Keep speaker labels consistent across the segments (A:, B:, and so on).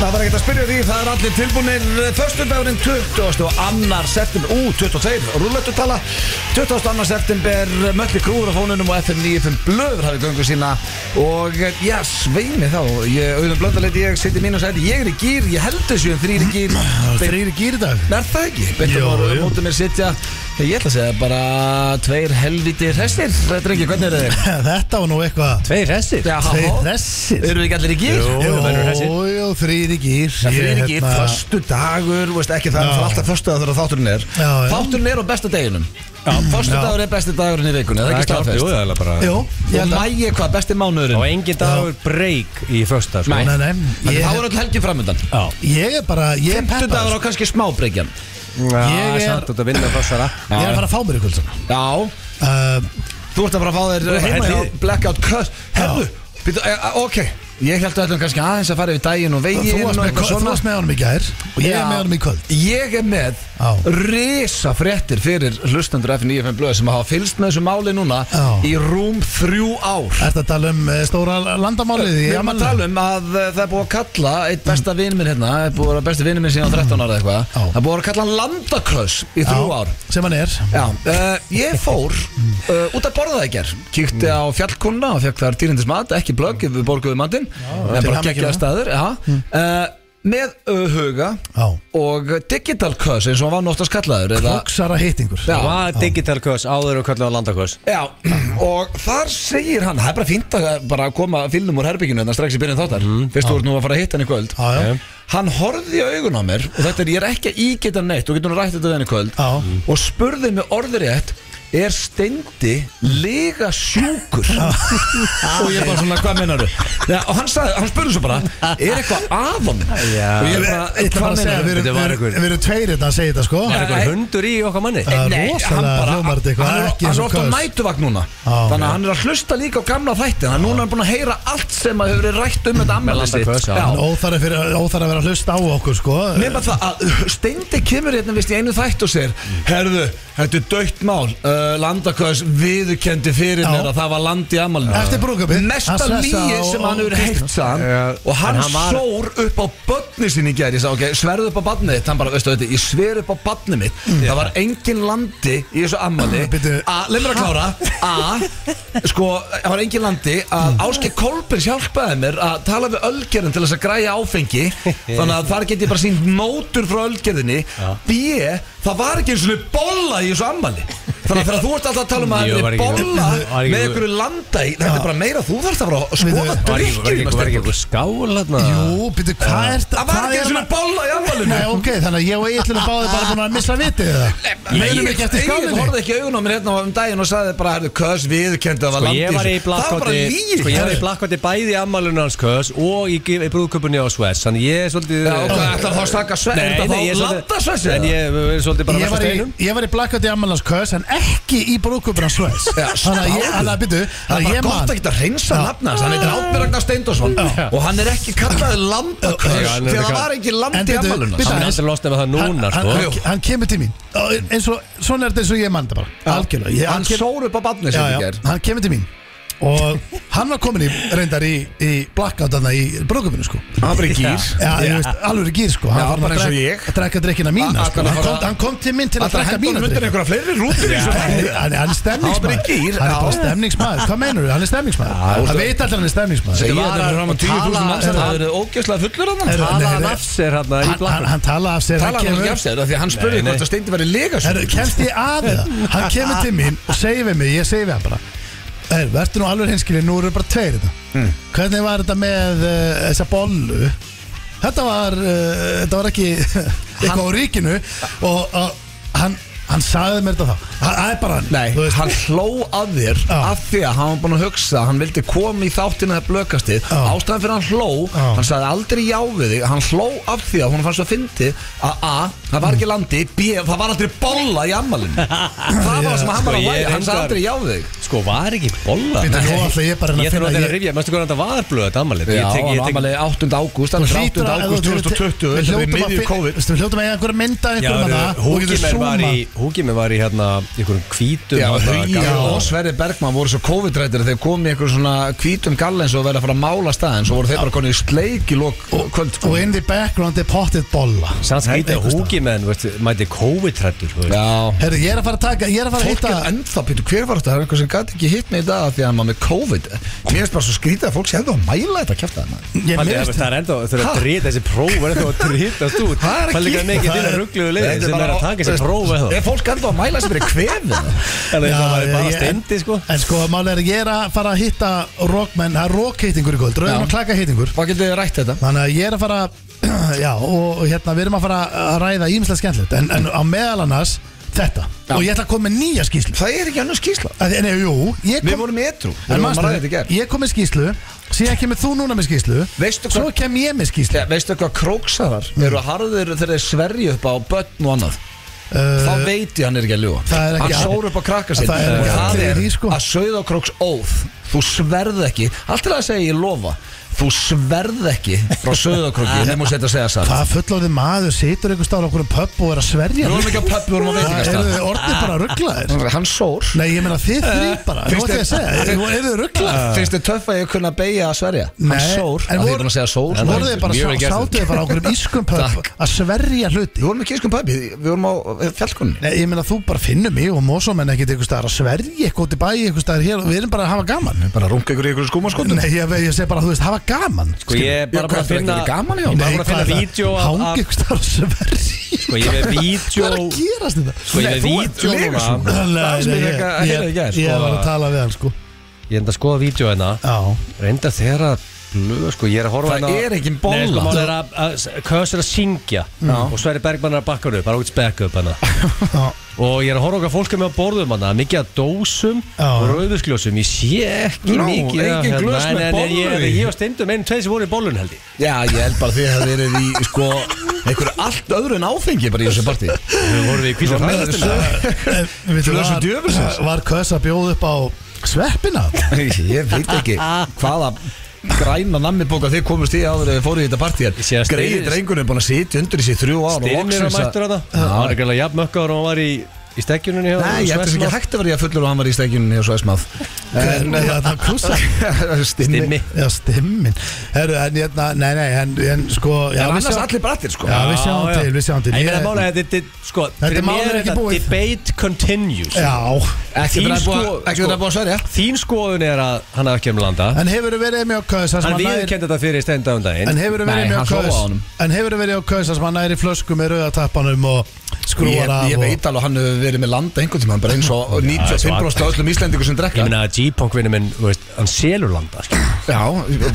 A: Það var ekkert að spyrja því, það er allir tilbúinir Föstudagurinn 20. annar september Ú, 22, rúllöttutala 20. annar september Mölli Krúður á fónunum og FM 95 Blöður hafið göngu sína Og eh, já, sveimi þá ég, Auðvitað blöndaleit, ég sitt í mínu og sæti Ég er í gýr, ég held þessu en þrýr í gýr Beint-
B: Þrýri gýr í dag
A: Er það ekki? Beintum
B: Jó,
A: ára
B: jú.
A: mótið mér sitja Ég ætla að segja bara Tveir helviti hrestir Drengi, hvernig er þið?
B: Þetta var nú eitthvað
C: Tveir hressir
A: Já,
B: Tveir
A: halló?
B: hressir?
A: Eru við ekki allir í gýr?
C: Jú.
B: Jó,
C: það verður hressir.
B: jó, þrýri gýr
A: Það fyrir
B: Ég,
A: ekki
B: hérna,
A: förstu dagur, veist ekki það,
B: Já.
A: það er alltaf förstu dagur þegar þátturinn er
B: Já, já.
A: Þátturinn er á besta deginum Förstu
B: Já.
A: dagur er besti dagurinn í vikunni, það er ekki
C: Jú,
A: staðfest
C: það er bara
B: Jó, ég
A: Og
B: held að
A: mægi er hvað, besti
C: Og
A: mánuðurinn
C: engin dagur breyk í fösta sko.
A: Nei.
B: Nei, nei,
A: Þannig
B: ég,
A: þá er öll helgin framöndan
C: Já
B: ég er bara, ég er
A: Fymtu
B: peppar
A: dagur á kannski smábreykjan
C: Ég
B: er-
C: er Samt út að vinna föstara
B: Ég er að fara að fá mér ykkur svona
A: Já,
B: uh,
A: þú ert að fara að fá
C: Þú
A: þér
C: ert að
A: heima
C: hella
A: á
C: í-
A: Blackout Cut Herðu, býtu, eh, ok Ég held að ætlum kannski aðeins að fara yfir daginn og
B: Þú
A: veginn
B: varst
A: og
B: með,
A: eitthvað
B: þú
A: svona
B: varst með honum í gær Og ég er
A: Já.
B: með honum í kvöld
A: Ég er með
B: Já.
A: risa fréttir fyrir hlustendur F95 blöð sem hafa fylst með þessu máli núna
B: Já.
A: í rúm þrjú ár
B: Ertu að tala um eh, stóra landamálið í
A: Við erum að
B: afmælinu?
A: tala um að uh, það er búið að kalla eitt besta vinn minn hérna, það er búið að vera besti vinn minn síðan á 13 ára eða eitthvað,
B: Já.
A: það er búið að kalla hann landaklaus í um þrjú ár
B: Sem hann er
A: Já, uh, ég fór uh, út að borða það í gerð Kíkti á fjallkonna og fekk þar dýrindis mat Ekki blögg, við borguðum matinn En
B: til
A: bara
B: hamingju
A: geggjaða
B: með. Mm.
A: staður já. uh, Með uh, huga
B: Já.
A: Og digital cuss eins og hann var nóttast kallaður eða-
B: Koksara hittingur
A: Já.
C: Hvað digital kös áður og kallar á landakös
A: Já, og þar segir hann Það er bara fínt að bara koma fylnum úr herbygginu Þannig strax í byrjun þáttar Fyrst þú ert nú að fara að hitta hann í kvöld
B: Mhm. Já, já.
A: Hann horfði í augun á mér Og þetta er, ég er ekki að ígeta neitt Og getur hann rætt þetta við hann í kvöld
B: Já. Mhm.
A: Og spurði mig orðrétt Er steindi lega sjúkur Og ég bara svona, hvað meinaru ja, Og hann, sagði, hann spurði svo bara Er eitthvað af hann
C: Já.
A: Og ég
B: Ég
A: bara,
B: ætla bara
A: hvað
B: að segja,
A: meinaru
B: við
C: Þetta
B: erum-
C: var
B: við erum
C: ykkur.
B: við erum tveir hérna að segja þetta sko
C: Er
A: Nei.
C: eitthvað hundur í okkar manni?
B: Það er
A: Nei,
B: rosalega
A: hann bara-
B: hljómar þetta eitthvað
A: hann er-
B: ekki
A: Hann er
B: sem
A: ofta
B: kaus.
A: mætuvagn núna
B: Á,
A: Þannig að
B: já.
A: hann er að hlusta líka á gamla þætti Þannig að núna er hann búin að heyra allt sem að hefur verið rætt um þetta ammæli
C: landa
A: sitt
C: kös, já.
A: Já.
B: En Óþarf að fyrir- óþarf að vera að hlusta á okkur sko
A: Nefna það að uh, Steindi kemur hérna vist í einu þætt og sér Herðu, þetta er dögt mál uh, Landakvæðs viðurkendi fyrir
B: Já.
A: mér að það var land í ammálinu
B: Eftir brúðkaupið.
A: Mesta
B: Hann svessa
A: líi
B: á-
A: sem hann
B: á
A: hefur
B: Kristínu.
A: heitt sann
C: Já.
A: Og hann,
C: En hann var-
A: sór upp á börni sinni í gær Ég sá ok, sverðu upp á barnið þitt Hann bara, veistu þetta, ég sver upp á barnið mitt
C: Mm.
A: Það var engin landi í þessu ammali
B: Bíddu.
A: A, leið mér að klára A, sko, það var engin landi
C: Mm.
A: að Áskei Kolbins hjálpaði mér að tala við ölgerðin til þess að græja áfengi þannig að þar get ég bara sínt mótur frá ölgerðinni B, það var ekki eins og bolla í þessu ammali þannig að þegar þú ert alltaf að tala um að
C: Jú,
A: það
C: var
A: er
C: ekki-
A: bolla
C: var ekki-
A: með einhverju landa í þetta er bara meira, þú þarfst að fara að skoða
B: Við-
C: Var ekki- var ekki- var ekki
A: drikkjum
C: eitthvað skál hérna?
B: Jú, byrju, hvað er
A: það var
B: hvað
A: ekki
B: er
A: eins
B: hann
A: og bolla í ammalinu
B: Nei, ok, þannig að ég og Egilin báði bara búin að missa vitið það Meinum ekki eftir
A: Ég
B: skálinni
A: horfði ekki í augun á mér hérna um daginn og sagði bara, herðu, kös viðurkendi að það var
C: Sko
A: land í
C: ég var í
A: þessu. Það var bara
C: blakkvati
A: líi
C: Sko ég var í blakkvati bæði í ammálinu hans kös Og í, í brúðköpunni á Svess Þannig ég er svolítið
A: Já, ok, ætlar þá að staka sveið
C: Nei, nei, ég er
A: Landasveið
C: En ég er svolítið bara
B: Ég
C: mest
B: var
C: að
B: í,
C: steinum
B: ég var í blackout í ammælans kös en ekki í brúkupur hans Sves Þannig að ég, þannig að byrju
A: Það er
B: Þannig
A: bara
B: að ég
A: gott að
B: man
A: geta reynsa
B: Já.
A: nafna hans Hann heitir Átni Ragnar Steindórsson
B: Já.
A: Og hann er ekki kallaði
C: Já,
A: landakörs
C: hann er
A: Þegar það
C: ekki-
A: var ekki land
B: En
A: í
B: bíddu,
A: amaluna
B: bíddu.
C: Hann er alltaf losnað með það
B: Hann, hann,
C: núna sko
B: hann, hann kemur til mín Og eins og, Svona er þetta eins og ég man þetta bara Algjörlega ég,
A: Hann
B: kem-
A: sór upp á badni sem
B: já,
A: þið
B: já,
A: ger
B: Hann kemur til mín Og hann var komin í, reyndar í, í blackout Þannig í brúkupinu sko
A: Hann var í gýr
B: Já, ég veist, alveg gýr sko Hann
A: Já,
B: var
A: bara eins og
B: að
A: ég.
B: drekka- að drekka drikkina mína
A: Hann-
B: sko.
A: hann
B: hann,
A: bara-
B: kom, hann kom til mín til að
A: Það
B: drekka
A: hendur
B: mína
A: hann undir
B: drikka
A: einhverja fleiri rútur í þessu
B: Hann
A: þætti.
B: hann- hann er
A: Hann var bara í
B: stemningsmaður
A: gír,
B: Hann er bara
A: já.
B: stemningsmaður Hvað meinur þú? Hann er stemningsmaður Það veit allir hann er stemningsmaður
A: Þetta
C: Segja
A: var
C: þetta fyrir fram á
A: að
C: 10.000
A: tala
C: manns,
A: Það
C: það
A: er ógjöfslega fullur hann
B: Heyrðu,
C: Talaði
B: nei,
C: hann
B: nei.
C: af sér hérna
B: Hann,
C: í
B: hann,
C: blakkvati
B: hann talaði af sér
A: Talaði hann ekki af
B: sér
A: sér af Því að hann spurði
C: Nei, nei.
A: hvort að Steindi verið lega svo
B: Kemst ég að það? Hann kemur til mín og segir við mig Ég segir við hann bara "Heyrðu, Vertu nú alveg hinskilin, nú eru bara tveir þetta
C: Hmm.
B: Hvernig var þetta með uh, þessa bollu? Þetta var, uh, þetta var ekki eitthvað á ríkinu Og uh, hann, hann sagði mér þetta þá Hann- Það er bara hann
A: Nei,
B: þú veist.
A: hann hló að þér
B: Já.
A: af því að hann var búin að hugsa að hann vildi koma í þáttina það blökastið
B: Já.
A: ástæðan fyrir hann hló,
B: Já.
A: hann sagði aldrei já við þig hann hló af því að hún fannst svo fyndi að A, það var ekki landi B, það var aldrei bolla í ammalinu það var það sem hann var
C: Sko,
A: að
C: ég
A: væri,
C: er
A: hann sagði
C: reyndar-
A: aldrei já við þig
C: sko var ekki bolla
B: Bíddu, nú ætla ég bara að
C: Ég þarf
B: finna-
C: að reyna
B: ég-
C: að rifja, mæstu hvað þetta var blöð þetta ammalið
A: Já, hann ammali 8. ágúst Hann er 8. ágúst 2020 Þetta er í
B: Við hljótum að
A: miðju
B: fin-
A: COVID
B: veistu, við hljótum að eiga einhverja mynda einhverjum að það og getur
C: Húkimir var
B: zooma
C: í Húkimir var í hérna einhverjum hvítum
A: Já,
C: hérna,
A: Hugi
C: gamla-
A: og Sverri Bergman voru svo COVID-rættir þeir komu í einhver svona hvítum gallens og verið að fara að mála staðin svo voru þeir bara konið í sleik í lok kvöld sko.
B: og in the background er pottet bolla
C: Sanns skrítið að
B: Einhvers staðar.
C: húkimenn veist, mæti COVID-trættur
A: Já
B: Herru, ég er að fara að taka, ég er að fara að
A: Fólk
B: hitta
A: er ennþá, Pítur, hver var þetta? Það er einhver sem gæti ekki hitt mig í dag af því að hann var með COVID Mér finnst bara svo skrítið að fólk sé ennþá að mæla þetta kjæft að hann
B: Ég
C: Það
B: minnist
C: er ennþá, þau eru að
A: Ha?
C: drita þessi próf er ennþá að drítast út
A: Það er ekki-
C: Það er líka mikið til að ruggluðu liði sem er að taka þessi próf eða
A: Er fólk ennþá að mæla sem er kvefið?
C: Þannig að það var
B: Já,
C: bara
B: ég-
C: stendi sko
B: En sko, máli er að ég er að fara að hitta rockmenn, það er rockheitingur í kvöld, rauðan
A: Já.
B: og klaka
A: Hvað getur þið rætt þetta?
B: Þannig að ég er að fara Já, og hérna, við erum að fara að ræða ímslega skemmtilegt en, en á meðal annars þetta
A: Já.
B: Og ég ætla að koma með nýja skýslu
A: Það er ekki annars skýsla
B: Að- Nei, jú, ég
A: Við
B: kom
A: vorum etru
B: En
A: Við vorum að ræða þetta í
B: manstu,
A: gerð
B: ég kom með skýslu Síðan kemur þú núna með skýslu
A: Veistu hvað-
B: Svo kem ég með skýslu
A: Ja, veistu hvað króksarar eru harðir þegar þeir sverju upp á börn og annað þá
B: uh,
A: veit ég hann er ekki að ljúa
B: Það er ekki-
A: hann sór upp á krakka sinn
B: Það er ekki
A: það
B: allir
A: er
B: í því, sko.
A: að sauða króks óð þú sverð ekki allt til að segja ég lofa þú sverð ekki frá sauðakróki nema þú setja að segja satt
B: Hvað fullorðið maður situr einhver stáð á okkur um pöpp og er að sverja
A: við vorum ekki á pöppu, við vorum á
B: Það eru þið
A: veitingastað
B: orðið bara rugglaðir
A: hann sór
B: Nei, ég meina þið
C: Eh,
B: þrý bara
A: finnst
B: Nú ætti ég
A: þér-
B: að segja,
A: finnst-
B: eru þið rugglaðir?
A: finnst þið töff að ég kunna beigja að sverja hann
B: Nei,
A: sór
B: en
A: að því
B: voru-
A: ég er búin að segja sór sko.
B: Voruð þið bara,
C: sko. Mjög vel
B: sá-
C: gert.
B: sátuð þið bara á okkur um ískum pöpp
A: Takk.
B: að sverja hluti
A: við vorum ekki í skum pöppi við vorum á eh, fjallkunni
B: Nei, ég meina þú bara finnur mig og Mósómenn ekkert einhver staðar að sverja eitthvað út í bæ einhver staðar hér og við erum bara að hafa gaman
A: bara runga ykkur í ykkur skúmaskotum
B: Nei, ég, ég segi bara, þú veist, hafa gaman
C: Sko ég er bara
A: Já, hvað,
C: búin að
A: þetta er
C: finna
A: ekki gaman, já?
C: Ég er bara
B: Nei,
C: búin að
B: hvað
C: finna
B: er það?
C: vídeo af-
B: Hangi
C: af-
B: einhver staðar að sverja
C: Sko ég er
B: Hvað
C: með
B: er að
C: vídeo
B: gerast þetta?
C: Sko ég er með vídeo núna
A: Það sem ég ekki að heyra í gær,
B: ég, ég
C: sko.
B: var að tala við hann, sko
C: Ég enda að skoða vídeo hérna
B: Já,
C: Reynda þegar að blöð, sko, ég er að horfa
A: Það er engin bolla.
C: Nei, sko, mál er að, að Kös er að syngja Og Sverri Bergmann er að bakka hann upp, hann er út spekka upp hérna. hana
B: já,
C: Og ég er að horfa okkar fólk er með á borðum hana Mikið að dósum
B: Já.
C: og rauðusgljósum Ég sé ekki
A: Nú,
C: mikið af
A: engin glös með
C: hérna. Nei, nei, nei,
A: bollu
C: Ég,
A: í.
C: ég, ég var steindum einu tveið sem voru í bollun held ég
A: já ég held bara því að þið eruð í sko einhverju allt öðru en áfengi bara í þessu partí
C: Við vorum við í kvísa fræðastina
B: En, veitu,
A: Glösum
B: var-
A: djöfulsins.
B: Var Kös að bjóða upp á sveppina?
A: Ég veit ekki hvaða græna nammibóka þið komust í áður ef þið fóruð í þetta
C: Ég sé að
A: partíjar Greið
C: Steinir-
A: drengurinn er búin að sitja undir þessi þrjú ára
C: Styrnir að mættur hana Hann var ekki alveg jafn mökkaður og hann var í, í stekkjunni
A: Nei, ég held þess ekki hægt að vera ég að fullur og hann var í stekjunni hjá Svæsmað
B: En, já, það kúsa
A: Stimmi
C: Stimmi
B: Já, stimmin Herru, en hérna, nei, nei, en, en sko já,
A: En
B: við
A: annars
B: sjáum-
A: allir brattir sko
B: Já, við sjáum til, við sjáum til
C: Ég meina
B: Ég-
C: málega, þetta er, sko,
B: Þetta
C: fyrir
B: mál er
C: mér er
B: ekki
C: þetta
B: búið.
C: debate continues
B: Já,
A: Ekki
C: Þín
A: þeirra búið
C: sko-
A: ekki þeirra búið að sverja
C: Þín skoðun er að hann hafa ekki um landa
B: en hefur verið mjög kaus
C: Hann viðurkenndi þetta fyrir steinda um daginn
B: En hefur
A: Nei,
B: verið
A: hann
B: mjög
A: hló
B: kaus
A: á honum.
B: En hefur verið mjög kaus sem hann næri flösku með rauðatappanum og skrúar
A: Ég,
B: af
A: ég
B: og-
A: veit alveg að hann hefur verið með landa einhvern tíma bara eins og 95% af öllum Íslendingur sem
C: Ég
A: drekka
C: meina að G-Punk vinnu minn, þú veist, hann selur landa skil.
A: Já,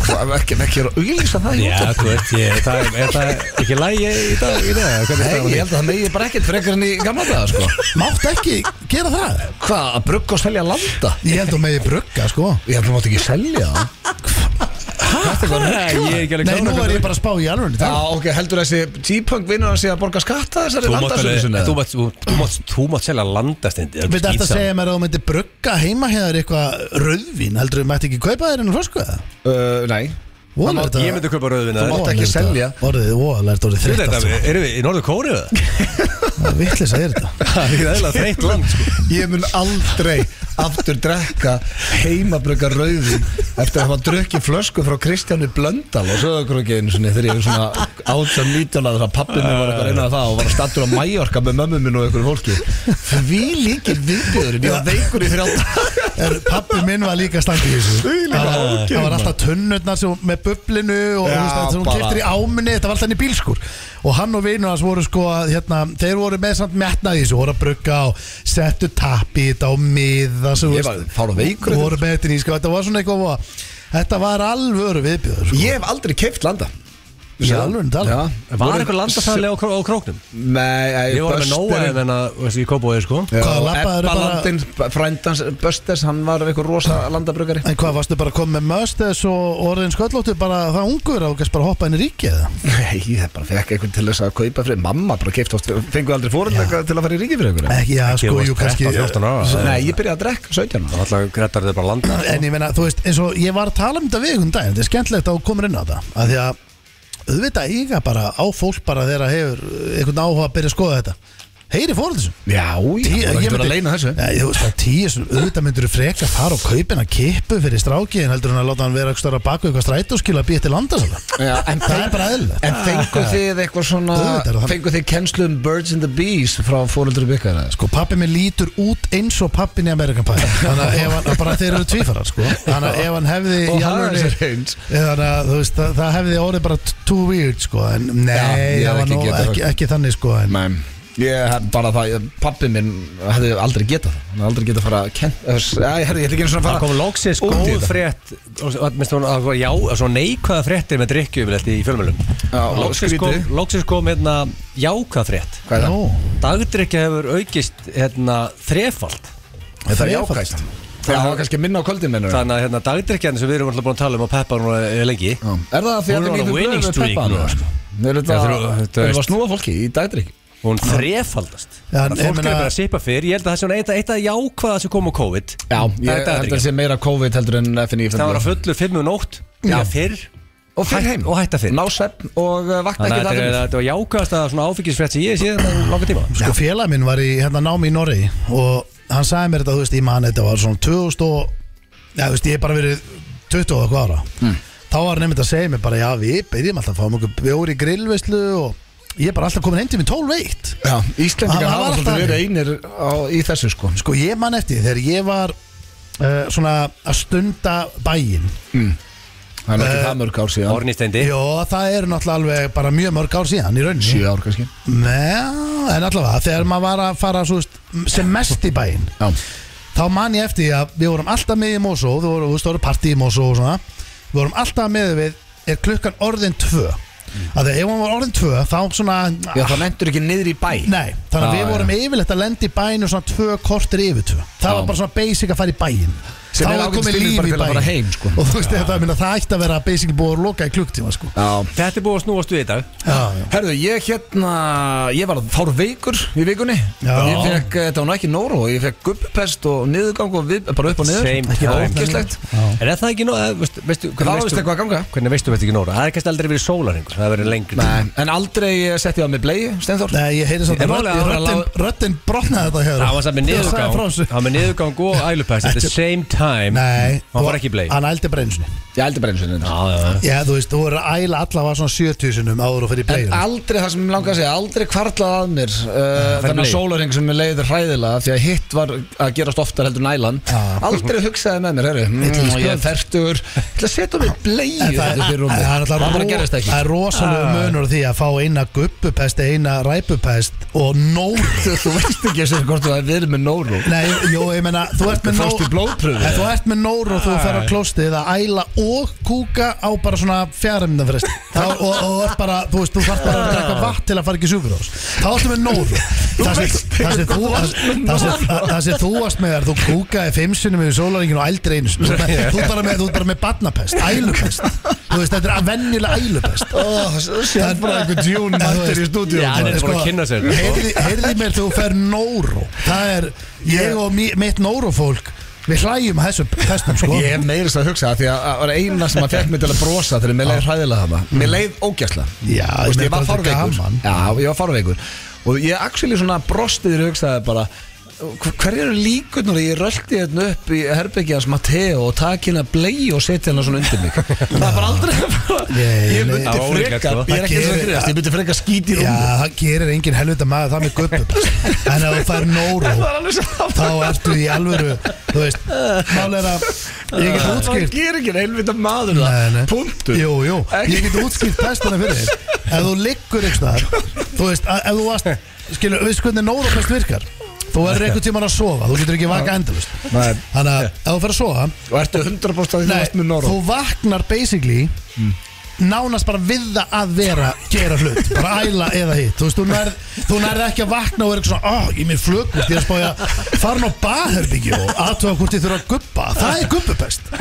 A: hvað- ekki ekki að auglýsa það í
C: Já,
A: útvarpi.
C: þú veist, ég, það er, er það ekki lægi í dag, í dag Hvernig er
A: Nei,
C: það
A: ég held að það megi bara ekkert frekar enn í gamla daga sko
B: Mátt ekki gera það
A: Hvað, að brugga og selja landa?
B: Ég held að megi brugga, sko
A: Ég held að þú mátt ekki selja það
C: Nei, ég er ekki
B: Nei, nú
C: alveg klár með
B: er
C: hvernig-
B: ég bara að spá í alveg
A: Já, ok, heldur þessi T-Punk vinnur hans í að borga skatta þessari
C: Þú mátt alveg-
A: landasölusinni?
C: þú mátt- þú- þú mátt- Þú mátt selja landa steindi
B: Við þetta að segja mér að þú myndir brugga heima hér eitthvað rauðvín heldur þú mætti ekki kaupa þér en flösku eða?
A: Uh, nei
B: Voðalega er þetta-
C: Ég myndi kaupa rauðvinna
A: Þú mátt-
B: voðalega
A: ekki
B: er þetta-
A: selja.
B: Orðið, voðalega er þetta orðið þreytt allt saman.
C: Erum við í Norður Kóru?
B: Vittlisa er þetta
C: Það er eðla þreytt land sko.
A: Ég mun aldrei aftur drekka heimabröka rauðin eftir að hafa drukkið flösku frá Kristjánu Blöndal og söðakrökiðinu sinni þegar ég er svona 18-19 að það pappið minn var eitthvað reynað það og var að stattur á Mallorca með mömmu minn og einhverju fólki Því líkir viðbjöðurinn, ég var veikur í þrjá daga
B: er, Pappi minn var líka standið í þessu Það var- það var alltaf tunnurnar sem, með bublinu og
A: Já,
B: þú veist, það sem hún
A: bara-
B: kiptir í áminni þetta var alltaf henni bílskur og hann og vinur hans voru sko að, hérna, þeir voru með samt metnað í þessu voru að brugga og settu tappi í þetta og miða svo,
A: Ég var fár og veikur í
B: voru með þetta í sko, þetta var svona eitthvað voða- þetta var alvöru viðbjöður sko.
A: Ég hef aldrei keift landa
B: Í alvöru talað?
A: Já.
C: Var
A: Voru-
C: eitthvað landasæðilega á, kró, á króknum?
A: Nei, ei,
C: Ég var með nóa ef en að, veist, í Kópói, sko
B: Hvað, labbaðirðu bara-
A: Ebbalandin, frændans, Bösters, hann var eitthvað rosa landabrugari
B: En hvað, varstu bara að koma með Möstes og orðin sköllóttu bara það ungur og gæst bara að hoppa inn í ríkið eða?
A: Nei, það bara fekk einhvern til þess að kaupa fyrir Mamma bara keift oft, fengu aldrei fóröldlega til að fara í ríki fyrir einhverju
B: Ekki, já, sko,
C: Ekki, þú varst
B: jú, kannski
C: 13, 14 ára, eða?
A: Nei, ég byrjaði að drekka 17 ára.
C: Alltaf grettar þetta bara landa
B: En ég meina, þú veist, eins og ég var að tala um þetta við einhvern daginn, þetta er skemmtilegt að þú komur inn á það að því að auðvitað eiga bara á fólk bara þegar það hefur einhvern áhuga að byrja að skoða þetta heyri fórhaldur þessu
A: Já, ég var
B: Tí- ég
A: ekki verið
B: myndi-
A: að leina þessu
B: Nei, þú veist að tíu sem auðvitað myndur freka að fara og kaupin að kippu fyrir strákiðin heldur hann að láta hann vera ekki stóra baku eitthvað strætóskil að býja til landasala
A: Já, en
B: Það er bara eðlilegt
A: En fengu þið eitthvað svona
B: Auðvitað er það.
A: Fengu þið kennslu um Birds and the Bees frá fóröldur byggara
B: Sko pappi minn lítur út eins og pappin í Amerikan Pie Þannig að ef hann, bara þeir eru tvífarar sko Þannig að ef hann hefði í
A: Og hann er
B: alvörunni-
A: sér eins.
B: Þannig að þú veist, það, það hefði orðið bara t- too weird sko En nei,
A: Já, ég hefði
B: það var
A: ekki
B: nú
A: getað
B: ekki,
A: það.
B: ekki þannig sko en,
A: Nei Ég hef bara það, ég- pabbi minn hefði aldrei getað það Hann hefði aldrei getað að fara að kenn Æ, ég hefði ekki einu svona að
C: Það
A: fara
C: kom loksins
A: út í
C: góð
A: þetta.
C: frétt og- og- minnst hún- það var- Já, svo neikvæða fréttir með drikju yfirleitt í fjölmjölum
A: Já,
C: Loksins kom,
A: skrítið.
C: loksins kom hérna jákvæða frétt
A: Hvað er
B: Nú,
A: það?
C: Dagdrykja hefur aukist hérna þrefald
A: Það er
B: þrefalt.
A: jákvæmt Já, það var kannski minna á kvöldin minnur Já.
C: Þannig að hérna dagdrykjan sem við erum alltaf búin að tala um og peppa nú eh, lengi
A: Er það því að þið
C: Hún er on a
A: lífið blöðum
C: winning
A: með
C: streak
A: peppa
C: núna, sko.
A: Er þetta
C: Já, þú-
A: erum
C: þú
A: við að
C: veist.
A: snúa fólki í dagdrykk?
C: Hún þrefaldast
B: Já, en
C: Fólk
B: ég
C: er
B: meina-
C: bara að sipa fyrir Ég held að það sé svona eitt að- eitt að jákvæða sem kom á COVID
A: Já,
C: Það er
A: ég held að
C: dagdrykkjan.
A: sé meira COVID heldur en FNI
C: Það var að fullu fimm um nótt Já, fyrr
A: Og fyrir
C: hætt-
A: heim
C: og hætta fyrr.
A: Ná svepp og uh, vakna ekki
C: Þannig að
A: það
C: þetta er-
A: fyrir
C: þetta var jákvæðast að svona áfengisfrétt sem ég sé þetta langa tíma
B: Sko félag minn var í hérna námi í Noregi og hann sagði mér þetta, þú veist, ég man þetta var svona 2000 og, já, þú veist, ég er bara verið 20 og eitthvað ára
A: Hmm.
B: þá var hann einmitt að segja mér bara, já, við byrjum alltaf að fáum okkur bjóri í grillveislu og ég er bara alltaf komin heim til mér 12 veitt
A: Já, Íslendingar
B: Það var
A: hafa
B: alltaf
A: svolítið verið
B: þannig.
A: einir á, í þessu sko
B: Sko, ég man eftir þegar ég var uh, svona að stunda bæinn
A: Það er nú ekki það mörg ár síðan
C: Árni Steindi
B: Jó, það eru náttúrulega alveg bara mjög mörg ár síðan í rauninni
A: Sjö ár kannski
B: Nei, en allavega, þegar maður var að fara svo, veist, sem mest í bæinn
A: Já,
B: þá man ég eftir því að við vorum alltaf með í Mosó þú voru, þú stóru partí í Mosó og svona við vorum alltaf með við er klukkan orðin tvö að þegar ef hún var orðin tvö þá svona
A: Mm.
B: ah,
A: Já það nendur ekki niður í bæ
B: Nei, þannig að
A: Ah,
B: við vorum yfirleitt að lenda í bæinu svona tvö kortir yfir tvö
A: Já.
B: Það var bara svona basic að fara í bæin
A: Sem er ágætis tími bara til að fara heim, sko.
B: Og þú veist, þetta, minna, það ætti að vera basic búið að loka í klukktíma sko.
A: Já
C: Þetta er búið að snúast við í dag
B: Já, já.
A: Herðu, ég hérna, ég var fár veikur í vikunni
B: Já.
A: Ég fekk, eh, þetta var nú ekki nóru og ég fekk gubbpest og niðurgang og við, bara upp og niður
C: Same
A: Ekki
C: time.
A: ógislegt
B: Já.
C: En er það ekki nóg, eða, veistu, veistu,
A: Það var vist eitthvað að ganga
C: Hvernig veistu þetta ekki nóg? Það er kannski aldrei verið sólarhengur, það er verið lengri
A: Nei, en aldrei eh, setti ég á mig blei, Steinþór
B: Nei, ég heyri samt
C: Ég
B: að
C: málega
B: röddin-
C: að vera
B: röddin- röddin brotnaði þetta hér
C: Það var samt með
B: Þegar sagði frá
C: niðurgang
B: þessu.
C: Það var með niðurgang og ælupest At the same time
B: Nei,
C: Hann
B: og-
C: var ekki bleið Já,
B: Hann ældi bara einu sinni
A: Ég eldi bara einu sinni reyndar.
C: já, já
B: Já, þú veist, þú voru að æla allavega svona 70 sinum áður og fyrir
A: En
B: bleiðum
A: aldrei það sem ég langaði að segja, aldrei kvarlaði að mér uh, Þannig að
C: leið.
A: sólaring sem mér leiði hræðilega Því að hitt var að gerast oftar heldur nælan
B: Já.
A: Aldrei hugsaði með mér, herri
B: Eitt
A: mm, Ég
B: lífs
A: er
B: kvöld.
A: fertur, ég ætla að setja mig bleið
B: En það,
A: Þetta fyrir
B: en
A: rúmi
B: það er
A: Það bara
B: alltaf
A: gerist
B: ró- það
A: ekki
B: er rosalega munur á því að fá eina guppupest eða eina ræpupest og nóg
A: Þú veist ekki þessu hvort þú það er verið með nóru
B: Nei, jó, ég meina, þú ert með
A: Fórstu í blóðprufu,
B: En þú ert með nór og þú fer á klóstið að æla og kúka á bara svona fjaramyndan fyrir og, og, og ert bara, þú veist, þú þarf bara að drekka vatn til að fara ekki sjúkur ás Þá ertu með nór Það sem- það sem þú- það sem- það sem þú varst með er þú kúkaði fimm sinnum yfir sólaringin og ældri einu sinni. Þú ert með- þú ert bara með, þú ert bara með badnapest, ælupest Þú veist, þetta er að venjulega ælupest
A: Það er bara einhver djún mættur í stúdíu
C: Já, hann er bara að kynna sér þetta, sko.
B: Heyrði heyrði mér þú fer Nóró Það er, ég og mi- mitt Nóró fólk Við hlæjum að þessu pestum sko
A: Ég hef meirist að hugsa það því að það var eina sem að fekk mig til að brosa þegar mér leið hræðilega það Mér leið ógæsla
B: Mm. Já,
A: Þú veist,
B: meina
A: ég var
B: bara þetta er
A: farveikur
B: gaman.
A: Já, ég var farveikur Og ég actually svona brostiður hugsaði bara hver- Hverjar eru líkurnar að ég röldi hérna upp í herbyggja hans Matteo og taki hérna blei og setja hérna svona undir mig Það er bara aldrei
B: Nei,
A: Ég
B: nei.
A: myndi
C: Það var ólíklegt,
A: freka,
C: sko.
A: ég er ekki eins og
B: Það
A: að greiðast Ég myndi freka skíti í
B: Já,
A: rúmi
B: það gerir engin helvita maður það með guppupest En ef þú fer Nóró
A: er alveg saman
B: Þá ertu í alvöru Þú veist, mál er að Ég get
A: Það
B: útskýrt
A: gerir ekki heilvita maður
B: Nei, nei.
A: það Punktur
B: Jú, jú,
A: Ekki-
B: ég get útskýrt pestina fyrir þér Ef þú liggur ykkur staðar Þú veist, að- ef þú varst Skilu, veist hvernig nóðarpest virkar Þú verður einhvern tímann að sofa, þú getur ekki vaka endalust
A: Nei.
B: Þannig að ef þú fer að sofa
A: Og ertu 100% að því þú
B: Nei,
A: varst með Noró
B: þú vaknar basically nánast bara við það að vera gera hlut, bara æla eða hitt þú veist, þú nærð, þú nærð ekki að vakna og vera eitthvað svona, oh, ég er mér flugvist, ég er að spája fara nú á baðherbyggju og aðtöða hvort ég þurfa að gubba, það er gubbupest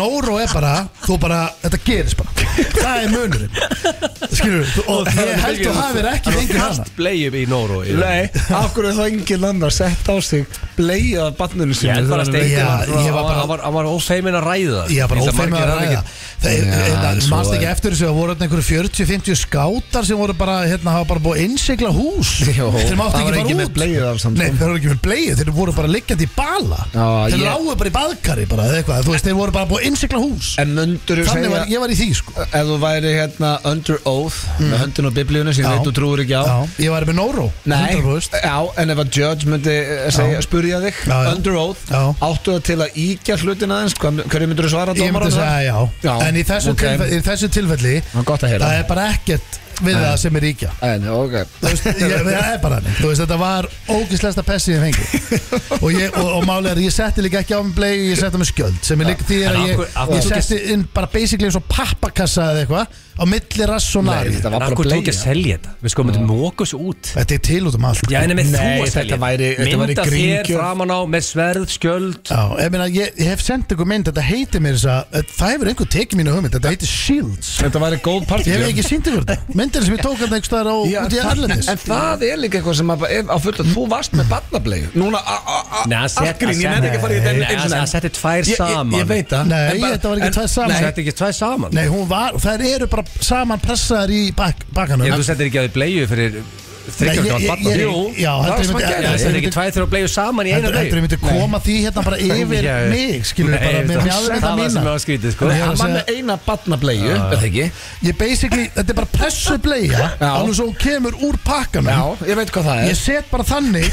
B: Nóró er bara, þú bara þetta gerist bara, það er munurinn skilur, og ég held þú hafir ekki fengið hana
C: Bleið í Nóru
D: Nei, af hverju er þá engin annar sett á sig bleið af barninu
C: Ég
D: sinni
C: held bara að steikja
B: Já,
C: hann
B: ég var bara-
C: Hann var- hann var ófeimin að ræða
B: Ég var bara
C: Ég held
B: ófæmið
C: að margir
B: að
C: hafi
B: ræða eh,
C: ekki-
B: Það
C: en svo
B: mannst ekki
C: er-
B: eftir þessu Það voru þarna einhverju 40-50 skátar sem voru bara hérna, hafa bara búið að innsigla hús
A: Jó.
B: Þeir máttu
A: Það var
B: ekki
A: enginn
B: fara
A: með
B: út
A: bleiur af samt,
B: Nei,
A: sko.
B: þeir voru ekki með bleið Þeir voru bara liggjandi í bala
A: Já,
B: Þeir
A: ég-
B: lágu bara í baðkari bara, eða eitthvað Þú veist, þeir voru bara búið að innsigla hús
A: En myndur þú
B: Þannig
A: segja
B: var ég var í því sko
A: Ef þú væri hérna under oath Með höndin á biblíunni sem ég
B: Já.
A: veit þú trúir ekki á
B: Já, ég var með Nóró
A: Nei, Eh,
B: 100%.
A: já, en ef að judge myndi eh, segja, spurja þig
B: Já, já.
A: Under oath,
B: Já.
A: áttu það til að íkja hlutin aðeins Hvað- Hverju myndur þú svara
B: Ég myndi
A: dómaranum
B: að
A: þar?
B: segja já.
A: Já,
B: En í þessu,
A: ok.
B: tilfelli, í þessu tilfelli
A: Það er gott að heyra
B: Það er bara ekkert við það sem er ríkja
A: En, ok
B: Þú veist, ég, það er bara þannig Þú veist, þetta var ógislegasta pessi ég fengi og, ég, og, og máli er, að ég setti líka ekki á mig blei ég setti á mig skjöld, sem er líka því er
C: En
B: að
C: af
B: ég,
C: hverju- af hverju
B: ég
C: tók ég-
B: setti inn bara basically eins og pappakassa eða eitthvað á milli rass og nari
A: Nei, þetta
B: þetta,
A: var
C: En af
A: bara
C: hverju tók ekki
A: bleið
C: að selja þetta? Við sko myndum mókus út
B: er til út um allt
C: Já, en með þú
A: Nei,
C: að selja
A: þetta væri- þetta væri
C: Mynda þér
A: gríngjöf.
C: framan á með sverð, skjöld
B: Já, ég, meina, ég, ég hef sendt ykkur mynd, þetta heitir mér þess að eh, það hefur einhver tekið mínu hugmynd, þetta heitir Shields
A: Þetta væri góð
B: Ég hef
A: partí
B: ekki sínt ykkur þetta, myndir sem ég tók hann einhver staðar á
A: Já,
B: út í Erlendis
A: En það er líka eitthvað sem að, bara er á fullt að þú varst með barnableiðu Núna, a- a- a-
C: Nei, að setja-
A: afgrín, ég nefndi ekki að fara í
C: Nei,
A: þetta
C: að-
A: einu sinni
C: að setja tvær
A: Ég- ég-
C: saman.
A: Ég veit það
B: Nei,
A: En bara-
B: þetta var ekki
A: en-
B: tvær saman.
A: Nei,
C: Þetta ekki tvæ saman
B: Nei, hún var, þær eru bara saman pressaðar í bak, bakanum
C: Ég, þú settir ekki að þið bleju fyrir
B: Nei, ég-
C: þryggjarkjátt
B: ég-
C: barna
B: ég- já,
C: það
B: heldur
C: er
B: ég
C: sem að
B: myndi-
C: gera
B: heldur
C: Það er
B: ég
C: ekki
B: myndi-
C: tvæ þrjá bleju saman í eina
B: Heldur heldur
C: bleið
B: ég myndi koma því hérna bara yfir
C: Já, já.
B: mig skilur
C: Nei,
B: bara með
C: það-
B: mjög aðvita
C: Það var sem
B: mína
C: var skrítið sko
B: Nei,
A: Hann
B: að
A: var
B: segja-
A: með eina barnableiðu,
C: Ah.
A: er það ekki?
B: Ég basically, þetta er bara pressu bleiða
A: Já.
B: alveg svo hún kemur úr pakkanum
A: Já, ég veit hvað það er
B: Ég set bara þannig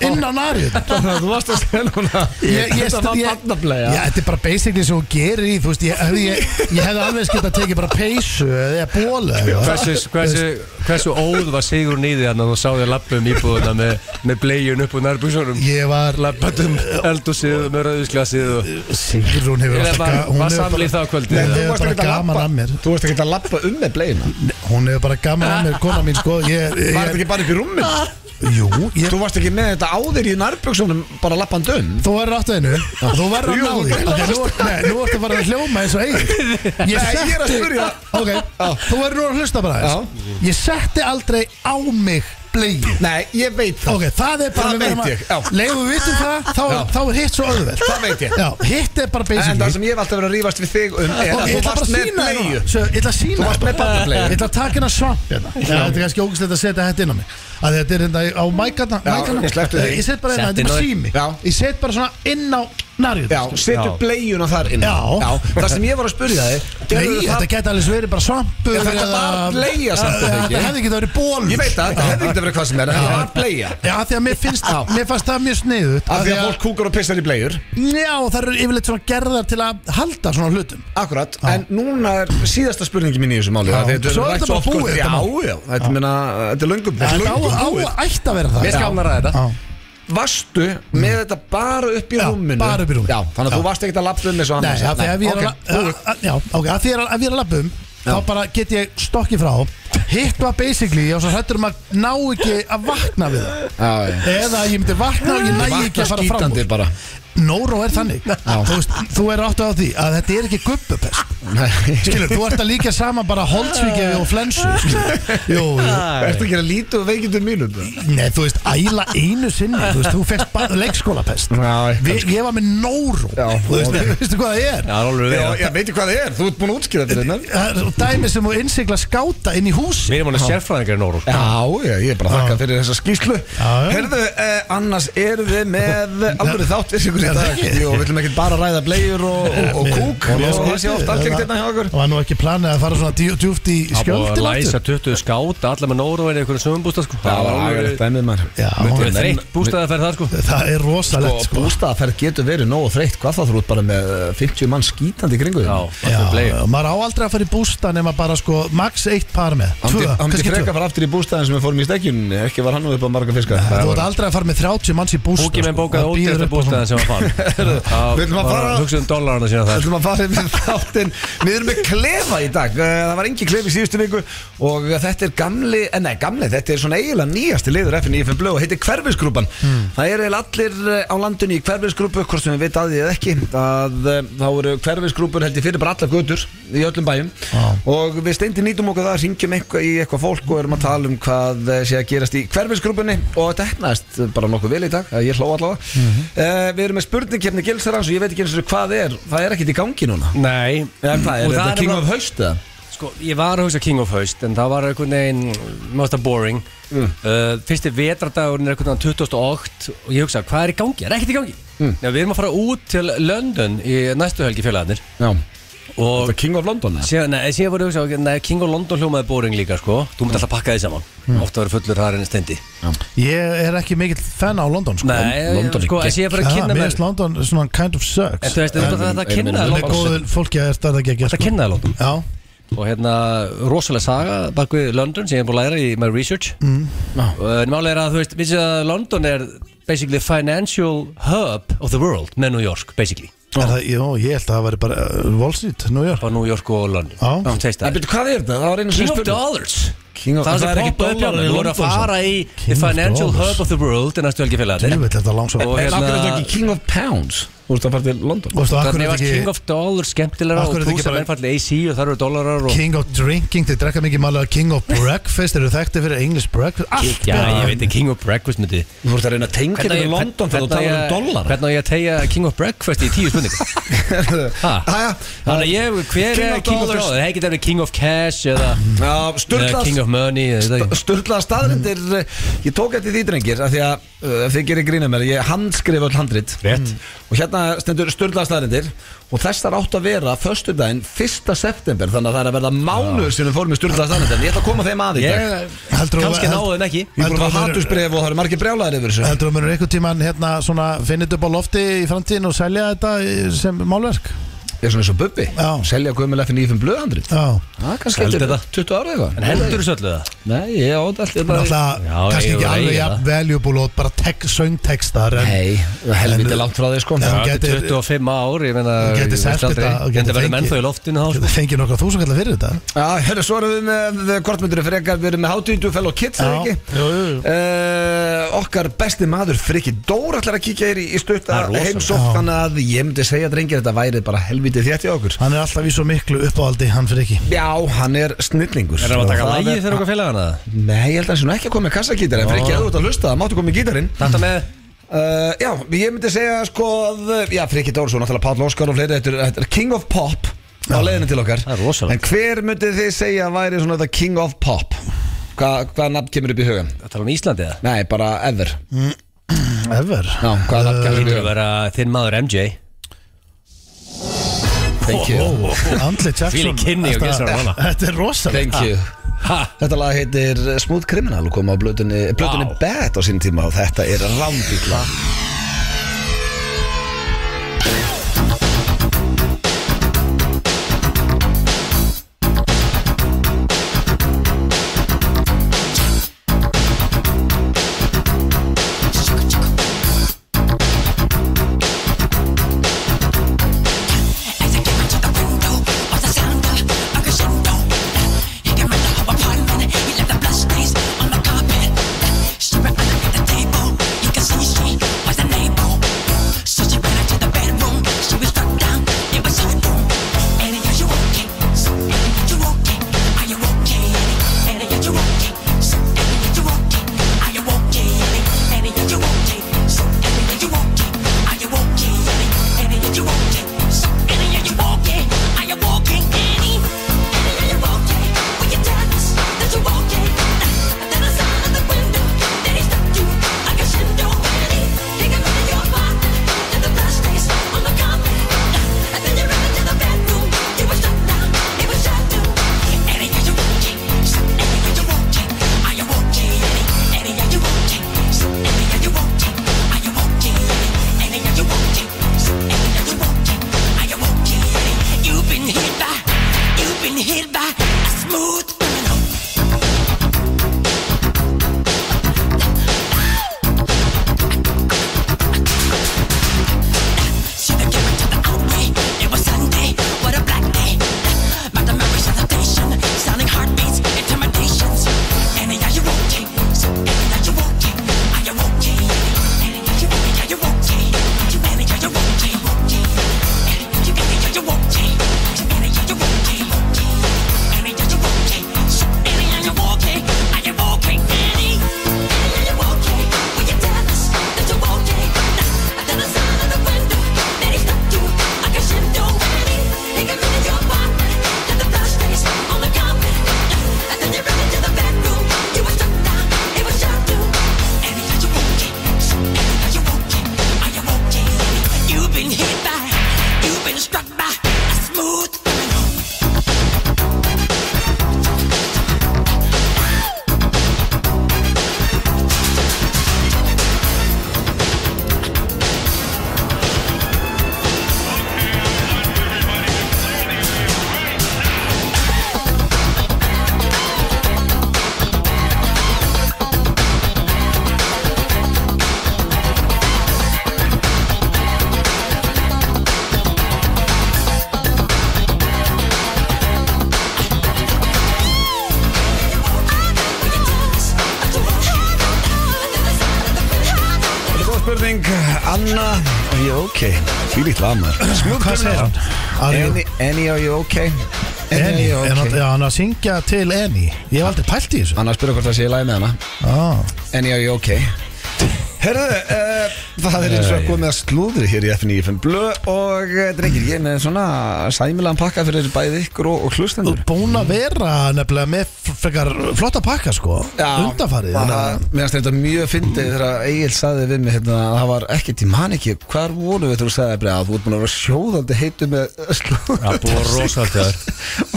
B: inn á narið
A: Þannig að þú varst að segja núna
B: Ég- ég-
A: Þetta var
B: ég-
A: barnableiða
B: Já, þetta er bara basically sem hún gerir í Þú veist, ég, hefði- ég, ég hefði alveg skilt að tekið bara peysu eða bólu
C: Sko, Hversu, hversu, hversu óð var Sigur nýði þannig að þú sáði lappum íbúðuna með, með bleijun upp úr nærbúsunum
B: Ég var
C: Lappatum eldúsið með rauðisglasið og
B: Sigrún hefur alltaf
C: Var-
B: ga- hún
C: var
B: hefur bara-
C: samlíf þá að kvöldi?
B: Nei,
C: Þú
B: Hún hefur bara gaman að mér
A: Þú varst ekki að lappa um með bleiðina
B: Hún hefur bara gaman að mér, kona mín sko ég,
A: Var þetta
B: ég,
A: ekki bara upp í rúmmin?
B: Ah. Jú, ég
A: Þú varst ekki með þetta áður í nærbjöksunum bara lappand um
B: Þú verður áttu einu og þú verður að
A: Jú,
B: ná því
A: þú
B: okay, nú, nei, nú ertu bara að hljóma eins og eigin Nei,
A: ég er að spyrja.
B: Ok, þú verður nú að hlusta bara eins Ég setti aldrei á mig bleið
A: Nei, ég veit það
B: Ok, það er bara
A: Það veit ég, já.
B: Leifum við vitum það, þá,
A: Já.
B: þá er hitt svo auðveld
A: Það veit ég.
B: Já, hitt er bara
A: En það
B: basically
A: sem ég hef alltaf verið að rífast við þig um er að
B: Ok, ég
A: þú
B: ætla bara
A: varst
B: að
A: með
B: sína þér núna.
A: bleiðu
B: Svo, Ég ætla að sína
A: Þú varst
B: þér.
A: með barnableiu.
B: Ég ætla að taka hérna svamp hérna Já, Þetta er kannski ógæslegt að setja þetta inn á mig að Þetta er hérna á mækana
A: Já, ég sleppti því.
B: Ég set bara hérna,
C: Setti
B: þetta er bara
C: nú-
B: sími
A: Já.
B: Ég set bara svona inn á sko. narið
A: Já, setur
C: Já.
A: bleiðuna þar inn
B: Já.
A: Það sem ég var að spurja þig
B: Nei,
A: gerðu það-
B: þetta geti alveg verið bara svampur
A: Já, þetta
B: eða-
A: var bleia samt,
B: Já,
A: þetta ekki?
B: Þetta hefði getið verið bólur
A: Ég veit það, þetta hefði ekki verið hvað sem er en Það var bleiða
B: Já, af því að mér finnst, mér fannst það mjög sniðut
A: Af því að fólk kúkar og pissar í bleiður
B: Já, það eru yfirleitt svona gerðar til að halda svona hlutum
A: Akkurat, en núna er síðasta spurningin mín í þessu máli
B: Já.
A: af því að þetta er
B: Svo er
A: rætt
B: þetta bara
A: oft og-
B: búið, þetta mál.
A: Já, já, þetta, meina, þetta er löngum
B: Þetta á, á að ætti að vera það
C: Mér skal
B: Já.
C: hann að ræða þetta
B: Já.
A: Varstu með þetta bara upp í
B: Mm. Já,
A: rúminu
B: bara upp í rúminu.
A: Já, þannig að
B: Já.
A: þú varst ekkert að lappa um þessu
B: Nei,
A: annars.
B: af því að við erum
A: ok, búið.
B: að Já, ok, af því að við erum að lappum Þá bara get ég stokkið frá Hitt var basically, ég var svo hrættur um að ná ekki að vakna við það
A: Já, já.
B: Eða að ég myndi vakna og ég næ ekki að fara fram úr
A: skítandi bara
B: Nóró er þannig þú, veist, þú er áttu á því að þetta er ekki gubbupest Skilur, þú ert að líka saman bara holdsvíkjafi og flensu skilur. Jú, jú.
A: Ertu ekki að lítu og veikindum mínum?
B: Nei, þú veist, æla einu sinni Þú veist, þú fekst bara leikskólapest
A: Já,
B: Vi, Ég var með nóró
A: Já,
B: Þú veist,
A: ok.
B: veistu hvað það er?
C: Já, það er alveg
A: Já,
C: verið
A: ég veit hvað það er, þú ert búin að útskýra þetta hérna.
B: Það er Dæmi sem þú innsigla skáta inn í húsi
C: Mér er múin að sérfræðingar í Nóru
A: Já, já, ég er bara að þakka fyrir þessa skýslu
B: Já, já.
A: Herðu, eh, annars eru við með alveg þáttir ykkur í
B: Er það
A: dag
B: ekki?
A: Jú, við viljum ekkert bara ræða bleiur og, og, og kúk og það sé oft algengt hérna hjá okkur
B: Það var nú ekki planið að fara svona djú- djúpt í
C: Það búið að
B: skjöldin
C: læsa
B: aftur
C: 20 skáta Alla með Nóru en einhverjum sömumbústa sko Það var alveg
A: dæmið maður
B: Já,
C: Það
B: hún-
C: er þreytt bústaðaferð þar sko
B: það er rosalegt
A: Og
B: sko.
A: bústaðaferð getur verið nógu þreytt Hvað þá þú ert bara með eh, 50 mann skítandi í kringu þig?
C: Já, það er bleið
B: Já, maður á aldrei að fara í bústa nema bara sko max eitt par með með
A: Hann
B: Tvö,
A: myndi
B: kannski
A: freka
B: tvö
A: að fara aftur í bústæðin sem við fórum í stekkjun Ekki var hann nú upp á marga fiska
B: Þú átt aldrei að fara með 30 manns í bústa
C: Búki minn
B: sko.
C: bókaði
B: Það býður upp
C: ódýrasta
B: á svona.
C: bústæðan sem hann fann
A: Viljum að fara-
C: Hugsaðum dólarana sína það
A: ætlum að fara með þáttinn Við erum með klefa í dag Eh, Það var engin klefi í síðustu viku Og þetta er gamli, eh, nei gamli Þetta er svona eiginlega nýjasti liður FN95 Blöð og heitir Hverfisgrúpan Það er eiginlega allir eh, á landinu í Hverfisgrúpu Hvort sem við veit að því eða ekki að, eh, Þá eru Hverfisgrúpur held ég fyrir bara allar götur Í öllum bæjum
B: Já.
A: Og við steindi nýtum okkur það Ringjum eitthvað í eitthvað fólk Og erum að tala um hvað eh, sé að gerast í Hverfisgrúpunni Og þetta hefnaðist bara nokkuð vel í dag eh, Ég hló allavega Eh, Við erum með spurningkefni gilsarans og ég veit ekki eins og hvað er Það er ekkit í gangi núna
C: Nei
A: Já, hvað, er
C: Mm. Og það
A: þetta
C: er
A: King
C: bara-
A: of Haust eða?
C: Sko, ég var að hugsa King of Haust en það var einhvern veginn mjög boring mm. uh, Fyrsti vetradagurinn er einhvern veginn 2008 og ég hugsa, hvað er í gangi? Það er ekkert í gangi mm. Já, Við erum að fara út til London í næstu helgi félagarnir
A: Já,
C: og
A: þetta er King of London eða?
C: síðan, nei, síðan voru ég að hugsa, nei, King of London hljómaði boring líka, sko Þú mútt alltaf pakka því saman, ofta verið fullur þar enn stendi
B: Ég er ekki mikill fenn á London sko.
C: Nei,
A: London er
C: sko, en síðan bara að
B: Ah,
C: kynna
B: Mér
C: mér
B: finnst London svona kind of
C: En
B: sucks
C: þú veist, þetta er bara þetta að
A: Einum-
C: kynna
A: einum-
B: Það er
C: London
B: góður fólki að það er ekki að gera
C: Þetta kynna þér London
B: Já,
C: og hérna rosalega saga bak við London sem ég er búin að læra í my research mm. en málega er að þú veist vissið að London er basically financial hub of the world með New York basically
B: Er það, jó, ég held að það væri bara uh, Wall Street, New York
C: bara New York og London
B: Já.
C: Þú veist
A: En
C: það.
A: betur, hvað er þetta? Það var einu
C: King
A: sem
C: of
A: spurning
C: Dollars
A: King of- Ah,
C: það er
A: það er
C: það
A: ekki
C: poppa upp
A: dólar
C: hjá
A: í
C: Þú voru að
A: London,
C: fara í
B: King
C: the
B: of
C: financial
B: dollars.
C: hub of the world en næstu helgi
B: Djöfull,
C: félagarnir
B: er þetta langsótt
C: Og
A: En
B: Og
A: af hverju er
C: hérna-
A: þetta ekki King of Pounds? Þú veist að fara til London
B: veistu, akkur
C: Þannig
B: er
C: var
B: þetta
C: King
B: ekki
C: of Dollars skemmtilega
B: Af hverju
C: og
B: er þetta ekki
C: púsa
B: bara-
C: mennfalli AC og þar eru dollarar og
B: King of Drinking, þið drekka mikið málega King of Breakfast, eru þekkti fyrir English Breakfast Allt
C: Já,
B: bara-
C: ég veit ekki King of Breakfast myndi
A: Þú voru að reyna að tengja
C: Hvernig á
A: þetta
C: ég-
A: í London þegar þú
C: hvernig á
A: talar um
C: ég-
A: dólar
C: Hvernig á ég að tegja King of Breakfast í tíu spurningar Ha?
A: Jæja.
C: Þannig að ég, hver
A: King
C: er
A: of
C: King of
A: Dollars.
C: Dollars? Það er ekki það King of Cash eða eða Eh, King
A: Sturlað
C: of Money eða þetta ekki. Mm.
A: Sturlaða staðrindir eh, Ég tók eftir því drengir af Því að uh, þið gerir grína mér Ég handskrifa öll handrit
C: Rétt.
A: Og hérna stendur sturlaða staðrindir Og þessar átt að vera Föstudaginn 1. september Þannig að það er að verða mánuður Sem við fórum í sturlaða staðrindir Ég ætla að koma þeim að í dag Ég
C: Ég,
B: Heldurðu-
C: kannski
B: held-
C: náðu en ekki
A: er búin að fá
B: Heldur-
A: hatursbref Og það eru margir brjálæðir yfir þessu
B: Heldur þú að munur einhvern tíman hérna svona finnit upp á lofti í framtíðin og selja þetta í- sem málverk?
A: Ég er svona eins og Bubbi
B: Já.
A: Selja gömul eftir nýfum blöðhandrit
B: Já
A: Það er kannski eftir
C: Seldi þetta.
A: 20 ára eitthvað
C: En heldur þessu öllu það?
A: Nei, ég átt allt ég
B: En
A: bara-
B: Alltaf
C: Já,
B: kannski
C: ég
B: ekki
C: var að
B: alveg
C: eiga
B: jafn
C: það.
B: valuable og bara tek, söngtekstar en
A: Nei, helviti
B: En-
A: langt frá því sko Já.
B: Já, Hann
C: Þetta er
B: gæti-
C: 25 ár, ég meina
B: Hann gæti
C: ég
B: selt
C: veist aldrei.
B: þetta og gæti
C: Þetta verður
B: fengið-
C: menn þá í loftinu þá sko.
B: Getur fengið nokkra þúsund kallar fyrir þetta
A: Já, hérna, svo erum við með Kortmyndur frekar, við erum með hátíðindu Fellow Kids, eða
B: Já.
A: ekki?
B: Jú, jú, jú.
A: Uh, okkar besti maður Frikki Dór ætlar að kíkja þér í, í stutta
C: Það er rosalegt.
A: heimsókn Þannig að ég myndi segja drengir Þetta væri bara helviti þétt í okkur
B: Hann er alltaf í svo miklu uppáhaldi, hann fyrir ekki
A: Já, hann er snillingur
C: Er það að taka
A: Það
C: lægi þegar okkar félagana?
A: Nei, ég held að hann sé nú ekki að koma með kassakítar En Frikki, ef þú ert að hlusta, það máttu koma með gítarinn
C: Þetta með
A: Uh, já, ég myndi segja sko að, Já, Friki Dórsson, náttúrulega Páll Óskar og fleiri Þetta er- þetta er King of Pop á leiðinu til okkar
C: Það er rosalegt.
A: En hver myndið þið segja að væri svona þetta King of Pop? Hva, hvaða nafn kemur upp í hugan?
C: Það tala um Íslandi eða?
A: Nei, bara ever
B: Ever
A: Já, hvaða nafn
C: Það
A: kemur upp í
C: lítur að
A: hugan?
C: vera þinn maður MJ
A: Thank you,
C: Oh.
B: Andli Jackson
C: Þvílík kynni og
B: Þetta-
C: gissar á hana.
B: Þetta er rosalega
A: thank you
C: Ha?
A: Þetta lag heitir Smooth Criminal og kom á blötunni, blötunni
C: Vá.
A: Bad á sín tíma og þetta er rámbíkla
E: As I get my to the window, all the sound of a crescendo. He came out of apartment, he left the blood stains on the carpet. She ran under the table, you can see she was
A: Anna, are you okay? Fýlíkt var maður
B: Hvað segir hann? Are you-
A: Annie, Annie, are you okay?
B: Eni, er hann-
A: okay?
B: já, hann að syngja til Eni Ég hef aldrei pælt í þessu
A: Anna spyrir hvort það sé í lagi með hana
B: ah.
A: Annie, are you okay? Herðu, uh, það er eins og að komið að slúðri hér í FNÍFN Blö og eh, drengir, ég er með svona sæmilan pakka fyrir bæði ykkur og, og
B: Þú
A: hlustendur
B: er búin að vera nefnilega með frekar flotta pakka sko Undanfarið
A: það-
B: þannig að-
A: Mér finnst þetta mjög fyndið þegar Egil saði við mig hérna að það var ekkert í mann ekki Hvar voru við þegar þú sagði bara að þú ert búin að vera sjóðandi heitu með slúður
C: Það er búið að rosa allt í þær.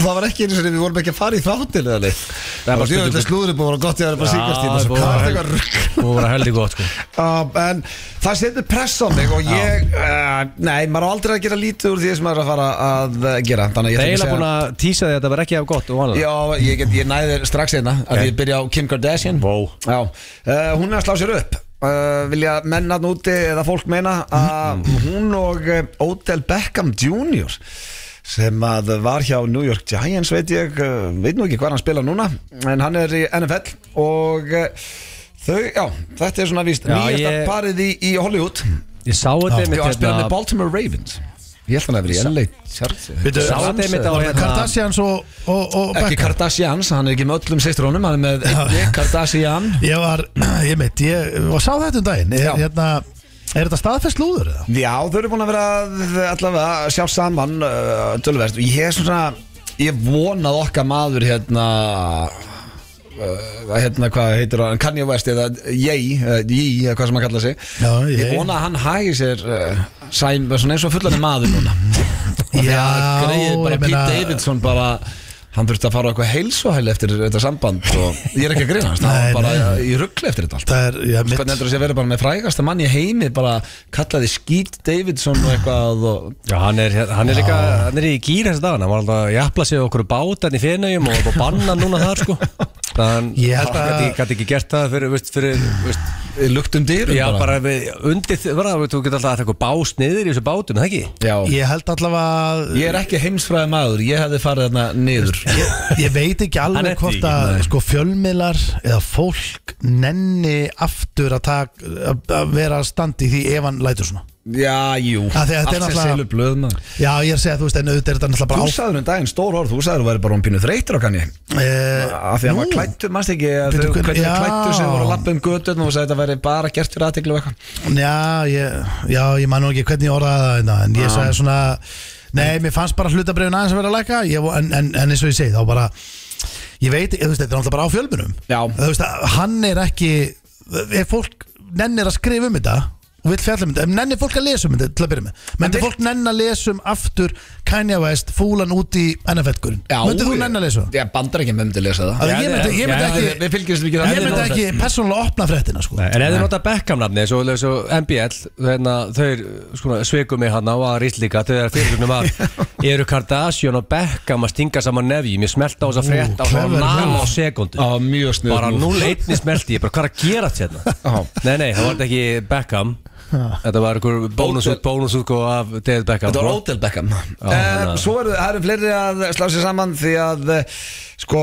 A: Það var ekki einu sinni, við vorum ekki að fara í þáttil eða neitt Það
C: Það er bara
A: var
C: spurning-
A: sjóðandi slúður búin að gott ég að það er bara síkast í
C: Já,
A: þessu
C: búið
A: Hvað
C: að
A: er
C: vera-
A: eitthvað rugg
C: búið að vera heldig gott sko
A: Já, en það setur press á mig og ég, uh, nei, maður á aldrei að gera lítið úr því sem maður er að fara að eh, gera Þannig að
C: Það
A: ég
C: er
A: ætla
C: eiginlega
A: ekki
C: búin
A: að segja
C: að tísa því að þetta var ekki af gott og vanlega
A: Já, ég, get, ég næði þér strax einna að
C: Ok.
A: ég byrja á Kim Kardashian
C: Vó.
A: Já, uh, hún er að slá sér upp uh, Vilja menna hann úti eða fólk meina að hún og uh, Odell Beckham Jr. sem að var hjá New York Giants veit ég, uh, veit nú ekki hvað hann spila núna en hann er í NFL og uh, þau, já, þetta er svona víst
C: Já,
A: nýjasta
C: ég-
A: parið í, í Hollywood
C: Ég sá þetta
A: Já,
C: einmitt
A: hann spila með
C: hérna
A: Baltimore Ravens Ég held hann að vera í LA Chargers.
B: Veitu,
C: Sá þetta einmitt á hérna
B: Kardashians og, og, og
A: Ekki
B: Beckham
A: Kardashians, hann er ekki með öllum sýstrónum Hann er með einni Kardashian
B: Ég var, ég meitt, ég og sá þetta um daginn er,
A: Já.
B: hérna, er þetta staðfest lúður eða?
A: Já, þau eru búin að vera að- allavega að sjá saman uh, tölverst og ég er svona, ég vonað okkar maður hérna uh, hérna hvað heitir hann Kanye West eða Yei uh, Yei eða hvað sem hann kallar sig
B: Já,
A: ég
B: Ye.
A: vona að hann hægir sér uh, sæm, svona eins og fullan maður núna Því að
B: Já,
A: greið bara
B: ég
A: Pete
B: meina-
A: Davidson bara hann þurfti að fara á eitthvað heilsuhæli eftir þetta samband og ég er ekki að greina hans það
B: Nei,
A: var bara
B: nei.
A: í ruggli eftir þetta allt
B: Það er, ég
A: Hvernig
B: meitt
A: heldur þessi að vera bara með frægasta mann í heimi bara kallaði Skít Davidson og eitthvað og
C: Já, hann er, hann er líka, hann er í gýr þessi dagana Hann var alltaf að jafla sig á okkur bátan í fennagjum og var banna núna þar sko Þannig
B: Ég
C: að
B: held
C: hann
B: að-
C: gæti, gæti ekki gert það fyrir, veist, fyrir, veist
A: luktum dyrum
C: Já, bara við, undir, því- bara, þú getur alltaf að taka bás niður í þessu bátun, það ekki?
A: Já,
B: Ég held allavega
A: ég er ekki heimsfræði maður, ég hefði farið þarna niður
B: ég, ég veit ekki
C: Hann
B: alveg
C: er
B: hvort
C: því,
B: að
C: nei.
B: sko, fjölmiðlar eða fólk nenni aftur að, tak, að, að vera að standi því ef hann lætur svona
A: Já, jú,
B: Af því að þetta er
A: allt sem
B: náttúrulega-
A: selur blöð maður
B: Já, ég er að segja, þú veist, en auðvitað er þetta náttúrulega
A: Þú
B: bara
A: sagður um daginn stór orð, þú sagður að þú væri bara um pínu þreytur á kanni
B: Eh,
A: Af því að hann var
B: nú,
A: klættur, mannst ekki að
B: Bíddu,
A: þau
B: hvernig-
A: hvernig
B: já.
A: klættur sem voru að lappa um götun og þú sagði þetta væri bara gert fyrir aðteglu og eitthvað
B: Já, ég, já, ég man nú ekki hvernig ég orðaði það einna, en ég
A: Ah.
B: sagði svona Nei, mér fannst bara hlutabrifin aðeins að vera að læka ég, en, en, en eins og ég segi, þá bara Ég veit, ég, þú veist, þetta er náttúrulega bara á fjölmunum
A: Já.
B: Þú veist, að hann er ekki Ef fólk nennir að skrifa um þetta og vill fjalla um þetta, ef nennir fólk að lesa um þetta til að byrja með, myndi
A: vill-
B: fólk nenn að lesa um aftur Kanye West fúlan út í NFL-gurinn, myndi þú nenn að lesa um það?
A: Já, bandar ekki með myndi lesa það
B: Að Ég myndi- ég myndi
C: Já,
B: ekki-
A: Við fylgjumst ekki
B: Ég myndi ekki persónulega opna fréttina sko.
C: En ef þið nota Beckham-nafni, svo, svo MBL, þeirna, þau sko, sveiku mig hann á að rýtlíka, þau er fyrirlögnum að eru Kardashian og Beckham að stinga saman nefji, mér smelta á þess að frétta á
B: clever
C: nála á
B: move.
C: sekundu.
A: Já, mjög sniður
C: Bara
A: move.
C: 0-1 smelti ég, bara hvað er að gera þetta hérna? Nei, nei, það var þetta ekki Beckham, þetta var einhver bónusúk, bónusúk af David Beckham.
A: Þetta var
C: sko.
A: Odell Beckham
C: hann
A: um,
C: er-
A: Svo eru, það eru fleiri að slá sér saman því að eh, sko,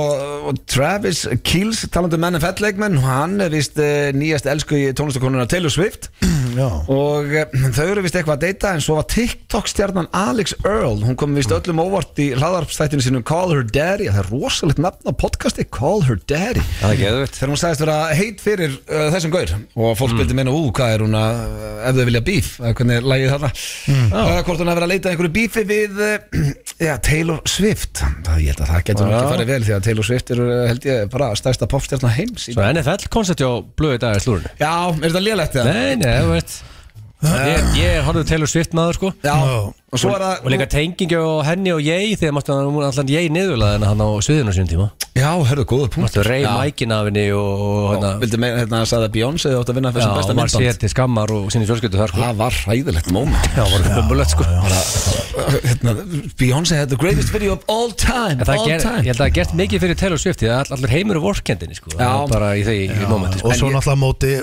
A: Travis Keels talandi um menn en fettleikmenn hann er vist nýjast elsku í tónlistakonuna Taylor Swift
B: Já.
A: og eh, þau eru vist eitthvað að deyta en svo var TikTok stjarnan Alex Earl hún kom vist öllum óvart í hlaðarpstættinu sínum Call Her Daddy það er rosalegt nafn á podcasti Call Her Daddy
C: Það er geðvögt.
A: þegar hún sagðist vera heit fyrir uh, þessum gaur og fólk mm. byrði meina, ú, hvað er hún að ef þau vilja bíf, uh, hvernig er lagið þarna
C: Mm.
A: uh, hvort hún að vera að leita að einhverju bífi við uh, já, Taylor Swift það, ég held að það getur nú
C: Já.
A: ekki farið vel því að Taylor Swift er, uh, held ég, bara stærsta popstjarnar heims í
C: Svo NFL-koncept hjá blöðu í dag er slúrinu.
A: já, er þetta lélegt það?
C: Nei, nei, þú veist, ég, ég er horfðu Taylor Swift maður sko.
A: já,
B: Ó.
A: og svo er það
C: Og líka tengingi á henni og ég Þegar mástu hann hún alltaf ég niðurlaði henni hann á sviðinu á sínum tíma
A: já, hörðu, góða punkt
C: Mástu reyð
A: Já.
C: mækin af henni og og
A: Hérna,
C: hérna
A: vildi meina, hérna, sagði að Beyoncé átt að vinna fyrir
C: Já,
A: sem besta
C: og maður sér
A: myndband
C: til skammar og sinni fjölskyldu þar sko
A: það var ræðilegt moment
C: Já, var bumulegt sko
A: hérna, Beyoncé had the greatest video of all time
C: En það
A: all
C: ger,
A: time
C: ég held að það gert mikið fyrir Taylor Swift Því að all- allir heimur er vorkendinni sko
A: Já.
C: Það var Bara í því í momenti sko
B: og svo náttúrulega á móti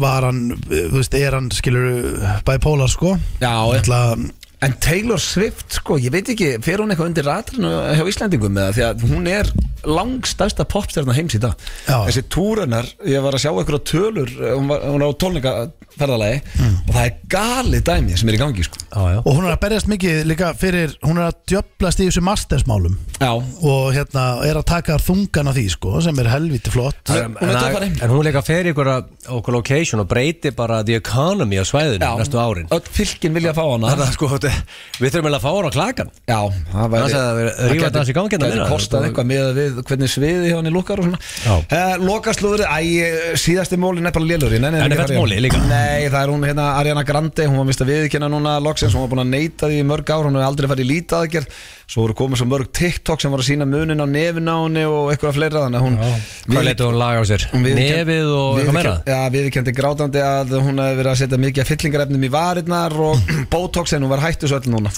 B: var hann, þú veist, er hann skilur bipolar sko
A: Já, ég-
B: náttúrulega,
A: En Taylor Swift, sko, ég veit ekki, fer hún eitthvað undir ratrinu hjá Íslandingum eða því að hún er langstærsta popstjarnar heims í dag.
B: Já.
C: Mm.
A: Þessi túrunar, ég var að sjá eitthvað tölur, eh, hún var, hún var á tólningaferðalagi og það er galið dæmi sem er í gangi sko.
C: Já, já
B: Og hún er að berjast mikið líka fyrir Hún er að djöblast í þessu mastersmálum
A: Já,
B: Og hérna er að taka þungan á því sko Sem er helviti flott
A: Hún- hún er töffari.
C: en, en hún leika fer ykkur að okkur location og breytir bara the economy á svæðinu
A: já
C: næstu árin
A: Öll fylkin vilja fá hana
C: Þannig að sko, þetta- við þurfum eiginlega að fá hana á klakan
A: Já, það væri
C: Annars hefði það verið- rífa þetta aðeins í gang hérna
A: Það
C: meira.
A: kostað eitthvað með við hvernig sviði hjá henni lukkar og svona
C: Já.
A: uh, Lokaslúður, æ, síðasti mólin er bara lélurinn
C: En er þetta móli líka?
A: Nei, það er hún hérna Ariana Grande, hún var mist að viðkynna núna loksins, hún var búin að neita því í mörg ár hún hefur aldrei farið í lítaðgerð svo voru komið svo mörg TikTok sem var að sína munin á nefin á henni og eitthvað fleira þannig að hún
C: Hvað letur hún laga á sér?
A: Hún viðurkenndi-
C: Nefið
A: viðurkenndi-
C: og eitthvað meira?
A: Já, viðurkendi grátandi að hún hefði verið að setja mikið af fyllingarefnum í varirnar og botox en hún var hættu svo öll núna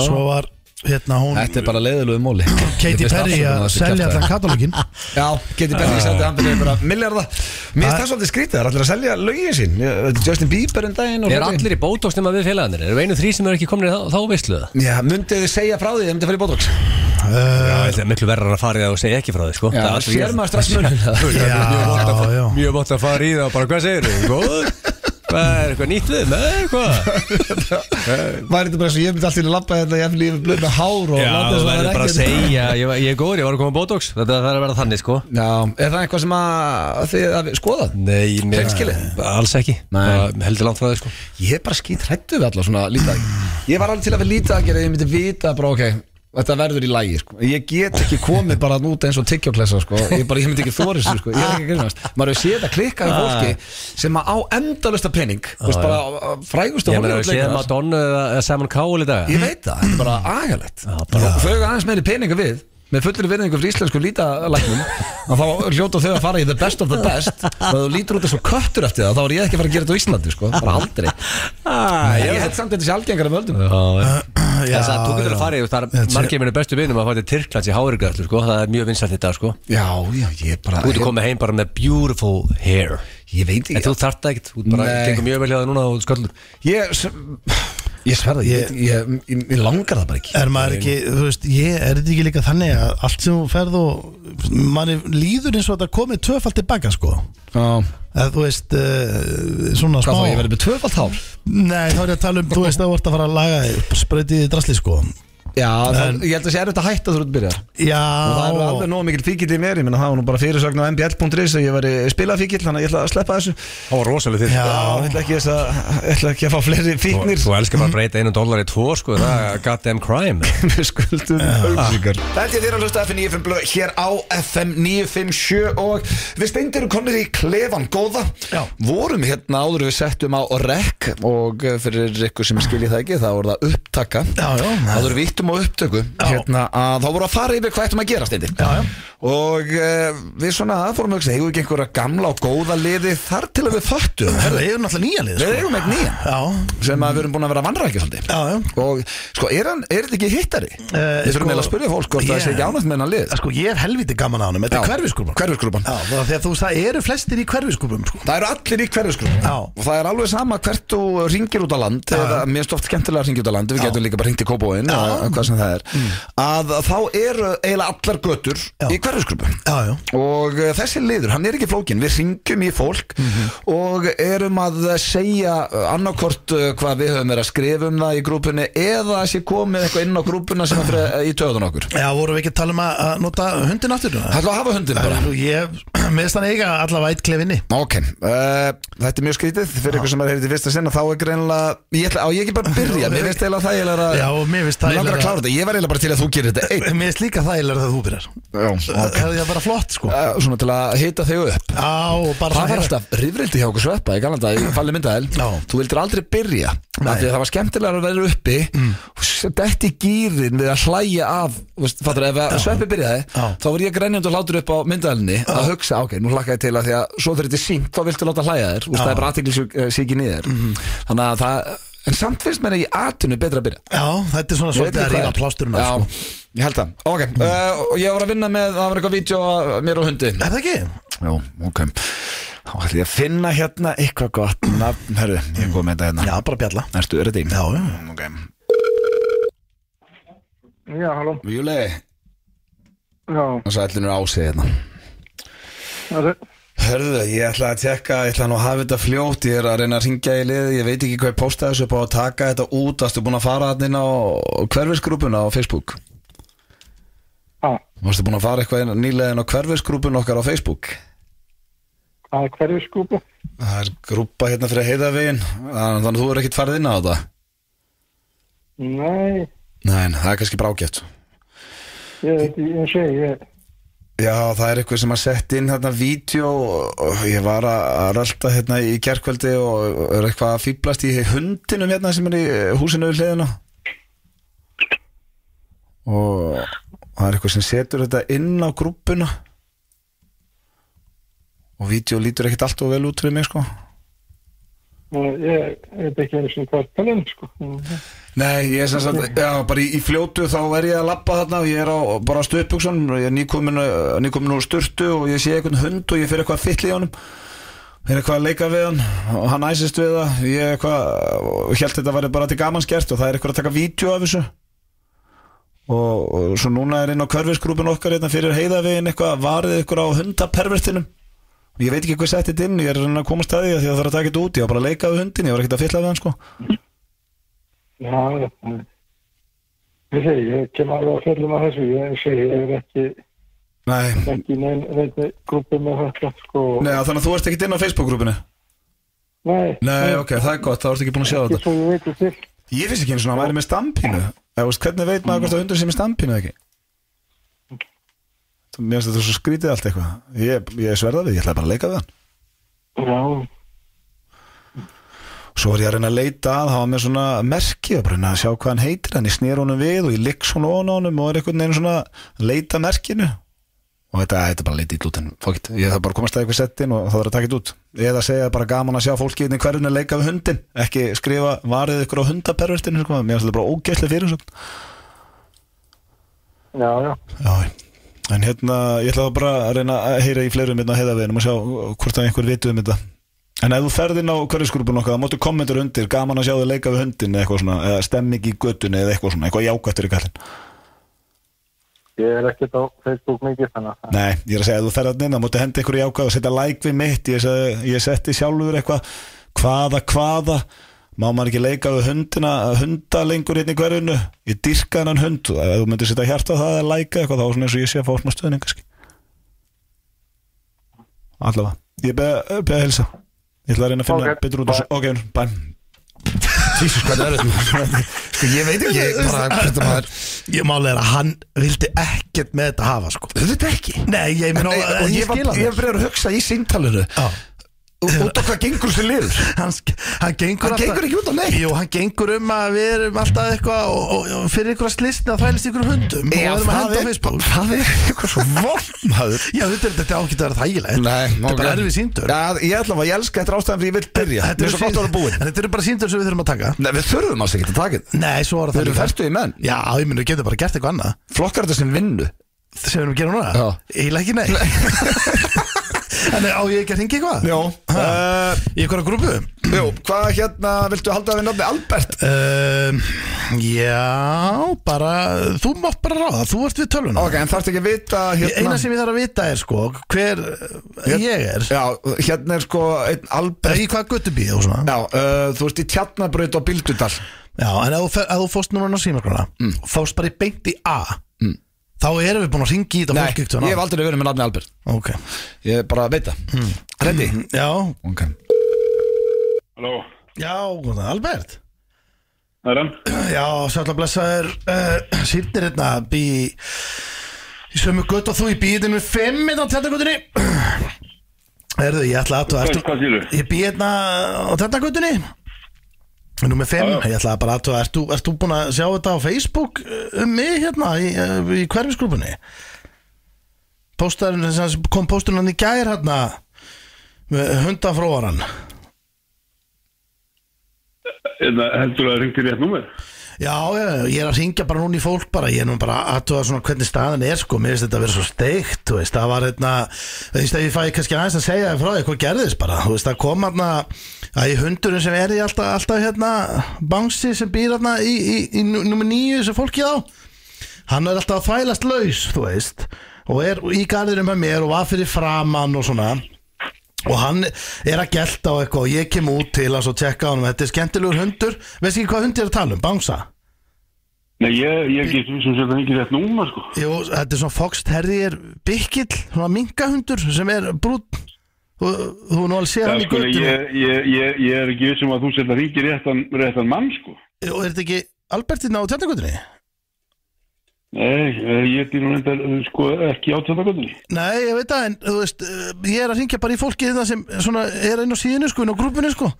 B: Svo var hérna hún
A: Þetta er bara leiðilegu móli
B: Katy Perry að selja allan katalógin
A: Já, Katy Perry sendi
C: Ah.
A: hann fyrir bara milljarða Mér finnst það svolítið skrítið, það er allir að selja lögin sín Ég- Justin Bieber en daginn og
C: Er
A: fleiri.
C: allir í bótóks nema við félagarnir? Erum við einu þrý sem eru ekki komin í þá, þá veistlu það?
A: Já, myndið þið segja frá því þegar myndið að fara í botox
C: Já, þetta er miklu verðar að fara í það og segja ekki frá þið, sko
A: Já,
C: Það er aldrei
A: sér
C: gert.
A: maður strax muninn.
C: Það er mjög vont að-
B: Já, já.
C: Mjög vant að fara í það og bara, hvað segir þú? Góður? Hvað er eitthvað nýtt við? Nei, hvað?
A: Var þetta bara svo, ég myndi alltaf í labba þetta Ég myndi blöð með hár og
C: Já,
A: láta
C: þú
A: þess að það
C: verður
A: er
C: bara að
A: ekkert.
C: segja Ég, var- ég er góður, ég var að koma á bótóks Þetta það er að vera þannig, sko
A: Já, er það eitthvað sem að þið að skoða?
C: Nei, mér,
A: Hreinskilið?
C: alls ekki
A: Nei.
C: Bara Heldur langt frá þið, sko
A: Ég er bara skýt hrættu við alla svona lítag Ég var alveg til að vera lítag Ég myndi vita bara ok Þetta verður í lægi sko. Ég get ekki komið bara út eins og tyggjóklessa sko. ég, bara- ég myndi ekki þóri þessu sko. Ég er ekki að grínast Maður hefur séð að klikka í
C: Ah.
A: fólki Sem að á endalösta pening Þú veist bara frægust
C: Ég meina, við séum
A: Ég
C: Madonna eða eða Simon Cowell í dag
A: sko. veit það, þetta er bara agalegt
C: Ah,
A: Og Þau eru aðeins meiri peninga við Með fullri virðingu fyrir íslensku lítalæknum að þá hljóta þau að fara í the best of the best og ef þú lítur út þessu köttur eftir það þá er ég ekki að fara að gera þetta á Íslandi sko, bara aldrei
C: Ah,
A: Ég held samt að þetta sé algengara völdum
C: Þess að þú getur að fara í Það
B: Þetta
C: er
B: sé-
C: margir minni bestu vinum að fara til Tyrklands í hárigræðslu sko. Það er mjög vinsælt í dag sko.
A: Já, já, ég bara
C: Þú ert komið heim bara með beautiful hair
A: Ég veit
C: En
A: ekki
C: þú þarft það ekkert Þú ert bara
A: Nei.
C: gengur mjög vel hjá það núna og sköllur
A: Ég, s- ég sverða, ég, ég, ég, ég langar það bara ekki
B: Er maður ekki, þú veist, ég er þetta ekki líka þannig að allt sem þú ferð og manni líður eins og þetta komið tvöfald tilbaka sko
A: Já,
B: að þú veist, uh, svona
A: Hvað þá, ég
B: smá
A: verið með tvöfald hár
B: Nei, þá er ég að tala um, þú veist, þá vart að fara að laga þig, spreytið í drasli sko
A: Já, en, ég held að sé erfitt að hætta þú út byrjar
B: Já,
A: Og það eru alveg nóg mikil fíkill í mér Ég menna það var nú bara fyrirsögn á mbl.is að ég veri spilað fíkill, þannig að ég ætla að sleppa þessu Já,
C: Það var rosalega þitt
A: ég ætla ekki, þess að, ég ætla ekki að fá fleiri fíknir
C: Þú elskar bara að breyta einu dólar í tvo sko, Það er goddamn crime
A: Við skuldum auðvíkar Þetta er þér að hlusta FM 95 blöð hér á FM 957 og við steindir erum komnir í klefan góða
B: Já.
A: Vorum hérna áður við settum á rek og eh, fyrir ykkur sem skilji það ekki þá voru það upptaka
B: Já, já.
A: Áður við íttum á upptöku hérna að þá voru að fara yfir hvað ættum að gera steindir
B: Já, já.
A: Og uh, við svona aðfórum að hugsa, eigum við ekki einhverja gamla og góða liði þar til að við föttum
B: Herðu, ég er náttúrulega nýja
A: Við
B: lið sko.
A: eigum eitt nýjan
B: Já,
A: sem að við erum búin að vera að vandra ekki svolítið
B: já, já
A: Og sko, er, hann, er þetta ekki hittari?
B: Eh,
A: Við þurfum
B: sko-
A: eiginlega að spurja fólk hvort það
B: Ég-
A: sé ekki ánægt með hennan lið
B: Sko, ég er helviti gaman á honum, þetta er hverfisgrúpan
A: Hverfisgrúpan
B: Já, það, þegar þú veist, það eru flestir í hverfisgrúpum sko.
A: Það eru allir í hverfisgrúpan
B: Já.
A: Og það er alveg sama hvert þú ringir út á land eða mér finnst oft skemmtilega að ringja út á land Við getum líka bara ringt í kópóin eða hvað sem það er Að þá eru eiginlega allar götur
B: Mm. Já.
A: í hverfisgrúpan
B: Já, já,
A: Og eh, þessi liður, hann er ekki flókin Við ringjum í fólk
B: Mhm.
A: og erum að segja eh, annarkort hvað við höfum verið að skrifa um það í grúpunni eða að sé komið eitthvað inn á grúpuna sem að fyrir eh, í töðun okkur
B: já, vorum við ekki að tala um að að nota hundin aftur
A: Það ætla að hafa hundin bara
B: Þú, ég, meðst hann eiga allavega eitt klefinni
A: Ok, uh, þetta er mjög skrítið fyrir ykkur sem er heyrðið í fyrsta sinna þá er greinilega, ég ætla, á ég ekki bara að byrja mér finnst eiginlega þægilega að
B: Já, og mér finnst
A: Mér langar að
B: þægilegra-
A: klára þetta, ég var eiginlega bara til að þú gerir þetta einn
B: Mér finnst líka þægilega þegar þú byrjar
A: Já,
B: Það hefði það bara flott sko Já,
A: uh, Svona til að hita þig upp
B: og
A: Það
B: bara svona
A: var
B: hefur-
A: alltaf rifrildi hjá okkur sveppa í galanda í falli myndaðil,
B: Já.
A: þú vildir aldrei byrja af því að það var skemmtilega að vera uppi
B: Mm.
A: og detti gýrin við að hlæja af, þú veist, fattur, ef að sveppi byrjaði,
B: Já.
A: þá var ég grænjandi og hlátur upp á myndaðilni að hugsa, ok, nú hlakka ég til að því að svo þegar þetta er sínt, þá viltu láta hlæja þér, þú veist, það er bara aðteklisíki nýðir
B: Mhm.
A: þannig að það, en samt finnst mér að ég atvinnu betra að byrja
B: Já, þetta er
A: Ég
B: svona
A: veit ekki
B: svolítið að
A: hvað
B: rífa
A: er.
B: plásturinn af
A: Já,
B: sko
A: Ég
B: Mm.
A: held það, ok, uh, og ég var að vinna með, það var eitthvað vídeo að mér og hundi
B: Er það ekki?
A: Já, ok Þá ætlum ég að finna hérna eitthvað gott nafn, herru, ég er komið með þetta
B: Já,
A: hérna
B: bara bjalla
A: Erstu, er þetta í?
B: Já, já
A: Ok
F: Já, halló,
A: Júli,
F: já,
A: og svo ætlunur ásið hérna
F: það er
A: Hörðu, ég ætla að tekka, ég ætla nú að hafa þetta fljótt Ég er að reyna að ringja í liði, ég veit ekki hvað ég posta þessu upp á að taka þetta út Varstu búin að fara hann inn á hverfisgrúpuna á Facebook?
F: Já,
A: Varstu búin að fara eitthvað inn, nýlega inn á hverfisgrúpuna okkar á Facebook?
F: það er hverju skúpu.
A: Það er grúpa hérna fyrir heiðavegin Þannig að þú er ekkert farið inn á þetta
F: Nei,
A: Nei, það er kannski brágjöft
F: ég veit, ég- ég segi, ég,
A: Já, það er eitthvað sem að setja inn hérna vídeo og ég var að að rölda hérna í gerkvöldi og er eitthvað að fýblast í hundinum hérna sem er í eh, húsinu við hliðina og það er eitthvað sem setur þetta inn á grúppuna og vídeo lítur ekkert alltof vel út fyrir mig sko
F: ég, ég veit ekki einu sinni hvað er talað um, sko. Mm,
A: Nei, ég er sem sagt, já, bara í, í fljótu þá er ég að labba þarna og ég er á, bara á stöðbuksun, ég er nýkomin, eh, nýkomin úr sturtu og ég sé einhvern hund og ég fyrir eitthvað fyll í honum ég er eitthvað að leika við hann og hann æsist við það ég er eitthvað, og held þetta væri bara til gamans gert og það er eitthvað að taka vídeo af þessu og, og svo núna er inn á körfisgrúpin okkar hérna fyrir heiðavegin eitthvað, varðið eitthvað á hundapervertinum og ég veit ekki hvað setti þetta inn, ég er að reyna að komast að því af því að það þarf að taka þetta út, ég var bara að leika við hundin ég var ekkert að fylla við hann sko
F: Já, já, já. ég segi, ég kem alveg að fjöldum að þessu, ég segi, ég er ekki,
A: Nei,
F: ekki í nein, nein, grúpu með þetta, sko.
A: Nei, já, þannig að þú ert ekkert inn á Facebook-grúpinu
F: Nei,
A: Nei, ok, það er gott, þá ertu ekki búin að sjá
F: ekki
A: þetta
F: svo ég veit til.
A: Ég finnst ekki eins og hann væri með stampínu Eða, veist, Hvernig veit maður hvort að hundur sem er stampínu eða ekki? Þú- Mér finnst þetta svo skrítið allt eitthvað Ég, ég sverða við, ég ætlaði bara að leika við hann
F: Já,
A: Svo var ég að reyna að leita að hafa með svona merki og bara reyna að sjá hvað hann heitir en ég snýr honum við og ég ligg svona ofan á honum og er einhvern veginn svona að leita að merkinu og þetta, þetta er bara leitið út en fókitt, ég þarf bara að komast að eitthvað settin og það er að taka þetta út eða segja bara gaman að sjá fólki inn í hverjunni leika við hundin ekki skrifa varðið ykkur á hundapervertinu sko. mér finnst þetta bara ógeðslega fyrir svo.
F: já, já.
A: Já, en hérna ég ætla bara að reyna að heyra í fleirum hérna á heiðaveginum og sjá hvort að einhver vitu um þetta En ef þú ferð inn á hverjusgrúpun okkar, þá máttu kommentur undir, gaman að sjá þau leika við hundin eða eitthvað svona, eða stemming í göttunni eða eitthvað svona, eitthvað jákvættur í kallin.
F: Ég er ekkert á Facebook mikið þannig að
A: Nei, ég er að segja, ef þú ferð inn, þá máttu henda einhverju jákvæð og setja like við mitt, ég, sagði, ég setti sjálfur eitthvað, hvaða, hvaða, má maður ekki leika við hundina, hunda lengur hérna í hverjunu, ég dyrka hennan hund, ef þú myndir setja hjarta á það eða like eitthvað, þá er svona eins og ég sé að fá smá stöðning, kannski. Allavega, ég beða be að helsa. Ég ætla að reyna að finna
F: Ok,
A: betur út úr þessu. Ok, Unnur, bæm. Jesus, hvað er þetta? Sko, ég veit ekki,
B: Ég málega er að hann vildi ekkert með þetta hafa sko
A: Þetta ekki.
B: Nei, ég meina
A: Nei, og ég, var, ég var að hugsa í síntalinu
B: Já.
A: út á hvað gengur þessi liður
B: hann, sk- hann gengur
A: Hann
B: alltaf-
A: gengur ekki út á neitt.
B: Jú, hann gengur um að við erum alltaf eitthvað og, og, og fyrir ykkur að slistna að þvælist ykkur um hundum
A: Já,
B: og erum að
A: það
B: henda á
A: er-
B: Facebook
A: það er eitthvað svo vond maður
B: Já, þetta er þetta ágætt að vera þægilegt Þetta er bara erfið síndur
A: ja, ég ætla að ég elska þetta er ástæðan fyrir ég vil byrja
B: Þetta
A: þetta
B: eru
A: er svo gott að vera búin
B: En þetta eru bara síndur sem við þurfum að taka
A: Nei, við þurfum alls ekki að taka þetta
B: Nei, svo var
A: við
B: það
A: erum
B: líka.
A: ferstu í menn
B: Já, ég meina, við getum bara gert eitthvað annað
A: flokkar þetta sem vinnu
B: sem við erum að gera núna
A: Já.
B: Eila ekki nei En eh, á ég ekki að ringa eitthvað?
A: Jó, uh,
B: Í eitthvað grúpu?
A: jó, hvað hérna viltu halda við nafni Albert?
B: Um, já, bara Þú mátt bara ráða, þú ert við tölvuna
A: Ok, en þarfst ekki að vita hérna
B: Eina sem ég þarf að vita er sko Hver
A: Ég-
B: ég er
A: Já, hérna er sko einn Albert
B: Í hvað göttu býð og svona
A: Já, uh, þú ert í Tjarnabraut og Bildudal
B: Já, en ef þú, fer- ef þú fórst núna á símakrona mm. Fórst bara í beint í A mm. Þá erum við búin að ringi í þetta
A: Nei,
B: fólk
A: ég hef aldrei verið með nafni Albert
B: Ok
A: Ég bara veit það
B: Hmm.
A: mm. Ready?
B: Já,
A: Ok
G: Halló,
B: já, góðan, Albert
G: það er hann?
B: Já, sætla blessaður uh, Sýrnir hérna bý Í sömu gött og þú í býðinu með fimm Hérna á tjarnagötunni Erðu, ég ætla að
G: Hvað,
B: ertu,
G: hvað sýrðu?
B: Ég bý hérna á tjarnagötunni Númer 5,
G: Já, já.
B: ég ætla bara að athuga, ert þú, ert þú búin að sjá þetta á Facebook uh, um mig hérna í, uh, í hverfisgrúpunni? Póstarinn, sem sagt, kom pósturinn hann í gær hérna með hundafróaran.
G: Eða heldur að ringtir rétt númer?
B: Já, já, ég er að ringja bara núna í fólk bara, ég er nú bara aðtöða svona hvernig staðan er sko, mér finnst þetta að vera svo steikt, þú veist, það var hérna, þú veist, ef ég fæ kannski aðeins að segja þér frá því hvað gerðist bara, þú veist, það kom hérna, að í hundurinn sem er í alltaf, alltaf hérna, bangsi sem býr hérna í, í, í nummer nýju sem fólkið á, hann er alltaf að þvælast laus, þú veist, og er í garðinum með mér og var fyrir framann og svona, og hann er að gelta á eitthvað og ég kem út til hans og tjekka á hann þetta er skemmtilegur hundur, veist ekki hvað hundi er að tala um bánsa,
G: Nei, ég, ég get við sem sér það ekki rétt númer, sko.
B: jú, þetta er svona Fox Terrier byggill, svona minkahundur sem er brútt þú, þú nú alveg séð
G: Já,
B: hann í
G: sko, ég,
B: göttu
G: ég, ég, ég er ekki vissum að þú sér það ringir réttan, réttan mann, sko.
B: og er þetta ekki Albertin á tjarnagutinni?
G: Nei, eh, ég er nú reyndar, eh, sko, ekki á tjöndagöndinni.
B: Nei, ég veit það, en þú veist, eh, ég er að ringja bara í fólki þetta sem svona er inn á síðinu sko, inn á grúpunni sko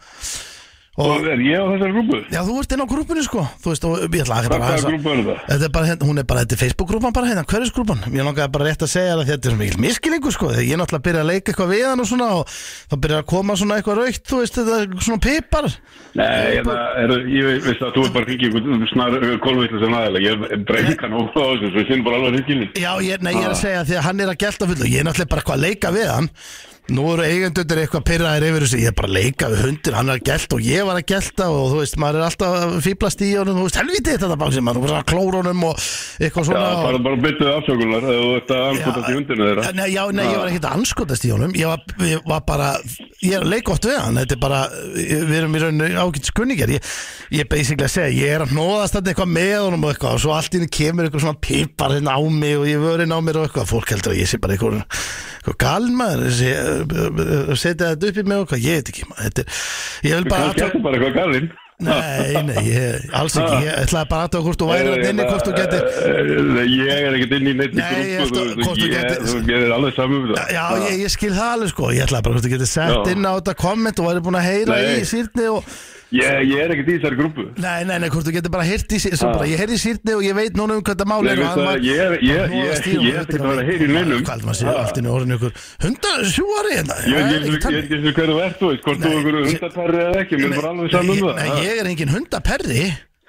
G: Og
B: og,
G: er ég á þessari grúpu?
B: já, þú ert inn á grúpunni sko þú veist, og ég ætla að
G: Hvað
B: bara
G: hvaða
B: aðeins að
G: grúpu er þetta?
B: Þetta er bara, hérna- hún er bara, þetta er Facebook-grúpan bara hérna, hverjusgrúpan? Ég langaði bara rétt að segja þér að þetta er svo mikil miskilingu, sko, þegar ég er náttúrulega að byrja að leika eitthvað við hann og svona og þá byrja að koma svona eitthvað raukt, þú veist, þetta er svona pipar.
G: Nei, ég, er, ég veist að þú er bara að ringið einhvern snar kolvitlu sem aðeins. Ég er breykan og á þessu, svo ég finn bara alveg ringilinn.
B: Já, ég, nei, ég
G: Ah.
B: er að segja því að hann er að gelta fullu, ég er náttúrulega bara eitthvað að leika við hann. Nú eru eigendundir eitthvað pyrraðir yfir þessu, ég er bara að leika við hundir, hann er að gelta og ég var að gelta og þú veist, maður er alltaf að fýblast í honum, þú veist, helviti þetta bara sem maður er bara að klóra honum og eitthvað
G: Já,
B: svona. og-
G: bara, bara byttuðu afsökunar ef þú ert að anskotast í hundinu þeirra.
B: Nei, já, nei, ég var ekkert að anskotast í honum Ég var, ég var bara, ég er að leika oft við hann Þetta er bara, við erum í rauninu ágætt skunningar Ég er basically að segja, ég er að nóðast þetta eitthvað með honum og eitthvað Og svo allt í henni kemur eitthvað svona pipar hérna á mig Og ég vörin á mér og eitthvað Fólk heldur að ég sé bara eitthvað, eitthvað galn maður þessi, eh, Setja þetta upp í mig og eitthvað, ég veit ekki maður Þetta er, ég vil bara
G: Kannski
B: aðtöku
G: ertu bara eitthvað galinn.
B: Nei, nei, ég, alls ekki Ég ætlaði bara aðtöku hvort þú væri að inni Hvort þú getur
G: Nei, Ég er ekkert inn í neitt í
B: Nei, ég
G: grúpu,
B: ætla-
G: þú
B: hvort
G: veist,
B: þú
G: ég-
B: getur-
G: þú gerir alveg saman um það.
B: Já, ég, ég skil það alveg sko Ég ætlaði bara hvort þú getið sett
G: Já.
B: inn á þetta komment og væri búin að heyra
G: Nei.
B: í sýrni og
G: Ég, ég er ekkert í þessari grúpu.
B: Nei, nei, nei, hvort þú getið bara heyrt í sýrni
G: Já.
B: bara, Ég heyri í sýrni og ég veit núna um hvað þetta mál
G: Ah. Nei,
B: er og
G: veistu
B: hann
G: það,
B: var-
G: ég er- ég-
B: hann
G: ég-
B: hróðast í og
G: ég er
B: hann
G: ekkert að
B: veit
G: vera að heyra í
B: um
G: neinum.
B: Hvað heldur maður að segja,
G: Já.
B: allt inni orðin ykkur Hundasjúari hérna
G: Ég
B: það er
G: veit ekki
B: ekki
G: ég
B: þannig.
G: veit ekki hver þú ert, þú veist, hvort þú
B: Nei,
G: er
B: ég-
G: hundaperri eða ekki, mér er bara alveg saman um það.
B: Nei, ég er engin hundaperri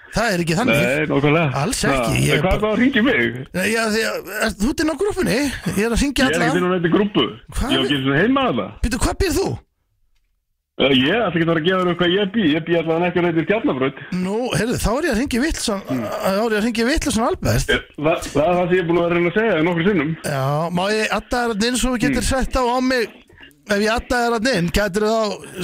B: Það er ekki þannig
G: Nei, nokkulega.
B: Alls ekki,
G: Ha,
B: ég
G: en
B: er
G: Hvað er
B: bara-
G: það að ringi mig?
B: Nei, Já, því að, er, þú ert inn á grúfunni Ég er að syngja
G: Ég er ekkert inn
B: alla
G: á nætti grúpu.
B: Hvað
G: Ég er
B: er-
G: ekki eins og heima að það.
B: Býtu, hvað býr þú?
G: Ég ætla ekki að vera að gefa þér eitthvað ég bý. Ég bý allavega ekki á nætti skjarnafrönd.
B: Nú, heyrðu, þá er ég að ringja vittlusan
G: Hmm.
B: Þá er ég að ringja vittlusan Albert
G: Það er það sem ég er búin að vera að reyna að segja þér nokkru sinnum.
B: Já, má ég adda þér að inn svo þú getur sett á á mig Ef ég adda þér að inn, getur þá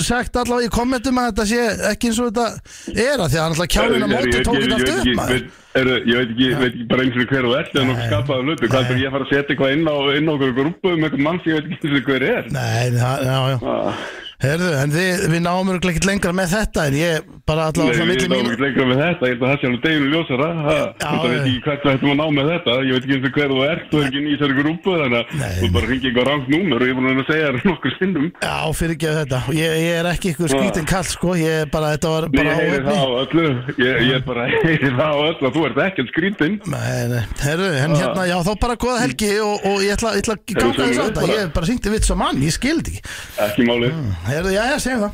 B: sagt allavega í kommentum að þetta sé ekki eins og þetta er að því að hann alltaf kjálina
G: Herru,
B: móti
G: ég-
B: tók þetta
G: ég- ég-
B: allt upp
G: ég- ég-
B: maður
G: veit- herru, Ég veit ekki, veit ekki bara eins og hver þú ert eða nokkuð skapaðum hlutu. Hvað er ég að fara að setja eitthvað inn á inn á okkur grúpu um eitthvað mann sem ég veit ekki eins og hver er?
B: Nei, það- já, já
G: Ah,
B: Herðu, en við, við náum örugglega ekkert lengra með þetta En ég bara
G: Nei,
B: allavega svona
G: við
B: milli
G: náum
B: mínu
G: ekki lengra með þetta, ég held að það sé alveg deginu ljósara ha,
B: Já,
G: Þetta veit
B: já.
G: ekki hvert við ættum að ná með þetta Ég veit ekki eins og hver þú ert, þú er ekki inn í þessari grúpu Þannig
B: Nei,
G: að þú bara ringi eitthvað rangt númer og ég er búin að reyna að segja þér nokkur sinnum
B: Já, fyrirgeðu þetta Ég, ég er ekki ykkur skrítin kall, sko Ég er bara, þetta var
G: Nei,
B: bara
G: ég heyri
B: óheppni.
G: það á öllu Ég, ég bara heyri það á öllu að þú ert ekkert skrítinn
B: Nei, nei, herru, en hérna, já, þá bara góða helgi og, og ég ætla, ég ætla að
G: Herru,
B: ganga þess að
G: sömuleiðis
B: þetta,
G: bara.
B: ég bara syngdi vitt svo mann, ég skildi ekki
G: Ekki máli,
B: Herru, já, já, segjum það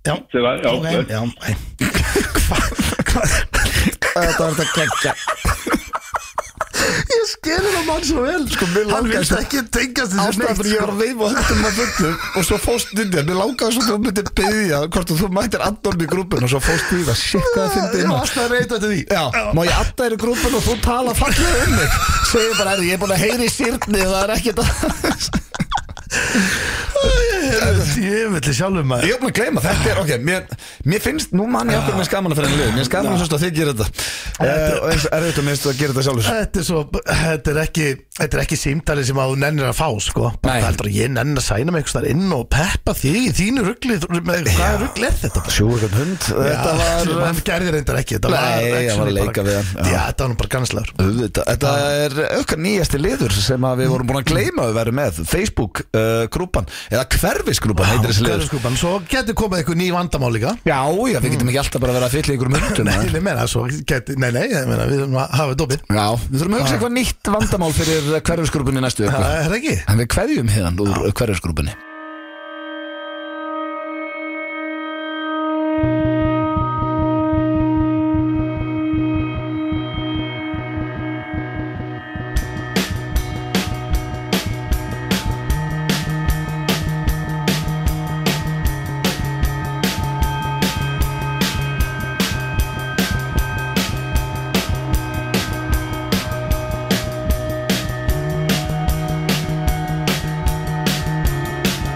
B: Já,
G: segir það, já,
B: Ah. ok,
G: bless.
B: já, nei Hvað, hvað
A: Þetta var þetta geggja
B: Ég skilur það mann svo vel
A: Sko, mér
B: Hann
A: langar
B: vilst ekki tengjast þessu
A: Ástæðan
B: neitt
A: fyrir ég var
B: sko.
A: að veifa höndum að fullu og svo fóst inn í það, mér langaði svo þú myndir byggja hvort þú mættir addon í grúpin og svo fóst í það, shit hvað það fyndi
B: Ég
A: inn
B: var alltaf að reyta þetta því
A: Já, má ég adda þér í grúpin og þú tala fallega um mig segir bara, "Herri, ég er búin að heyra í sýrni það er ekkert að
B: Ég vil sjálfur maður
A: Ég er búin að gleyma, þetta er, ok, mér, mér finnst nú mann ég okkur með skaman að fyrir enn lið mér skaman að sérst að þið gerir þetta Eh, og eins er þetta minnst að gera þetta sjálfur
B: Þetta er svo, þetta er ekki Þetta er ekki símdali sem að þú nennir að fá sko. Bara
A: Nei.
B: það heldur að ég nenn að sæna mig einhvers þar inn og peppa þig í þínu ruggli Hvað ruggli er þetta? bara?
A: Sjúkan hund, þetta var
B: Hann gerði reyndar ekki Þetta
A: Nei,
B: var
A: ég var að
B: actually
A: leika
B: bara-
A: við hann, já.
B: Já, þetta var nú bara ganslegur
A: Auðvitað. Þetta er auðvitað nýjasti liður sem að við vorum búin
B: Mm.
A: að gleyma að við verðum með Facebook-grúpan eða hverfisgrúpan heitir þessi liður
B: Hverfisgrúpan. Svo getur komað eitthvað ný vandamál líka
A: Já, já, við getum ekki alltaf bara að vera að fylla ykkur um hundum
B: Mm. Nei,
A: eða?
B: ég meina, svo geti, nei, nei, ég meina, við erum að hafa dópið
A: Já, við þurfum
B: Ah.
A: að hugsa eitthvað nýtt vandamál fyrir hverfisgrúpunni næstu
B: Það
A: ykkur
B: er ekki
A: En við kveðjum hérna
B: Ah.
A: úr hverfisgrúpunni
E: Ég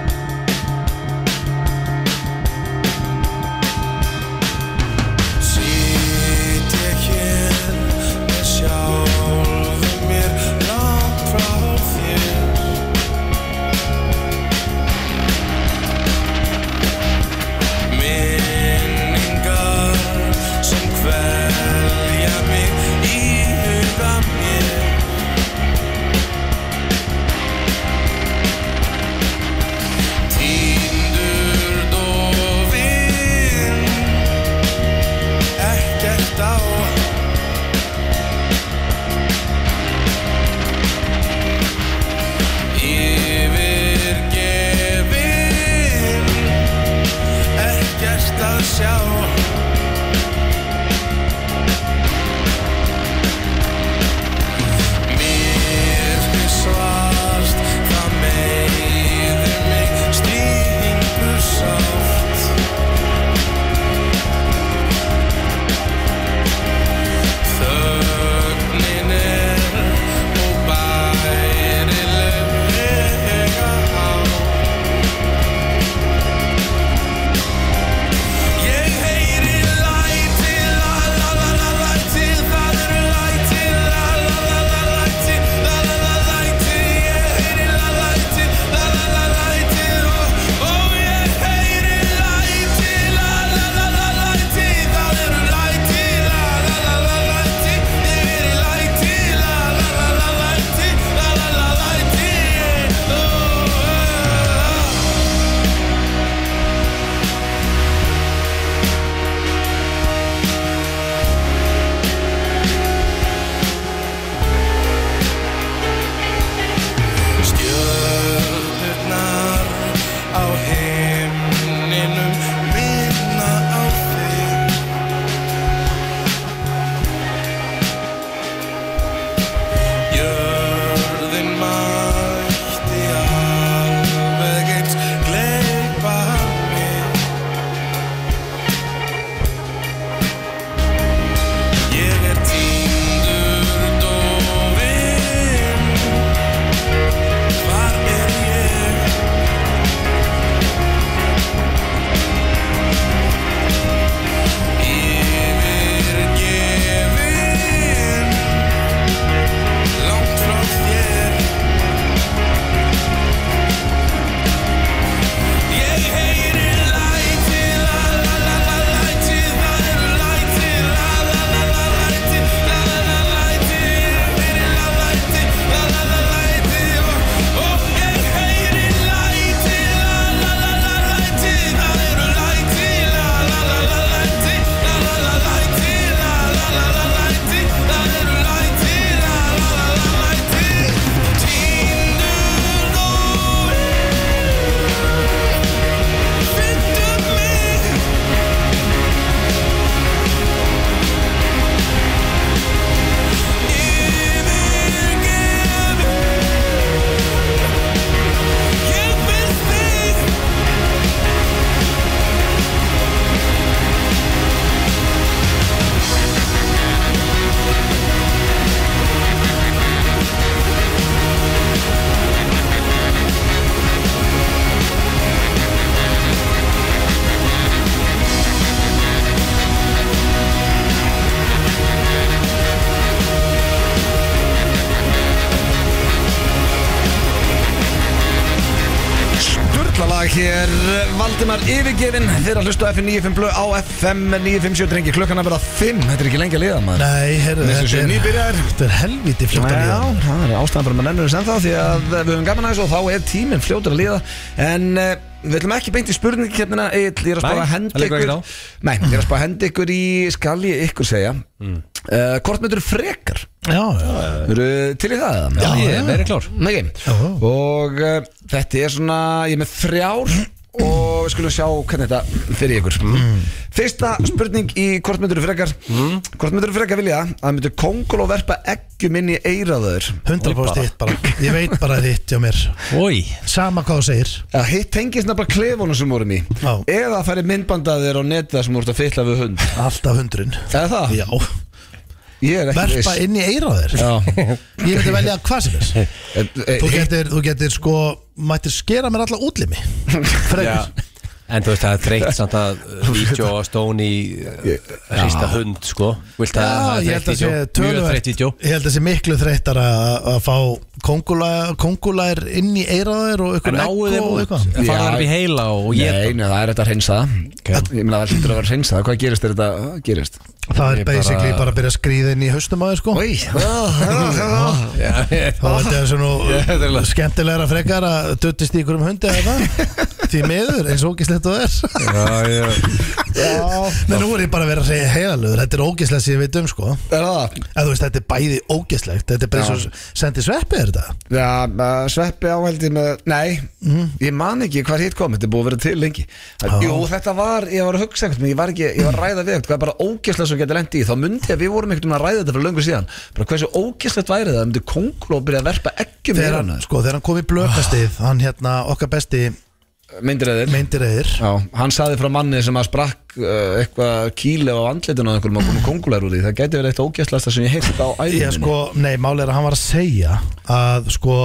A: Rosa lag hér Valdimar yfirgefin Þeir að hlusta á FM 95 blöð á FM 957 drengi Klukkan að vera 5 Þetta er ekki lengi að liða maður
B: Nei, herru,
A: Nei, sem sé, nýbyrjaðir.
B: þetta er helviti fljótt að
A: Já,
B: líða
A: það er ástæðan fyrir að maður nennur þess ennþá því að við höfum gaman aðeins og þá er tíminn fljótur að líða en uh, við ætlum ekki beint í spurningkeppnina Egill, ég er að spara
C: Nei,
A: að
C: það
A: henda
C: liggur
A: ykkur
C: ekkert á.
A: Nei, ég er að spara að henda ykkur í skal ég ykkur segja mm. Hvort myndur frekar?
B: Já, já,
A: Eru til í það? eða?
B: Já, ég er meira
A: klár Nei,
B: Já.
A: Og uh, þetta er svona, ég er með þrjár og við skulum sjá hvernig þetta fyrir ykkur Fyrsta spurning í hvort myndur frekar Hvort myndur frekar vilja að myndur kongul og verpa eggjum inn í eiraðaður
B: 100% hitt bara Ég veit bara þitt hjá mér
C: Ói
B: Sama hvað þú segir
A: að hitt tengist nefnilega klefunum sem vorum í
B: Já.
A: eða að færi myndbandaðir á netið þar sem voru að fylla við hund
B: Alltaf hundrun
A: eða það,
B: Já,
A: ég er ekki
B: verpa inn í eira á þér
A: Já.
B: Ég myndi velja hvað sem er
A: E- e-
B: Þú
A: hitt-
B: getur, þú getur sko Mættir skera mér alla útlimi Frekar
C: En þú veist það er þreytt samt að uh, Vídeó og stóni uh, Hrista hund sko Vilt að
B: Já,
C: það
B: ég
C: er
B: held að
C: þreytt
B: sé
C: vídeó Mjög
B: töluvert
C: þreytt vídeó
B: Ég held að sé miklu þreyttar að að fá kongula- kongulær inn í eiraðar og
C: En
B: eitthvað
C: náu
B: egg
C: þeim
B: og
C: út
B: eitthvað
C: En fara þeim upp í heila og ég
A: Nei, nei, það er þetta að reynsa það Ég meina það er hlýtur að vera að reynsa það Hvað gerist er þetta að gerist?
B: Það er
C: Ég bara-
B: basically bara að byrja að skrýða inn í haustum á þér sko
A: Í, já,
B: Þá er þetta svona skemmtilegra frekar að duttist í ykkur um hundi eða það Því meður eins og ógislegt og þess
A: já
B: Nei, nú er ég bara að vera að segja heiðalögur Þetta er ógislegt sem ég veit um sko
A: Er það?
B: Eða þú veist, þetta er bæði ógislegt Þetta er bara eins og sendi sveppið er þetta
A: Já, uh, sveppi áhaldi með Nei, ég man ekki hvað hitt kom Þetta er búið að vera til lengi
B: Já.
A: Jú, þetta var, ég var að hugsa einhvern veginn, Ég var ekki, ég var að ræða við eitthvað Hvað er bara ógeslegt sem getur lendi í Þá myndi ég að við vorum einhvern veginn að ræða þetta fyrir löngu síðan Bara hversu ógeslegt væri það Það myndi konglu að byrja að verpa eggjum í
B: Þegar hann,
A: hana
B: sko, þegar hann kom í blökastið Hann hérna, okkar besti
A: Myndir eðir
B: meindireðir
A: Já, hann saði frá manni sem að sprakk uh, eitthvað kíli á andlitinu á einhverjum og komið kongular úr því, það gæti verið eitt ógæstlasta sem ég heilt á æðinu
B: Já, sko, nei, málið er að hann var að segja Að, sko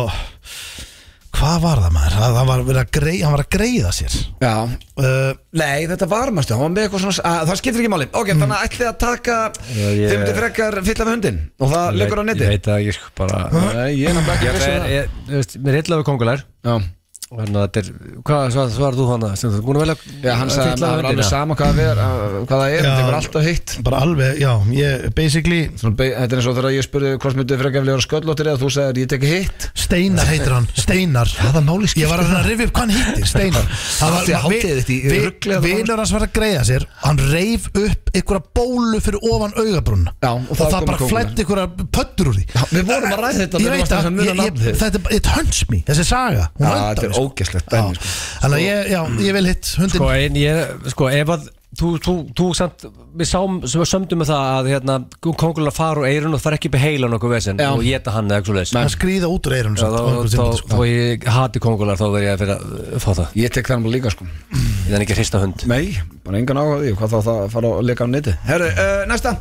B: Hvað var það maður? Að hann var, verið að grei, hann var að greiða sér
A: Já,
B: uh,
A: nei, þetta var marstu, hann var með eitthvað svona að, það skiptir ekki máli, ok, þannig að ætli að taka
C: Já, ég-
A: þið myndi frekar fylla við hundin og það leikur á neti
C: Ég veit að ég sko bara
A: Nei, ég er náttúrulega ekki
C: Ég
A: viss um
C: er,
A: það.
C: ég, þú veist, mér er illa við kongulær
A: Já,
C: Þannig að Hérna, þetta er, hvað svar, svar þú hana sem þú er búin að velja
A: Já, hann sagði að
C: fylla
A: það var alveg
C: höndina?
A: sama hvað það er, að- hvað það er,
B: Já.
A: þetta var alltaf hitt
B: Bara alveg, já, ég basically
A: Svona, be- Þetta er eins og þegar ég spurði hvort myndi frekar vilja vera sköllóttir eða þú sagðir ég teki hitt
B: Steinar heitir hann, Steinar Hvaða máli skiptir Ég var að reyna að rifja upp hvað hann hittir, Steinar Það
A: Átti að hátíð þetta í
B: vi-
A: rugli eða hvað?
B: Vinur hans var að greiða sér Hann reif upp einhverja bólu fyrir ofan augabrún
A: Já, og
B: og,
A: þá
B: það
A: kom
B: bara
A: kóngulær.
B: flætt einhverja pöttur úr því
A: Já, við vorum að ræða þetta þegar þú
B: Ég veit
A: varst aðeins að
B: að,
A: muna
B: ég, ég,
A: nafnið.
B: þetta er bara, it hunts me, þessi saga hún
A: Já,
B: höndar
A: þetta er
B: mig, sko.
A: ógeðslegt
B: Já.
A: dæmi, sko.
B: Þannig að ég, já, ég vil hitt hundin
C: Sko, en ég, sko, ef að þú, þú, þú samt, við sáum, sem við sömdum með það að hérna, kongulær fara úr eirun og fara ekki upp í heilan okkur vesen
A: Já.
C: og geta hann eða eitthvað
B: Hann
C: leis
B: skrýða út úr eirun sko.
C: Þó ég hati kongulær þá verð ég að fyrir að uh, fá það
A: Ég tek það nú líka sko
C: Ég þannig ekki að hrista hund
A: Nei, bara engan áhuga á því hvað þá það fara að leika á neti Herru, uh, næsta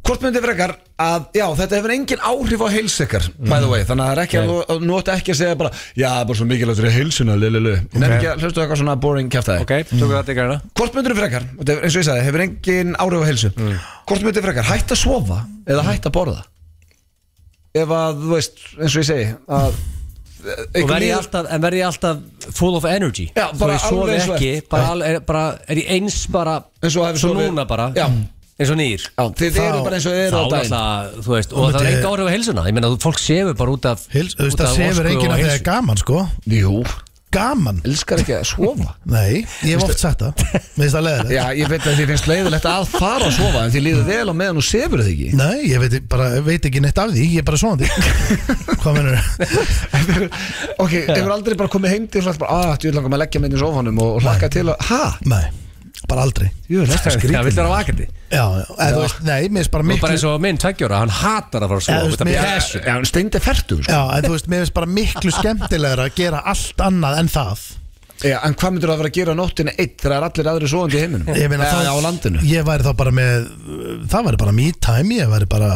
A: Hvort myndi frekar að, já, þetta hefur engin áhrif á heilsekar By the
C: Mm.
A: way, þannig að það er ekki að þú- að nota ekki að segja bara Já, það er bara svo mikilvægt fyrir heilsuna, lillilu okay. Nefn ekki að hlustu eitthvað svona boring kjæftæði
C: Ok, tökum við þetta í græna
A: Hvort myndir frekar, og þetta er- eins og ég sagði, hefur engin áhrif á heilsu
C: Mm.
A: Hvort myndir frekar, hætt að sofa eða hætt að borða Ef að, þú veist, eins og ég segi að,
C: Og verð ég alltaf, en verð ég alltaf full of energy
A: Já,
C: Þó
A: bara
C: ég sofi
A: alveg eins og
C: ekki,
A: er.
C: bara, al- er, bara, er ég eins bara
A: Eins og hefur
C: Svo
A: sofið.
C: núna bara,
A: Já.
C: eins og nýr
A: Já, þið
B: Þá-
A: eru bara eins og þið
C: Þá
A: eru á daginn
C: náttúrulega, þú veist, og það er
B: myndi-
C: enga áhrif á helsuna Ég meina, þú- fólk sefur bara út af
B: Hils, þú veist
C: út af
B: það sefur
C: orku
B: enginn að það
C: og heilsu.
B: er gaman sko
A: Jú,
B: Gaman,
A: elskar ekki að sofa
B: nei, ég hef oft sagt það Mér finnst það leðilegt
A: Já, ég veit að þið finnst leiðilegt að fara að sofa en þið líður vel á meðan þú sefur þið ekki
B: Nei, ég veit, bara, veit ekki neitt af því, ég er bara svona Hvað mennur
A: Ok, hefur aldrei bara komið heim til og sagt bara, að, þú langar maður að leggja með í sofanum og hlakka til að, ha?
B: Nei, bara aldrei
A: Jú, þetta
C: Já, vill vera vakandi
B: Já, já, eða þú veist, nei, mér finnst bara
C: Nú
B: miklu
C: bara eins og minn tveggjóra, hann hatar að fara að
B: Já,
C: sofa
B: þú
C: þú veist, að
B: veist,
C: bíða
B: mér-
C: þessu.
A: Já, en steindi fertum, sko
B: Já, en þú veist, mér finnst bara miklu skemmtilegra að gera allt annað en það
A: Já, en hvað myndur það að vera að gera á nóttina eitt þegar það er allir aðri svoandi í heiminum?
B: Ég meina
A: Eða
B: það
A: Eh, á landinu
B: Ég væri þá bara með, það væri bara me time, ég væri bara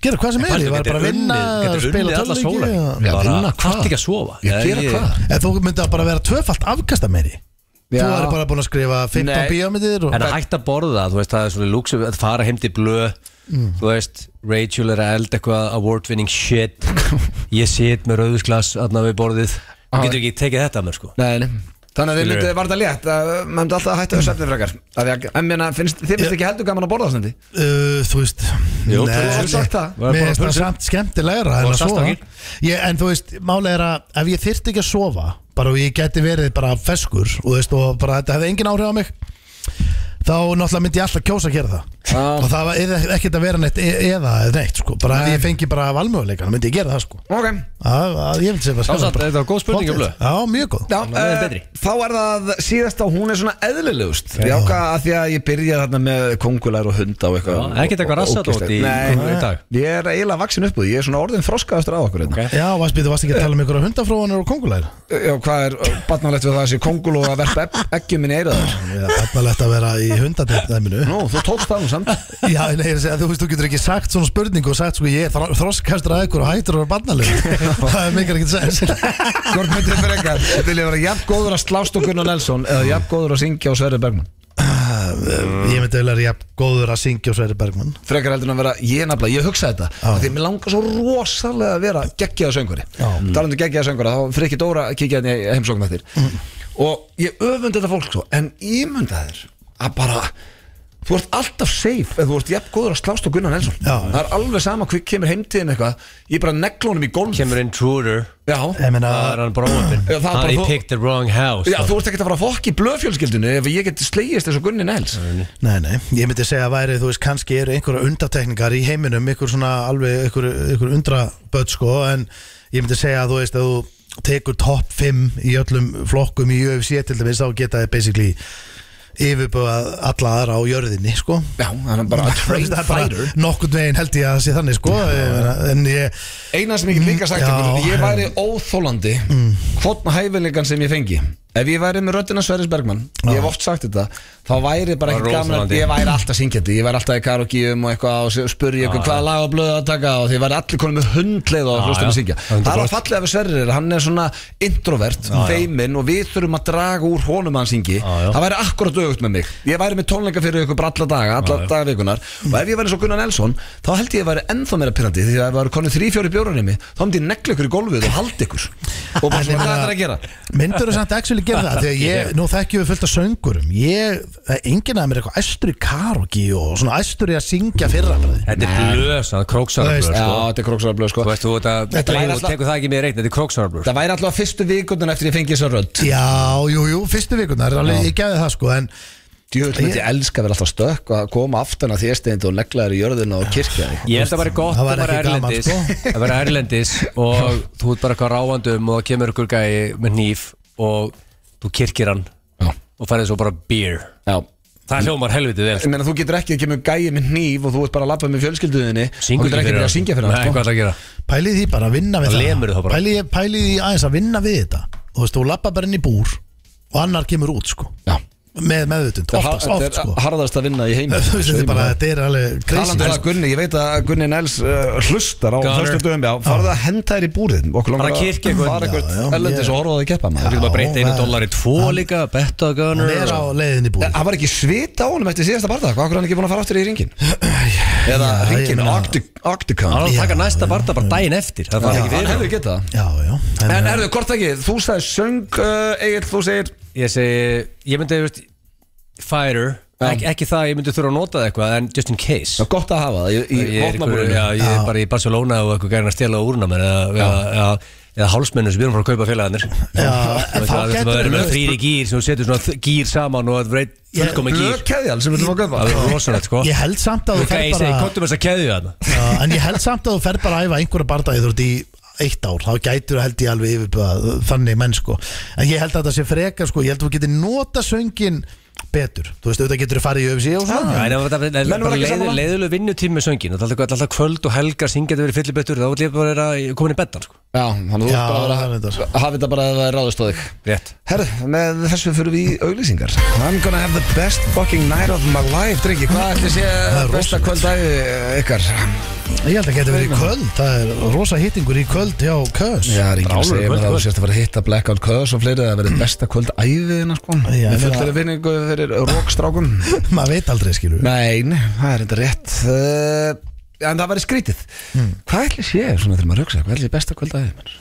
B: Gera hvað sem er, ég væri bara að vinna
C: Getur
B: að
C: unnið
B: Spila
C: alla
B: tölviki
C: sóla
B: og-
A: Já, vinna hvað?
C: Hvart ekki að sofa
A: Ég gera hvað?
B: En þú myndi að bara vera tvöfalt afkasta meiri Þú
A: Já.
B: væri bara búin að skrifa 15
A: Nei.
B: bíómyndir og
C: En að hætta að borða, þú veist, það er svona lúksu að fara heim til blöð
B: Mm.
C: Þú veist, Rachel er að elda eitthvað award-winning shit
B: Ah.
C: Ég sit með rauðusglas aðna við borðið Þú getur ekki tekið þetta að mér sko
A: Nei, nei Þannig að þið
C: Skilur við.
A: myndið var þetta létt að maður myndi alltaf að hætta þessu efni frekar Af því að- En mér finnst, þið finnst ekki heldur gaman að borða þessandi
B: Uh, þú veist
C: Jú,
B: nei,
A: þú hefur sagt það.
B: Mér finnst það samt skemmtilegra en
C: Og
B: að sofa
C: saltstangir.
B: ég, En þú veist, málega er að ef ég þyrfti ekki að sofa bara og ég geti verið bara feskur og, þú veist, og bara þetta hefði engin áhrif á mig þá náttúrulega myndi ég alltaf kjósa að gera það
A: Já.
B: og það var eða- ekkert að vera neitt e eða eða neitt sko, bara ef ég fengi bara valmöguleika þá myndi ég gera það sko
A: Ok,
B: að, að, ég myndi segja bara
C: Þá samt, þetta var góð spurning,
B: Pottþétt.
C: Blöð.
B: Já, mjög góð
A: já,
C: það er
A: eh,
C: betri.
A: þá er það síðasta og hún er svona eðlilegust Ég ákvað að því að ég byrjaði þarna með kongulær og hunda og eitthvað
C: Já, ekkert eitthvað
A: og- og-
C: rassat
A: ógeðslegt.
C: út í-
A: Nei,
C: í dag.
A: ég er eiginlega vaksin upp úr því, Ég er svona orðin þroskaðastur á okkur hérna. Eh,
C: Ok.
B: Já, varst, þú varst ekki að tala um ykkur hundafróanur og kongulæri
A: Já, hvað er batnalegt við það að sé kongul og að verpa ekki minni eiraður
B: Það er barnalegt að vera í hundadæminu
A: Nú, þú tókst það nú samt
B: Já, nei, ég er að segja, þú veist, þú getur ekki sagt svona spurningu og sagt, sko, ég er þro- þroskastur að ykkur og hættur að vera barnaleg Það meikar ekkert sens
A: Hvort myndið þið fyrir eitthvað Vil ég vera jafn góður að slást og Gunnar Nelson eða jafn góður að syngja á Sverri Bergman
B: Ég myndi vel að ég góður að syngja og Sverri Bergman
A: Frekar heldur en að vera, ég nafla, ég hugsa þetta ah. Því að mér langar svo rosalega að vera geggjaða söngvari ah. Talandi geggjaða söngvari, þá fyrir ekki Dóra að kíkja henni í heimsókn eftir
B: Mhm.
A: Og ég öfund þetta fólk svo En ég mynda þér að bara Þú ert alltaf safe ef þú ert jafn góður að slást og Gunnar Nelson
B: Já.
A: Það er alveg sama hvað kemur heimtíðin eitthvað Ég bara negla honum í golf
C: Kemur intruder
A: Já,
B: Ég meina,
C: Það er hann bara óöfn
A: Já, það er bara
C: Hann he
A: þú-
C: picked the wrong house
B: sko.
C: sko.
A: Já, þú ert ekkert að fara að fokk í blöðfjölskyldinu ef ég geti slegist eins og Gunni Nels
B: nei, nei, ég myndi segja að væri, þú veist, kannski eru einhverja undatekningar í heiminum ykkur svona alveg, ykkur, ykkur undraböld, sko en ég myndi segja að þú veist, að þú tekur topp 5 í öllum flokkum í UFC til dæmis, þá geta þið basically yfirbúið alla aðra á jörðinni, sko
A: Já, hann er bara a trained
B: Það er
A: fighter
B: Nokkurn veginn held ég að það sé þannig sko ég meina, En ég
A: Eina sem ég get líka sagt
B: Já. Mm.
A: ykkur, ég væri óþólandi hvort hæfilegan sem ég fengi Ef ég væri með röddina Sverris Bergman Ég hef oft sagt þetta Þá væri bara
C: Var
A: ekkert gaman að
C: óþolandi.
A: ég væri alltaf syngjandi Ég væri alltaf í karokíum og eitthvað og spurði ykkur hvaða lag og blöðu að taka og því ég væri allir konum með hundleið og
C: Já,
A: hlustum
C: já.
A: að syngja Það er að
C: 100%.
A: fallega við Sverrir, hann er svona introvert, feiminn og við þurfum að draga úr honum að hann syngi
C: Já, já.
A: Það væri akkurat auðvögt með mig Ég væri með tónleika fyrir ykkur bara alla daga, alla
C: Já, já.
A: dagavikunar Og ef ég væri eins og Gunnar Nelson Þá held ég að væri ennþá meira pyrrandi Því að ef það væri konið þrý, fjóri bjórar nemi Þá myndi ég negla ykkur í gólfið og halda ykkur Og bara svona, hvað er það að gera?
B: Myndur þú samt actually gera það Þegar ég, nú þekkjum við fullt af söngurum Ég, það er enginn að mér eitthvað æstur í karogi og svona æstur í að syngja fyrra bræði
C: Þetta er blöð, það er
B: Þú
C: króksararblöð
B: veist,
A: Já,
C: sko.
A: þetta er króksararblöð sko
C: Þú veist, þú ert að
A: Þetta væri
C: Þú
A: alltaf-
C: tekur það ekki með reikn, þetta er króksararblöð
A: Það væri alltaf fyrstu vikundun eftir ég fengi þessa rödd
B: Já, jú, jú, fyrstu vikunar alveg, Ég gefði það sko En
A: Djúvill myndi ég elska að vera alltaf stökk og að koma aftan að þérstegind og negla þér í jörðina og kirkja þig
C: Ég held að það væri gott
B: Það
C: að
B: væri
C: vera
B: ekki gaman,
C: erlendis
B: sko.
C: Að vera erlendis og þú ert bara eitthvað ráandum og það kemur ykkur gæi með nýf og þú kirkir hann
A: Já.
C: og færið svo bara beer
A: Já
C: Það hljómar helviti vel sko.
A: Ég meina þú getur ekki að kemur gæi með hníf og þú ert bara að labba með fjölskylduðinni Þú
C: Syngur
A: getur ekki að byrja að syngja fyrir
C: hann Nei,
A: hann
C: hvað
A: sko.
C: ætla að gera?
B: pælið því bara að vinna
C: Það
B: við
C: lemur þá bara.
B: Pælið, pælið því aðeins að vinna við þetta Þú veist, þú lappa bara inn í búr Og annar kemur út sko
A: Já.
B: Með meðvutund,
A: Þetta er har-
B: oftast, oft sko
A: Þetta er harðast að vinna í heim
B: Þú veist, þetta er bara, þetta er alveg crazy,
A: Talandi um
B: sko.
A: það Gunni, ég veit að Gunni Nels uh, hlustar á
C: Gunnar.
A: þörstu dögum farðu að henda þær í búrið okkur langar
C: Bara kirkja eitthvað.
A: fara
B: Já, já,
A: eitthvað ellendis
B: ég-
A: og horfa á það í keppa
C: Þú
A: maður
C: getur bara að breyta einu
B: það-
C: dólar í tvo líka Betta
B: Hún
C: gunner
B: er
A: sko.
B: á leiðinni búið
A: Eh, Það var ekki svita á honum eftir síðasta barða hvað okkur hann ekki búin að fara aftur í ringin eða
B: Já, ég
A: ringin
B: meina-
C: Hann
A: Octagon
C: er að taka
B: Já,
C: næsta barða bara daginn eftir Það fara ekki
A: hann
C: fyrir
A: hefur getað það.
B: Já, já
A: en erðu, hvort ekki, þú sagði söng uh, Egil, þú segir
C: Ég segi, ég myndi, veist, fighter Ek, Ekki það, að ég myndi þurfa að nota það eitthvað En just in case
A: Já, gott að hafa það í- í
C: ég er, ykkur,
A: hotnabúrinu
C: já, ég er bara í Barcelona og eitthvað gærin að stela úrna mér eða, eða, eða, eða hálsmennu sem við erum frá að kaupa félagarnir
B: Já, en þá
C: það
B: getur
C: er með
B: við-
C: þrýri gýr sem þú setur svona þ- gýr saman og það verið fullkomi gýr
A: blökeðjal sem við þurfum að
C: það
A: göpa
C: verður rosalegt sko
B: eh, Ég held samt að þú
C: Luka,
B: fer
C: ég segi,
B: bara
C: kontum þess að keðju þarna
B: Já, En ég held samt að þú fer bara að æfa einhverja bardagi þú ert í eitt ár, þá gætur þú held ég alveg yfirbúða þannig menn sko en ég held að það sé frekar sko, ég held að þú getur nota söngin betur, þú veist auðvitað getur þú farið í öfis og svona
C: Nei, það er
A: Menn voru
C: bara
A: ekki sammála?
C: leiðilegu vinnutími með söngin og það er alltaf- alltaf kvöld og helgar syngja þetta verið fyllibettur þá vil ég bara vera komin í beddan sko.
A: já, þannig að þú
B: Já,
A: ert bara
B: það
A: að
B: er
A: vera-
B: þetta.
A: hafa þetta bara að ráðast á þig
C: rétt
A: Herð, með þessu fyrir við í auglýsingar I'm gonna have the best fucking night of my life Drengi, hvað ætli sé
B: er
A: besta
B: rosalegt.
A: kvöldæði ykkar?
B: ég held að getur verið í kvöld, það er rosa hittingur í kvöld hjá Kös
A: Já, það er Mm. enginn að segja mér
C: Brálur kvöld,
A: að þú
C: kvöld.
A: sérst að fara að hitta Blackout Curse og fleiri Það verið besta kvöldæðina sko Við
B: Já, en
A: fullir
B: það-
A: vinningu fyrir rockstrákum
B: maður veit aldrei skilur við.
A: Nei, nei, það er enda rétt uh,
B: Mm.
A: En það væri skrítið Hvað ætli sé, svona þegar maður hugsa, hvað ætli sé besta kvöldæði?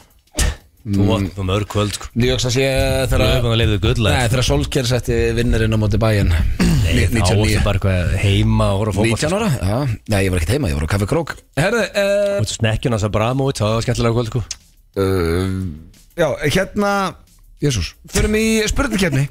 C: Þú vatnum um mörg kvöld sko
A: Ég hugsa að sé
C: Þú hefur
A: þegar
C: búin að leiða gullæð
A: Nei, þegar Solskjær setti vinnarinn á móti bæinn
C: Þá varstu
A: 1909
C: bara eitthvað heima og horfa á fótbolta, sko.
A: 19 ára? Já, nei, ég var ekkert heima, ég var á Kaffi Krók Herðu,
C: Þú
A: uh,
C: veist snekkjun hans að brama út, það var skemmtilega kvöld sko
A: uh, já, hérna Jésús, förum í spurningkefni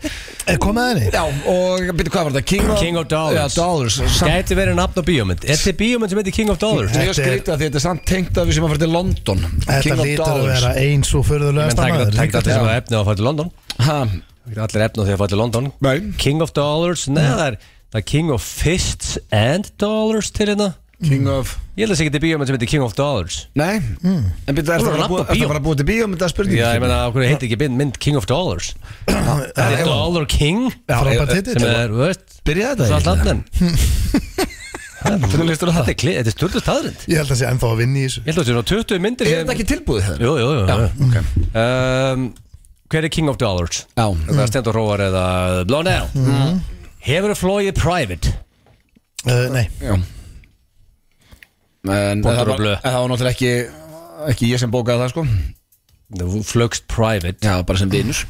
B: Er komið að henni?
A: Já, og byrju, hvað var þetta? King of,
C: King of Dollars.
A: Já, Dollars Samt,
C: Gæti verið nafn á bíómynd Er þetta bíómynd sem heitir King of Dollars?
A: ég
B: Þetta er-
A: skrýta því þetta er samt tengt að við sem að fara til London
B: Þetta lítur að vera eins og
C: Menn
B: förðulegast
C: það er ekki allir sem hafa efni á að fara til London
A: Ha,
C: Það er ekki allir efni á því að fara til London
A: Nei.
C: King of Dollars, neða það er Það er King of Fists and Dollars til hérna
A: King of
B: Mm.
C: Ég held að það sé ekki bíómynd sem heitir King of Dollars
A: Nei, en byrju, er
C: Þú
A: það bara
C: voru að labba á
A: búið- ertu
C: bíó.
A: að fara að búið til bíó með þetta spurning?
C: Já, ég meina, okkur heitir ekki mynd- mynd King of Dollars Það er Dollar King
B: Frábært
C: sem
B: titill.
C: er, þú veist
A: Byrja þetta
C: Það er
A: eiginlega?
C: landin Þetta er kli- þetta er stjórnust aðrind
B: Ég held að sé ennþá að vinna í þessu
C: Ég held að þetta er 20 myndir
A: Er þetta ekki tilbúið það?
C: Jú, jú, jú,
A: Já,
C: jú.
A: ok
C: Um, Hver er King of Dollars?
A: Já,
C: Það er Stendur Róar eða Blónell
A: Mhm.
C: Hefur þú flóið private?
B: Uh, Nei,
A: já En
C: Bóttur
A: það
C: og
A: var,
C: blöð.
A: en það var náttúrulega ekki ekki ég sem bókaði það sko
C: Þú flögst private
A: Já, bara sem vinnur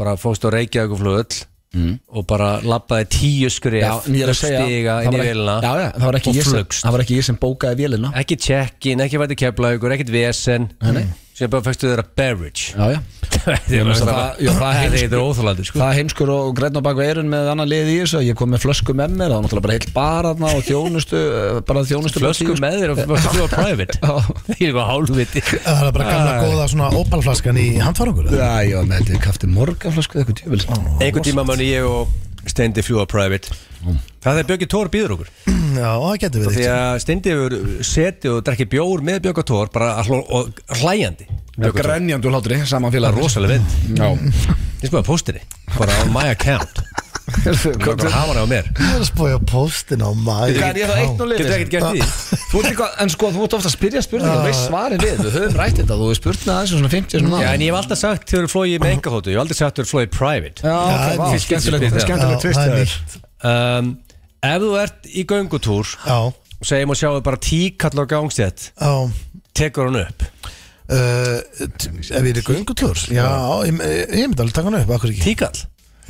C: Bara fóst á Reykjavík og flöðull Og bara labbaði tíu
A: Mhm. Já,
C: skref
A: en ég er að segja
C: Stiga
A: það var
C: inn í
A: ekki- Já,
C: vilna
A: já, það var ekki
C: Og
A: ég sem
C: flugst.
A: Það var ekki ég sem bókaði vélina
C: Ekki check-in, ekki væti keflaugur, ekkit vesen Sér bara fæstu þeirra beverage
A: Já, já
C: Þetta
A: meina, það- já, það er-
C: er óþólandi sko.
A: Það heimskur og græn og baka eirun með annan lið í þessu Ég kom með flösku með mér, það var náttúrulega bara heilt barna og þjónustu, eh, bara þjónustu
C: Flösku með þér og flösku á private Það er eitthvað hálfviti
B: það er bara gamla góða svona opalflaskan í handfarangur
A: Já, já, með þetta er kafti morgaflösku eða eitthvað djöfil
C: Einhvern tíma manni ég og Steindi fljúa private Það er Björgi Tór býður okkur
B: Já, það getur
C: Því
B: verið
C: að Steindi hefur setið og drekkið bjór með Björgi Tór bara að hló- og hlæjandi Björgi Tór
A: Grænjandu hlátri, saman félag
C: Rosalega vind
A: Já,
C: Ég skoði póstinni Bara on my account Bara að hafa hann á mér
B: Ég er að spója postin á maður
A: Hvað er ég þá eitt og
C: Getur
A: liðið?
C: ekkert gert í
A: Þú ert eitthvað, en sko, þú ert ofta að spyrja spurningar, þú veist svarið við, við höfum rætt þetta, þú hefur spurnað aðeins og svona 50 svona
C: Já, en ég hef alltaf sagt þau eru flóið með engaþóttu Ég hef aldrei sagt þau eru flóið private
A: Já, ok,
B: það er
A: vá,
B: nýtt.
A: skemmtilegt, skemmtilegt tvist
B: það er
A: þér.
B: nýtt
C: um, Ef þú ert í göngutúr
B: Já,
C: og segjum og sjáum bara tíkall á gangstétt
B: já
C: tekur hann upp
B: Uh, t- Ef ég er göngutlur Já, ég, eh, ég myndi alveg taka hann upp, akkur ekki
C: tíkall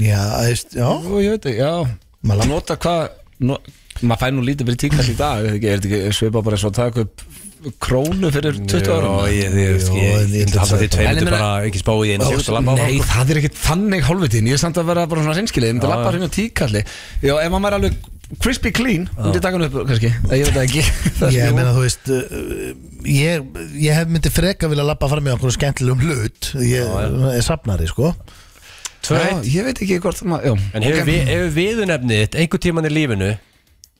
B: Já, þú veist, já
A: Jú, ég veit ekki, já
B: Maður
A: Maður
B: lab-
A: nota hvað no, Maður fær nú lítið fyrir tíkall í dag Er þetta ekki, er þetta ekki svipa bara eins og að taka upp Krónu fyrir 20 árum
C: Já, ég, ég,
B: Jú,
C: ég,
B: en ég held að
C: ég held að
B: það-
C: þið tveir
A: En ég
C: myndu
A: meina-
C: bara ekki spáið í einu sérst og labba
A: Nei,
C: áfram
A: það er ekki þannig hálfitín Ég er samt að vera bara svona reynskilið Ég myndi lappa hérna á tíkalli Já, ef maður er alveg crispy clean Myndi taka hann upp kannski Það ég veit það ekki Það er
B: Ég
A: svona-
B: meina, þú veist uh, Ég, ég hef myndi freka vilja labba fram í okkur skemmtilegum hlut Ég er safnari, sko
C: Tvö
A: Já,
C: eitt
A: ég veit ekki hvort það maður Já,
C: En hefur vi, hefur viðunefnið þitt einhvern tíman í lífinu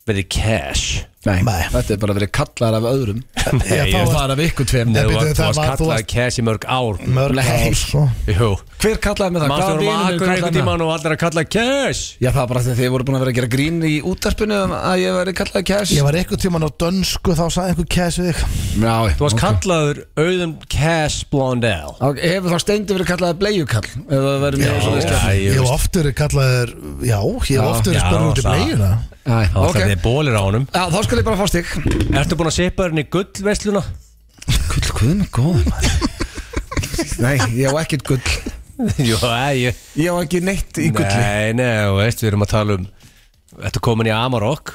C: verið cash
A: nei
B: Nei.
A: Þetta er bara verið kallar af öðrum
B: Ég
C: ég-
B: þá
A: Bara af ykkur tveim
C: Nei,
B: Nei,
C: þú
B: býttu,
C: var- þú
B: það
C: varst
B: var- þú
C: kallað
B: varst-
C: cash í mörg ár
B: Mörg
A: Nei.
B: ár, sko
C: Jú
A: Hver kallaði með það?
C: Manstu
A: Hvaða
C: vorum
A: vinur minn
C: akkur
A: kallaði mig
C: einhvern
A: það?
C: tíman og allir að kalla cash
A: Já það var bara því að þið voru búin að vera að gera grín í útarpinu að ég væri kallað cash
B: Ég var eitthvað tíman á dönsku þá sagði einhver kæs við þig
A: Já,
C: Þú varst kallaður auðum cash blondell
A: okay. Hefur þá steindi verið kallaði bleiukall ef það verið mjög svo
C: Já,
B: Ég
C: ég
B: hef
C: veist
B: oft verið kallaður Já, ég hef oft verið
C: já,
B: spurður út í
C: það-
B: blegina
A: Já,
C: Það var
A: ok
C: alltaf þið bólir á honum
A: Já, þá skal ég bara fá stig
C: Ertu búin að seipa þér inn í gullveisluna?
A: Gull, guðna, góð Nei, ég á ekkert gull
C: Jú, æ, ég
A: Ég á ekki neitt í gulli
C: Nei, nei, þú veist, við erum að tala um Þetta komin í Amarok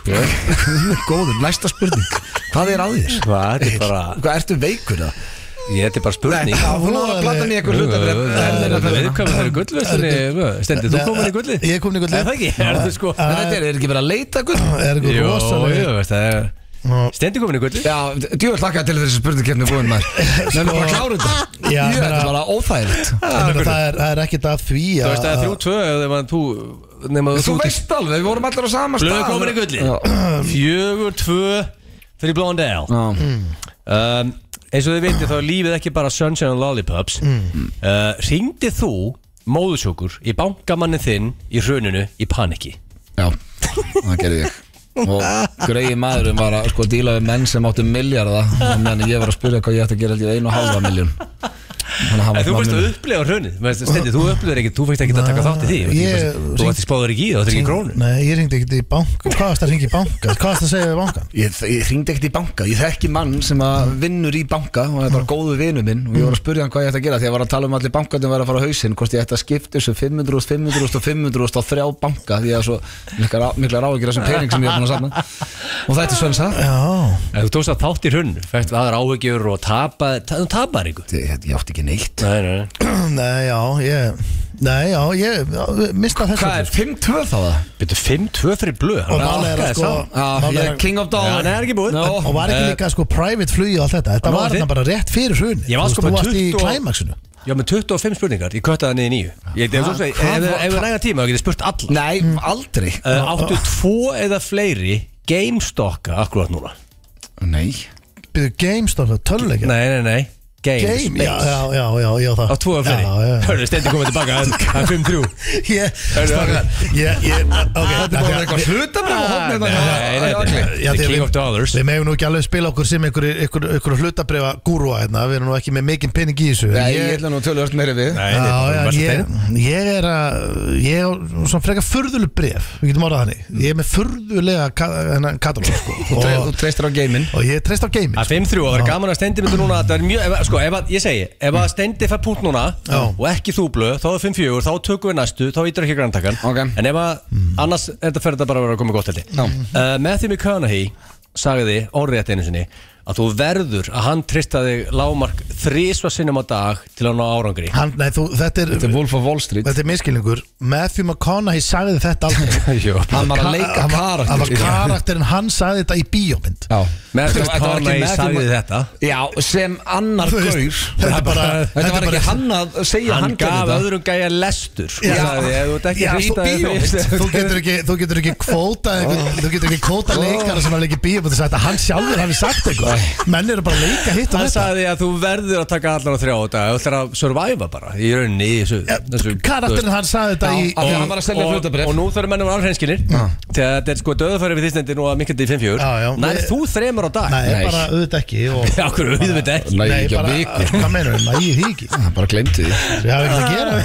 A: Góður, næsta spurning Hvað er að þér?
C: Hvað, þetta er bara
A: Hvað, ertu veikur það?
C: Ég, þetta er bara spurning
A: Já, hún var að blanda mér
C: Jú,
A: eitthvað hluta fyrir
C: Það er viðkvæmur þeirri gullvestinni Stendi, þú komin í gulli
B: Ég er komin í gulli.
C: Er það ekki? Er það sko
A: En þetta er, er ekki verið að leita gull?
B: Er eitthvað
C: Jú, jú,
B: rosalega
C: veist það er
B: Nú,
C: Stendi komin í gulli
A: Já, djúvel hlakka til þessi spurningkeppni búin maður
C: Sko.
A: Nefnum bara að klára þetta
B: Já,
A: Jú, þetta
B: meina-
A: er bara óþægilegt
B: en Það er, það er ekkert að því
C: Þú veist það er þrjú tvö Nefnum að þú Nefnum að
A: Þú
C: þú
A: veist alveg, við vorum allir á sama stað
C: Blöðu komin í gulli Fjögur tvö Fyrir Blondell
A: Já,
C: um, eins og þið veitir þá er lífið ekki bara sunshine and lollipops mm. uh, ringdi þú móðusjókur í bankamannin þinn í hruninu í paniki
A: já, það gerði ég Og greiði maðurum var að sko díla við menn sem áttu milljarða Og meðan ég var að spyrja hvað ég ætti að gera held ég einu og halva miljón að hann var
C: En þú
A: smá
C: varst að
A: minni.
C: upplifa hrunið Mér finnst- Steindi, þú upplifir ekki, þú fyrst ekki að taka
B: Nei,
C: þátt í því
B: ég-
C: Þú ætti spáður ekki í það, þú ætti ekki krónu
B: Nei, ég ringdi ekkert í banka Hvað varst að ringi í banka? Hvað varst að segja við bankan?
A: Ég, ég hringdi ekkert í banka, ég þekki mann sem að vinnur í banka og það er bara góðu vinu minn og ég var að spurja hann hvað ég ætti að gera því að ég var að tala um allir bankarnir var að fara á hausinn hvort ég ætti að skipta þessu 500, 500 og 500 á þrjá banka því að svo mikla, mikla ráðgjur þessum pening sem ég er búin að safna og þetta er svona sagt
B: Já,
C: En þú tókst að þátt í hrunnu, fæst aðra áhyggjur og tapar, þú tapar ykkur
A: ég, ég átti ekki neitt
C: Nei, nei, nei
B: nei, já, ég Nei, já, ég mista þessu
A: Hvað er 5-2 þá það?
C: Byrju 5-2 fyrir blöð hann
B: Og málið er að
C: rakkaði
B: sko
C: saman.
A: Ah,
B: málið
A: ég
B: er
A: er king of
C: Já,
A: dollar
C: Nei, það er ekki búið
A: Nó.
B: Og var ekki
C: Eh,
B: líka sko private flugi og allt þetta Þetta
C: Nú,
B: var
C: þið-
B: þarna bara rétt fyrir hrunið
C: Ég var
B: Þú
C: sko
B: veist,
C: með
B: Þú varst í
C: 20
B: klæmaksinu
C: Já, með 25 spurningar, ég köttaði niður í nýju Ég veit, ef þú segir-
A: hvað
C: ef-
A: var-
C: ef við næga tíma, þá getur spurt alla
A: Nei, aldrei
C: Eh, Áttu tvo eða fleiri GameStocka akkurat núna
A: Nei
B: Byrðu GameStop, töluleikir
C: Nei, nei, nei
B: Game, já, já, já, já, já það
C: Á tvo eða
B: Já, já,
C: fleiri
B: já
C: Hörðu, stendi komið tilbaka, hann- hann 5-3
B: Ég, strákar, ég, ég, ok Þetta
A: Það er eitthvað hlutabræð
C: Nei, nei, nei, þetta
B: Eh, Já,
C: er- þetta er
B: þið-
C: King of Dollars
B: Við megum nú ekki alveg spila okkur sem einhver, einhver, einhver hlutabrifa gúrua hérna Við erum nú ekki með mikinn pening í þessu
A: Nei, ég ætla nú að tölvöld meiri við
C: Nei, nei,
B: Já,
C: þú
B: já,
C: varst að
B: ég,
C: steina.
B: ég er að ég er svona frekar furðuleg bref við getum orðað þannig, ég er með furðulega ka, hennan katalóg sko.
A: Þú tre- Þú
B: og,
A: treystir á gaming
B: og ég treyst á gaming sko.
C: Að 5-3 og það er gaman að stendi myndu núna Það er mjög, ef, sko, ef að, ég segi Ef að stendi fær punkt núna
B: Já.
C: Og ekki þú blöð, þá er 5-4, þá tökum við næstu Þá ítur ekki granntakan
A: Ok.
C: En ef að, annars er þetta fyrir þetta bara að vera að koma gott held ég.
A: Já.
C: uh, Matthew McConaughey sagði orðrétt einu sinni Að þú verður að hann trista þig Lámark þrísva sinnum á dag Til að ná árangri
B: Hann, nei, þú, þetta er,
A: Þetta er Wolf of Wall Street
B: þetta er miskilningur Matthew McConaughey sagði þetta aldrei
C: Jó.
A: Hann var að leika
B: Hann var-
A: karakter
B: hann var karakterinn, hann sagði þetta í bíómynd
A: Já Þetta
C: Matthew
A: var ekki
C: McConaughey
A: Matthew
C: sagði
A: Ma-
C: þetta
A: Já, sem annar
B: Þú veist,
A: gaur
B: þetta er bara- þetta
A: Þetta
B: er
A: var
B: bara-
A: ekki hann að segja
C: Hann
A: gerði
C: gaf
A: þetta.
C: öðrum gæja lestur sko,
B: Já.
C: sagði, Ef þú ert ekki
B: Já,
C: að
B: svo
C: hrýta þig
A: bíómynd.
C: fyrst-
B: Þú getur ekki, þú getur ekki kvóta Þú getur ekki kvóta leikara sem að leika í bíómynd og sagt að hann sjálfur hafi sagt eitthvað Menn eru bara að leika hitt og
C: Hann
B: þetta
C: sagði að þú verður að taka allan á þrjá þetta Þú ætlar að survive bara í rauninni í þessu, þessu
B: Karakterinn hann sagði þetta í
A: Já, af því að hann var að selja
C: Og-
A: hlutabréf.
C: Og nú þarf mennum alveg hreinskilir Þegar þetta er sko döðafæri við þýstnendi nú að mikkandi í 5-4
B: Já, já.
C: Nær
B: Ég-
C: þú þremur á dag
B: Nei, bara auðvitað ekki og
C: Já, okkur við veit ekki
A: Næ,
B: Nei,
A: ekki á
B: bara,
A: viku
B: hvað meinar þau, nægir því ekki
A: Hann bara glemti því
B: Við hafum ekki að gera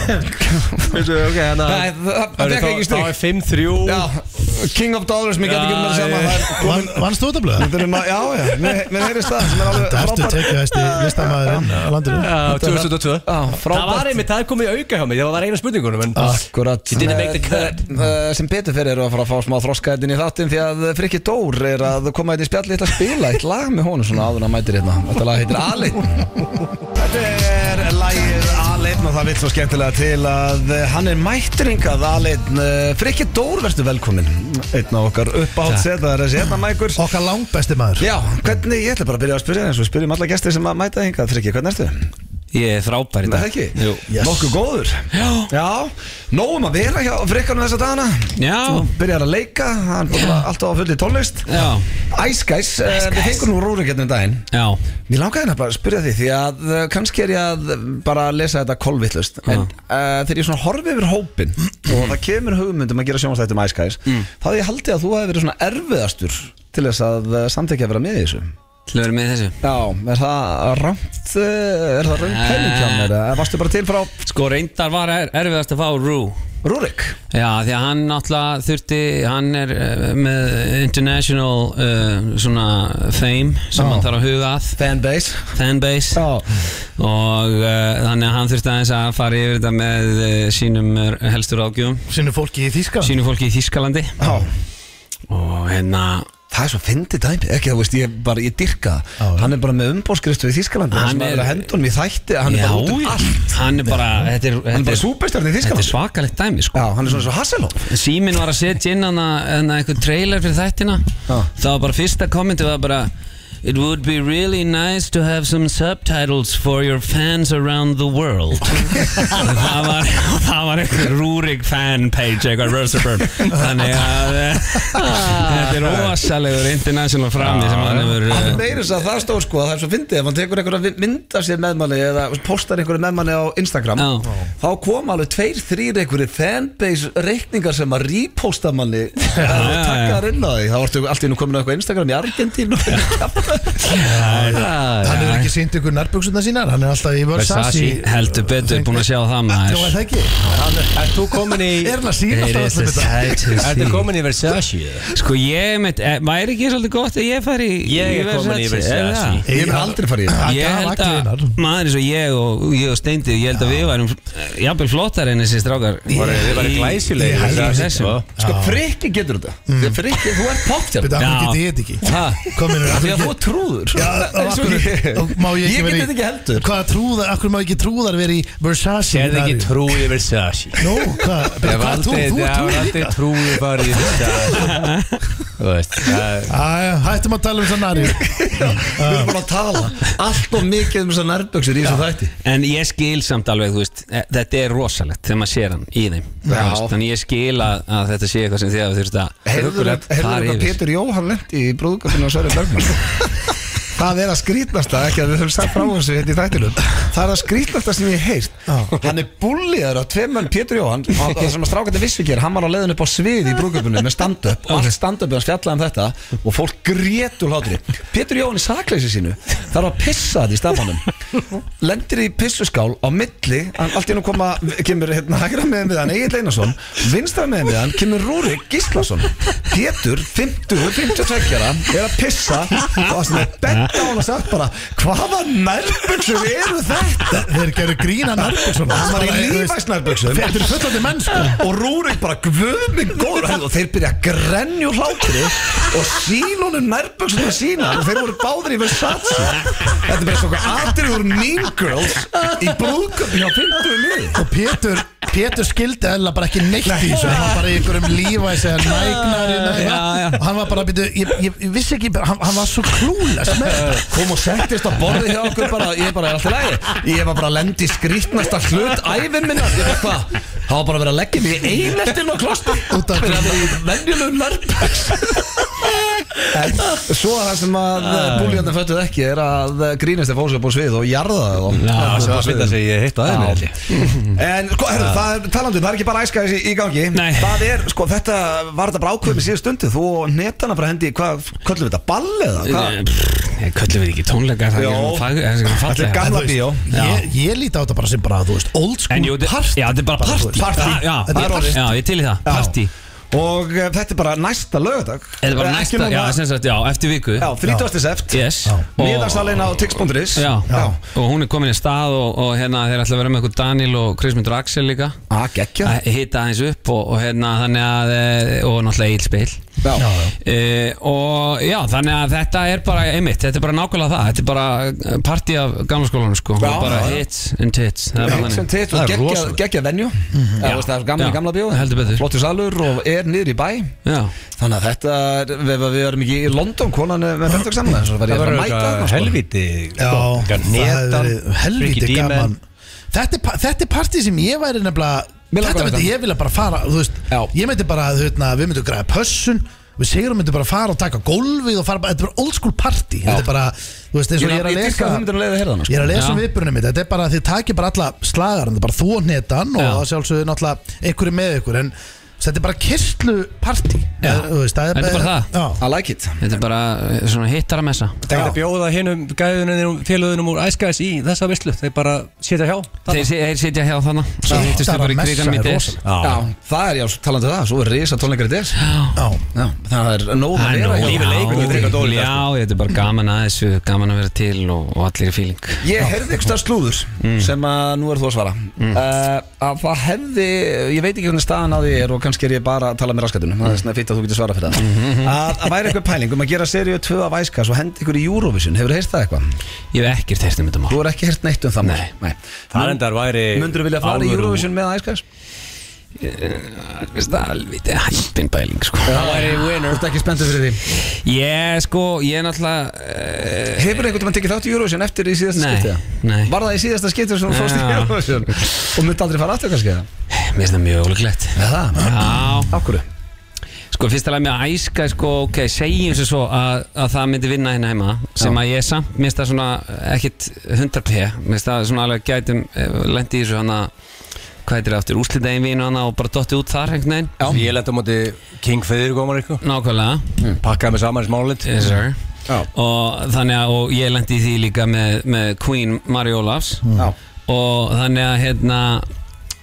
B: það
A: Nei, það- það- það fekk ekki stig.
C: Þá er 5-3
A: Já, King of Dollars, mér getur ekki um
C: Já, ég-
A: þetta saman
B: Vann- Vannst þú þetta blöða?
A: Þetta er ná- Já, já, mér mér heyrist það sem er alveg
B: Þetta ertu
A: frábær-
B: tekið hæsti listamæðurinn á landinu
C: Já, 2002
A: Já,
C: Það
A: frábært.
C: var einmitt, það er komið í auka hjá mig Það var eina spurningunum en
A: Akkurat
C: It didn't make the cut.
A: Eh, Sem betur fyrir eru að fara að fá smá þroskaðin í þáttinn Því að Frikki Dór er að koma hérna í spjalli Þetta spila eitt lag með honum svona áður en að mætir hérna Þetta lag heitir Aleinn Þetta er lagið Aleinn og það vill svo skemmtilega til að eh, hann er mætturingað Aleinn Eh, Frikki Dór, verður velkomin Einn af okkar uppáhaldsetar þessi hérna mækur
B: Okkar langbæsti maður
A: Já, hvernig, ég ætla bara að byrja að spyrja eins og við spyrjum alla gestir sem að mæta hingað Frikki, hvernig ertu?
C: Ég er frábær í
A: Nei,
C: dag
A: það ekki?
C: Jú.
B: Yes.
A: Nokkuð góður Já Já Nóum að vera hjá frikkanum þessa dagana
D: Já.
A: Þú byrjar að leika Hann er bara alltaf á fulli tónlist
D: Já.
A: Ice Guys eh, Við fengum nú rúri hérna um daginn
D: Já,
A: Mér langaði hérna bara að spyrja því Því að eh, kannski er ég að eh, bara lesa þetta kolvittlust En uh, þegar ég svona horfi yfir hópin Og það kemur hugmyndum að gera sjónastætti um Ice Guys Þá hefði ég haldið að þú hefði verið svona erfiðastur Til þess að eh, samtækja að vera með í þessu
D: til að vera með þessu
A: Já, er það rámt, er það raun pæling hjá mér? Eða Varstu bara til frá
D: Sko reyndar var er, erfiðast að fá Rú
A: Rúrik?
D: Já, því að hann náttúrulega þurfti, hann er eh, með international uh, svona fame sem
A: Já.
D: hann þarf að huga að
A: Fanbase
D: fanbase
A: Já,
D: og uh, þannig að hann þurfti aðeins að fara yfir þetta með uh, sínum eh, helstu ráðgjöfum
B: Sinu fólki í Þíska
D: sínu fólki í Þískalandi
A: já
D: og hérna
A: Það er svo fyndið dæmi, ekki þú veist, ég bara, ég dyrka
B: Já, já.
A: Hann er bara með umbóðskristu í Þískalandi
D: Hann
A: Hann
D: er-
A: er að henda honum í þætti, hann er
D: Já,
A: bara út um
D: já.
A: allt
D: hann er bara þetta er,
A: Hann er
D: þetta
A: bara
D: er,
A: súpestjarni í
D: þetta er
A: Þískalandi
D: svakalegt dæmi sko.
A: Já, hann er svona svo Hasselhoff
D: síminn var að setja inn hana, hana eitthvað trailer fyrir þættina
A: Já.
D: það var bara fyrsta kommenti var bara It would be really nice to have some subtitles for your fans around the world Það var, það var eitthvað rúrik fanpage eitthvað Rösserburn Þannig að eh, þetta er
B: Ah.
D: óasalegur international frami sem hann hefur eh,
A: Hann meira þess að það stóð sko, að það er svo fyndið Ef hann tekur einhverja mynd af sér meðmanni Eða postar einhverju meðmanni á Instagram
D: Já.
A: Þá kom alveg tveir, þrýr einhverju fanbase reikningar sem að reposta manni Og
D: já,
A: taka þar inn á því Þá varstu allt í nú komin á eitthvað Instagram í Argentínu
B: Hann hefur ekki sýnt ykkur nærbjöksuna sínar Hann er alltaf í Versace
D: Versace heldur betur búin að sjá það
B: Nú er
D: maður
B: það ekki
C: Er þú komin í
B: Er hann að sína
D: It
B: alltaf öllum
D: is a
B: þetta?
D: sight to
C: Er þú
D: see.
C: komin í Versace?
D: Sko ég mitt, eh, væri ekki svolítið gott að ég fari í-
C: Ég er komin í
D: er það?
C: Versace
A: Ég hef aldrei farið í það
D: Ég
B: gaf
D: held að
B: allir
D: maður eins og ég og, ég og Steindi Ég held að við værum eh, jafnvel flottar en þessi strákar
C: Við varum
D: Í-
C: glæsilegir
D: í þessu.
C: þessu
A: Sko, frikki getur þetta mm. Frikki, þú ert poptjálf
B: Þetta af hverju
D: Já.
B: geti ég þetta ekki
A: Því
B: Komin er
A: að þú ert trúður
B: Já,
A: Eins og ég
B: og má ég
A: Ég get
B: ekki vera
A: þetta ekki heldur
B: Hvað trúðar, akkur má ekki trúðar vera í Versace
C: Ég hefði
B: Ari?
C: ekki trúið í Versace
B: Nú, hvað, hvað
C: Ég hef
B: er trú,
C: aldrei,
B: þú er trú
C: ég hef aldrei
B: líka
C: trúið bara í Versace Þú veist, það er
B: Æja, hættum að tala um þess að nari
A: Við erum bara að tala allt og mikið um þessar nærböksur í þessu þætti
D: En ég skil samt alveg, þú veist, eh, þetta er rosalegt þegar maður sér hann í þeim þú
A: Já.
D: veist, Þannig ég skil að, að þetta sé eitthvað sem þið hafa þurft að
A: Heyrður
D: ruggulegt fara
A: þetta
D: yfir.
A: Pétur Jóhann lendi í brúðgöfinu og Sörri Bergman Það er að skrýtnasta, ekki að við höfum sagt frá þessu hérna í þættinum Það er að skrýtnasta sem ég heilt Hann er búlliðar á tveimönn Pétur Jóhann og það sem að strákandi vissi ekki er hann var á leiðinu upp á svið í brúðgöfinu með stand-up og allt stand-upið hans fjallaði um þetta og fólk grétul hátri Pétur Jóhann í sakleysi sínu þarf að pissa þetta í stafanum lendir í pissuskál á milli hann, allt í nú koma, kemur hérna hægra meðan við hann Egil Einarsson, vinstra meðan við hann kemur Rúrik Gíslason Pétur, 50, 52 ára, er að pissa og það er betta á hann og sagt bara hvaða nærbuksur eru þetta
B: Þeir gerðu grína nærbjöksuna
A: hann var í lífæsnærböksum
B: Þetta er fullandi menn, sko
A: og Rúrik bara gvöðmig góður hæð og þeir byrja að grenja úr hlátri og sín honum nærböksunum sína og þeir voru báðir í Versace þetta er bara svona aðrið úr Mean Girls í brúðköpni á 50 liði
B: Og Pétur, Pétur skildi eða bara ekki neitt í þessu Hann var bara í einhverjum lífæs eða nægnari Og hann var bara, býtu, ég, ég, ég vissi ekki Hann, hann var svo klúles með þetta.
A: Eh, kom og settist á borðið hjá okkur bara, ég bara er alltaf lægi ég var bara að lendi skrýtnasta hlut æfið minna, ég bara hvað það var bara að vera að leggja mig í eineltinn á klostum
B: Út af-
A: fyrir að vera í venjulegu nærböks en svo það sem að búlíðandi föttuð ekki er að eh, grínist er fóðs upp á svið og jarða það og-
C: Já,
A: upp á
C: það var
A: svið.
C: svita sem ég heitt á
A: Já.
C: þeim
A: En sko, herru, það er talandu, það er ekki bara æska í, í gangi
D: Nei.
A: Það er, sko, þetta var þetta bara ákveðum í síðan stundu Þú og netana bara hendi, hvað, köllum við þetta, ball eða? Hvað?
D: Nei, pff, Ég köllum við ekki tónleika
A: Jó.
D: Það er svona
A: Þetta er
D: fallega
A: gamla bíó
B: ég, ég líti á þetta bara sem bara, þú veist, old
D: En
B: school
D: jú, þetta-
B: part
D: já, þetta er bara partí
A: Partí.
D: Já, já,
A: Þetta er
D: partí.
A: orðið.
D: Já, ég til í það,
A: Já.
D: partí
A: Og eh, þetta er bara næsta lögadag
D: Þetta er bara næsta, já, sem sagt, já, eftir viku
A: Já, 30. sept
D: Yes Og-
A: Miðarsalinn á tix.is
D: Já, og hún er komin í stað og, og hérna þeir ætla að vera með eitthvað Daniel og Krismundur Axel líka
A: Að Ah, geggja
D: að hita aðeins upp og, og hérna þannig að eh, og náttúrulega eilspill
A: Já. Já, já.
D: E, og já þannig að þetta er bara einmitt, þetta er bara nákvæmlega það þetta er bara eh, partí af gamla skólanum sko
A: Já,
D: Og bara
A: já, já.
D: hits and tits það er bara
A: Sem
D: þannig. Mhm.
A: titt og
C: Það er
A: geggja,
C: rosalegt.
A: geggja venju mm
D: Já.
A: -hmm. Það er gamla,
D: Já.
A: gamla bíó
D: Heldur betur.
A: Flottur salur og er niður í bæ
D: já,
A: Þannig að þetta, er, við, við erum ekki í London Konan er með þetta saman Það
C: Það
A: verður
C: var
A: eitthvað
C: eitthvað helviti
B: Já, það hefði
C: netan
B: verið helviti gaman Þetta er, pa- þetta er partí sem ég væri nefnilega
A: Mér langar
B: Þetta
A: að
B: myndi
A: þetta.
B: ég vilja bara fara þú veist,
A: Já.
B: Ég myndi bara, þú veist, við myndum græða pössun Við sigurum myndum bara fara og taka gólfið og fara bara, þetta er bara old school partí Þetta er bara, þú veist, eins
A: Ég
B: og ég er að
A: dyrka
B: lesa
A: að þú myndir að leiða að herða hana
B: Ég
A: sko.
B: er að lesa
D: Já.
B: um viðbjörnum mitt Þetta er bara að þið takir bara alla slagar Þetta er bara þú og hnetan og
D: Já.
B: það sjálfsögðu náttúrulega einhverju með ykkur En þetta er bara kistlu partí
D: Já. Þetta er bara það.
B: Já.
A: I like it
D: þetta er bara eh, svona hittar að messa
C: Það er að bjóða hinum gæðunum félöðunum úr æskaðis í þessa visslu Þeir bara setja hjá
D: þeir, si- þeir sitja hjá þannig svo
B: Já.
D: hittist
B: Hittar
D: þau bara
B: að
D: í
B: messa
D: kriganum í
B: er
D: des
B: rosalegt.
A: Já, það er já, talandi um það, svo er risa tónleikar í des
B: Já.
A: Já, það er nóg að vera
D: já,
A: Lífið leikur við drikka sko. dólið,
D: já, þetta er bara gaman að þessu gaman að vera til og, og allir í fíling
A: Ég heyrði eitthvað slúður sem að nú er þú að svara uh, að það hefði, ég veit ekki hvernig staðan á því er og kannski er ég bara að tala með raskatunum það er svona fýtt að þú getur svara fyrir það að, að væri eitthvað pæling um að gera seríu 2 af æskas og hendi ykkur í Eurovision, hefur þú heyrt það eitthvað?
D: ég hef ekkert heyrt um þetta mál
A: Þú er ekki heyrt neitt um það mál.
D: Nei.
A: Nei.
C: Það endar væri
A: Mundur þú vilja fara í
C: alvöru-
A: Eurovision með æskas?
D: það er alveg hættin bæling sko.
A: Það væri winner Þú ert ekki spenntur fyrir því
D: Ég sko, ég er náttúrulega uh,
A: Hefur einhvern veginn tekið þátt í Eurovision eftir í síðasta
D: Nei,
A: skiptið?
D: nei.
A: Var það í síðasta skiptið sem þú fórst í
D: Já.
A: Eurovision? Og myndi aldrei fara aftur kannski?
D: Mér finnst það mjög ólíklegt
A: Eða það?
D: Já,
A: Af hverju?
D: sko fyrst að með æska sko, ok, segjum sem svo að, að það myndi vinna hérna heima sem að ég samt, mér finnst það svona ekkit 100p, mér finnst það svona alveg gætum lendi í þessu hana hvað heitir það aftur, úslitaðin vinu hana og bara dotti út þar einhvern veginn
C: Ég lenda á móti King Feður komar ykkur
D: Nákvæmlega, Eh,
C: Pakkaði mig saman í smálit
D: yes sir
A: Já.
D: og þannig að og ég lendi í því líka með, með Queen Mari Ólafs
A: Já.
D: og þannig að hérna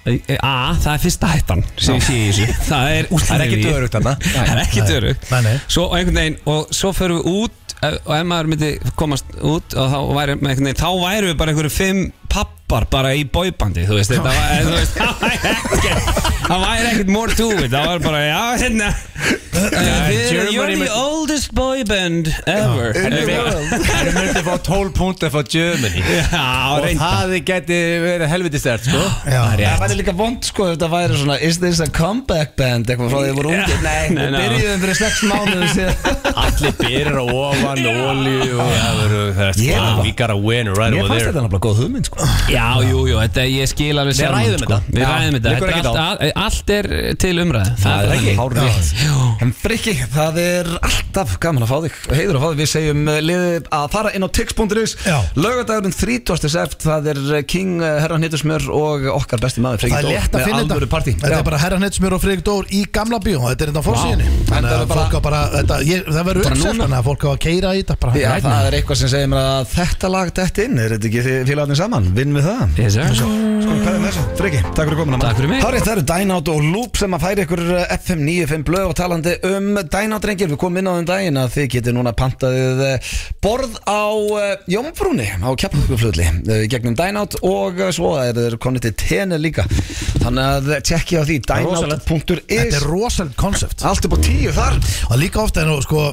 D: A, það er fyrsta hættan sem ég sé í þessu það er,
H: Það er ekki dörugt þarna.
D: það er ekki dörugt
B: Nei, nei.
D: svo og einhvern veginn og svo förum við út ef- og ef maður myndi komast út og þá væri, með einhvern veginn, þá væri við bara einhverju fimm pappar bara í bóibandi þú veist, þetta var, þú veist, það væri ekkert það væri ekkert more to it það var bara, já, hérna uh, you're, you're the oldest boyband ever Eitthvað.
H: Það er myndið að fá 12 púnta frá Germany
D: já,
H: Og
D: reynda
H: það geti verið helvitistert sko
A: Það væri líka vond sko ef þetta væri svona Is this a comeback band eitthvað frá því þið voru ungir Nei,
D: Nei,
A: við
D: ná.
A: byrjuðum fyrir sex mánuðum síðan
H: Allir byrjar á ofan og olju og það verður það
A: Ég
H: er
A: bara-
H: sko We got a winner right
A: Mér
H: over
A: fannst
H: there
A: þetta nefnilega góð hugmynd sko
D: Já, jú, jú, þetta, ég skil alveg
H: Við
D: sjálfan, sko.
H: ræðum þetta.
D: Við
H: Já,
D: ræðum þetta,
H: liggur
D: þetta
H: ekkert
D: er allt, a- allt er til umræð
A: Það er ekki
H: Hárrétt.
D: Jú,
A: En Frikki, það er alltaf gaman að fá þig Heiður að fá þig, við segjum eh, liðið að fara inn á tix.is
B: Já.
A: Laugardagurinn 30. seft, það er eh, King, eh, Herran Hittusmjör og okkar besti maður Frikki
B: Það er
A: Dór
B: létt að
A: með
B: finna
A: alvöru partí
B: Þetta er bara herra Netsmjör og Fredrik Dór í gamla bíó Þetta er þetta á fórsíðinni Þannig
A: Þetta
B: að
A: er bara-
B: fólk á bara þetta, ég, Það verður
D: Bara
B: uppsett
D: núna.
B: Þannig að fólk á að keira í þetta bara
A: Já,
B: Right
A: það
B: now.
A: er eitthvað sem segir mér að þetta lag dætt inn, er þetta ekki þið félagarnir saman? Vinn við það
D: yes sir
A: Sko, hvað er með þessu? Freki, takk fyrir komuna
D: Takk fyrir mig.
A: Hárið, það eru Dynout og Loop sem að færa ykkur eh, FM 95 blöð og talandi um Dynout rengir Við komum inn á þeim daginn að þið getið núna pantaðið eh, borð á eh, Jómfrúni á Keflavíkurflöðli gegnum Dynout og eh, svo er þeir konið til Tene líka Þannig að tjekki á því
B: Þetta
A: dynout.is
B: er rosalega konsept
A: Allt upp á tíu þar
B: Og líka ofta er nú sko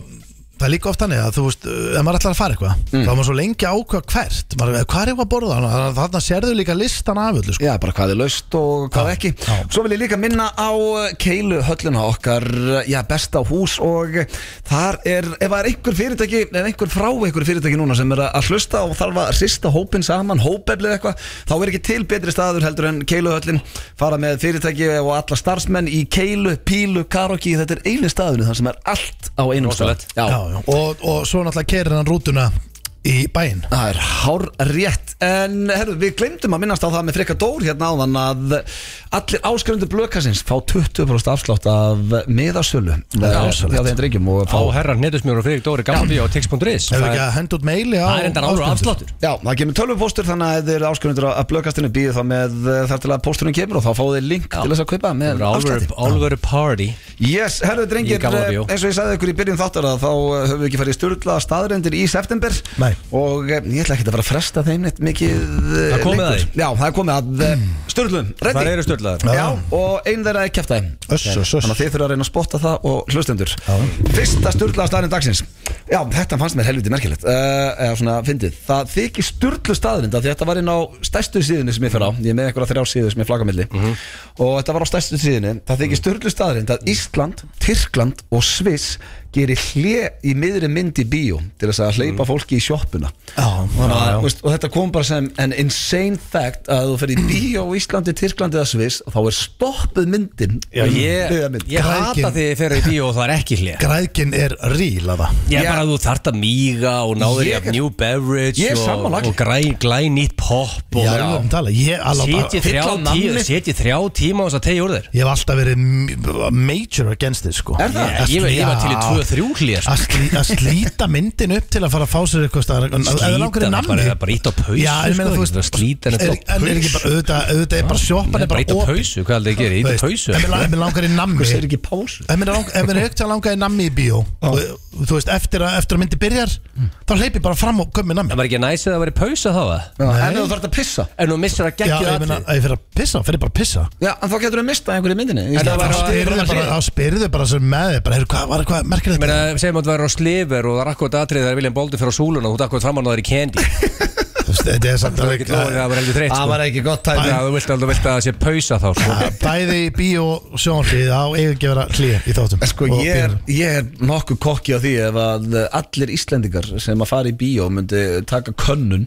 B: Það er líka ofta þannig að þú veist Ef maður ætlar að fara eitthvað
A: Mm.
B: Þá er maður svo lengi að ákveða hvert maður, Hvað er eitthvað að borða Þannig að þarna sérðu líka listan af öllu sko.
A: Já, bara hvað er laust og hvað
B: Já,
A: ekki
B: já.
A: Svo vil ég líka minna á uh, Keilu höllina okkar uh, Já, besta hús og uh, þar er Ef það er einhver fyrirtæki En einhver frá einhver fyrirtæki núna sem er að- að hlusta Og þarf að sista hópin saman, hópeflið eitthvað Þá er ekki til betri staður heldur en Keilu höllin Fara með fyrirtæki og alla starfsmenn Í Keilu, Pílu, Karoki Þetta er einu staðurinn þar sem er allt á einum stað Já,
B: Já, já. Og, og svo náttúrulega keirir hann rútuna í bæinn
A: Það er hár rétt En herru, við glemdum að minnast á það með Frikka Dór hérna áðan að allir áskröndu blökkarsins fá 20% afslátt af miðasölu eh, hjá þeim drengjum og fá
C: Fá herran netusmjör og Friðrik Dóri Gambi á tix.is
B: Hefur ekki að henda út meili á
C: Það er endar álur
B: áskrifendur?
C: afsláttur
A: Já, það kemur tölvupostur þannig að þeir eru áskröndur að blökkastinu býðu þá með eh, þar til að posturinn kemur og þá fáið þeir link til þess að kaupa með afslátti
C: Álveru party
A: Yes, herru drengir,
C: Í gamla
A: eh,
C: bíó.
A: eins og ég sagði ykkur í byrjun þáttar að þá eh, höfum við ekki farið í sturla staðrendir í september
B: Nei.
A: og eh, ég ætla ekki að fara að fresta þeim neitt mikið eh,
H: Það er komið að því.
A: Já, það er komið að mm. sturlum, ready?
H: Það eru störlaðar
A: Já, og einn þeirra er kjæftæði
B: Öss, öss, öss.
A: Þannig að þið þurfa að reyna að spotta það og hlustendur Fyrsta sturlaða staðurinn dagsins Já, þetta fannst mér helviti merkilegt uh, Eða svona fyndið Það þykir sturlu staðurinn Því þetta var inn á stærstu síðunni sem ég fer á Ég er með einhverja þrjá síðu sem ég flagga á milli Og þetta var á stærstu síðunni Það þykir sturlu staðurinn Að Ísland, Tyrkland og Sviss gerir hlje í miðri mynd í bíó til þess að hleypa fólki í sjoppuna
B: Já,
A: Þannig að, veist, og þetta kom bara sem an insane fact að þú fyrir í bíó í Íslandi, Tyrklandi eða Sviss og þá er stoppuð myndin
H: Já, ég,
A: Byggðamynd.
H: ég hata
B: Græðgin.
H: því ég fer í bíó og það er ekki hlið
B: Græðgin er ríl að það
H: Ég
A: Já.
H: er bara að þú þart að míga og náður ég
A: Ég-
H: af new beverage
A: Ég er
H: og,
A: sammála.
H: og græ, glænýtt pop og
B: Já, já. Tala, ég, alveg bara-
H: Setji þrjá,
A: fylla á nammi.
H: tíu, setji þrjá tíma á þess að tegja úr þér
B: Ég hef alltaf verið m- major against it sko
A: Er það?
H: Ég- Ég var- ég var til í
B: Já.
H: tvö, þrjú sko. hlið
B: Að slí, að slíta myndin upp til að fara að fá sér eitthvað staðar Eða langar í
H: Slítan,
B: nammi
H: bara- það bara ít á pausu,
B: Já, ég meina
H: sko,
B: þú
H: það er
B: veist
H: slítan
B: er,
H: þetta á
B: en er ekki bara, auðvitað, auðvitað er bara sjoppan er
H: Bara
B: bara
H: ít á pausu, hvað heldur ég gera? Ít á sko. pausu
B: Ef mér- ef mér langar í nammi
A: Það er
B: Ef
A: ekki pásu
B: mér lang- ef mér er högt að langa í nammi í bíó og, Þú veist, eftir að, eftir að myndi byrjar Þá hleypi ég bara fram og kömmi nammi
C: Það var ekki næsið að það væri pausa þá að
A: En þú þarf að pissa
C: En þú missir að
B: Já,
C: geggja
B: ég meina, ef ég fyrir að pissa, fyrir bara að pissa
A: Já, en þá getur þú mistað einhverju í myndinni í
C: það
A: staðinn.
C: var-
B: Þá spyrðu bara, þá spyrðu bara sem með þig Bara, heyrðu, hvað var eitthvað merkir
C: Mér
B: þetta?
C: að segjum að það verður á slifur og það er akkurat atrið þegar William Bolden fyrir á súluna og þú akkurat framann og það er í candy
B: Þetta er samt alveg
C: Það var heldur þreytt
A: Það
C: sko
A: var ekki gott tæmi
C: Þannig að þú vilt alveg vilt að það sé pausa þá sko
B: Ja, Bæði í bíó og sjónarfið á eigingjöfara hlýja í þáttum
A: En Sko
B: Og
A: ég er,
B: bíómyndum.
A: ég er nokkuð kokki á því ef að allir Íslendingar sem að fara í bíó myndi taka könnun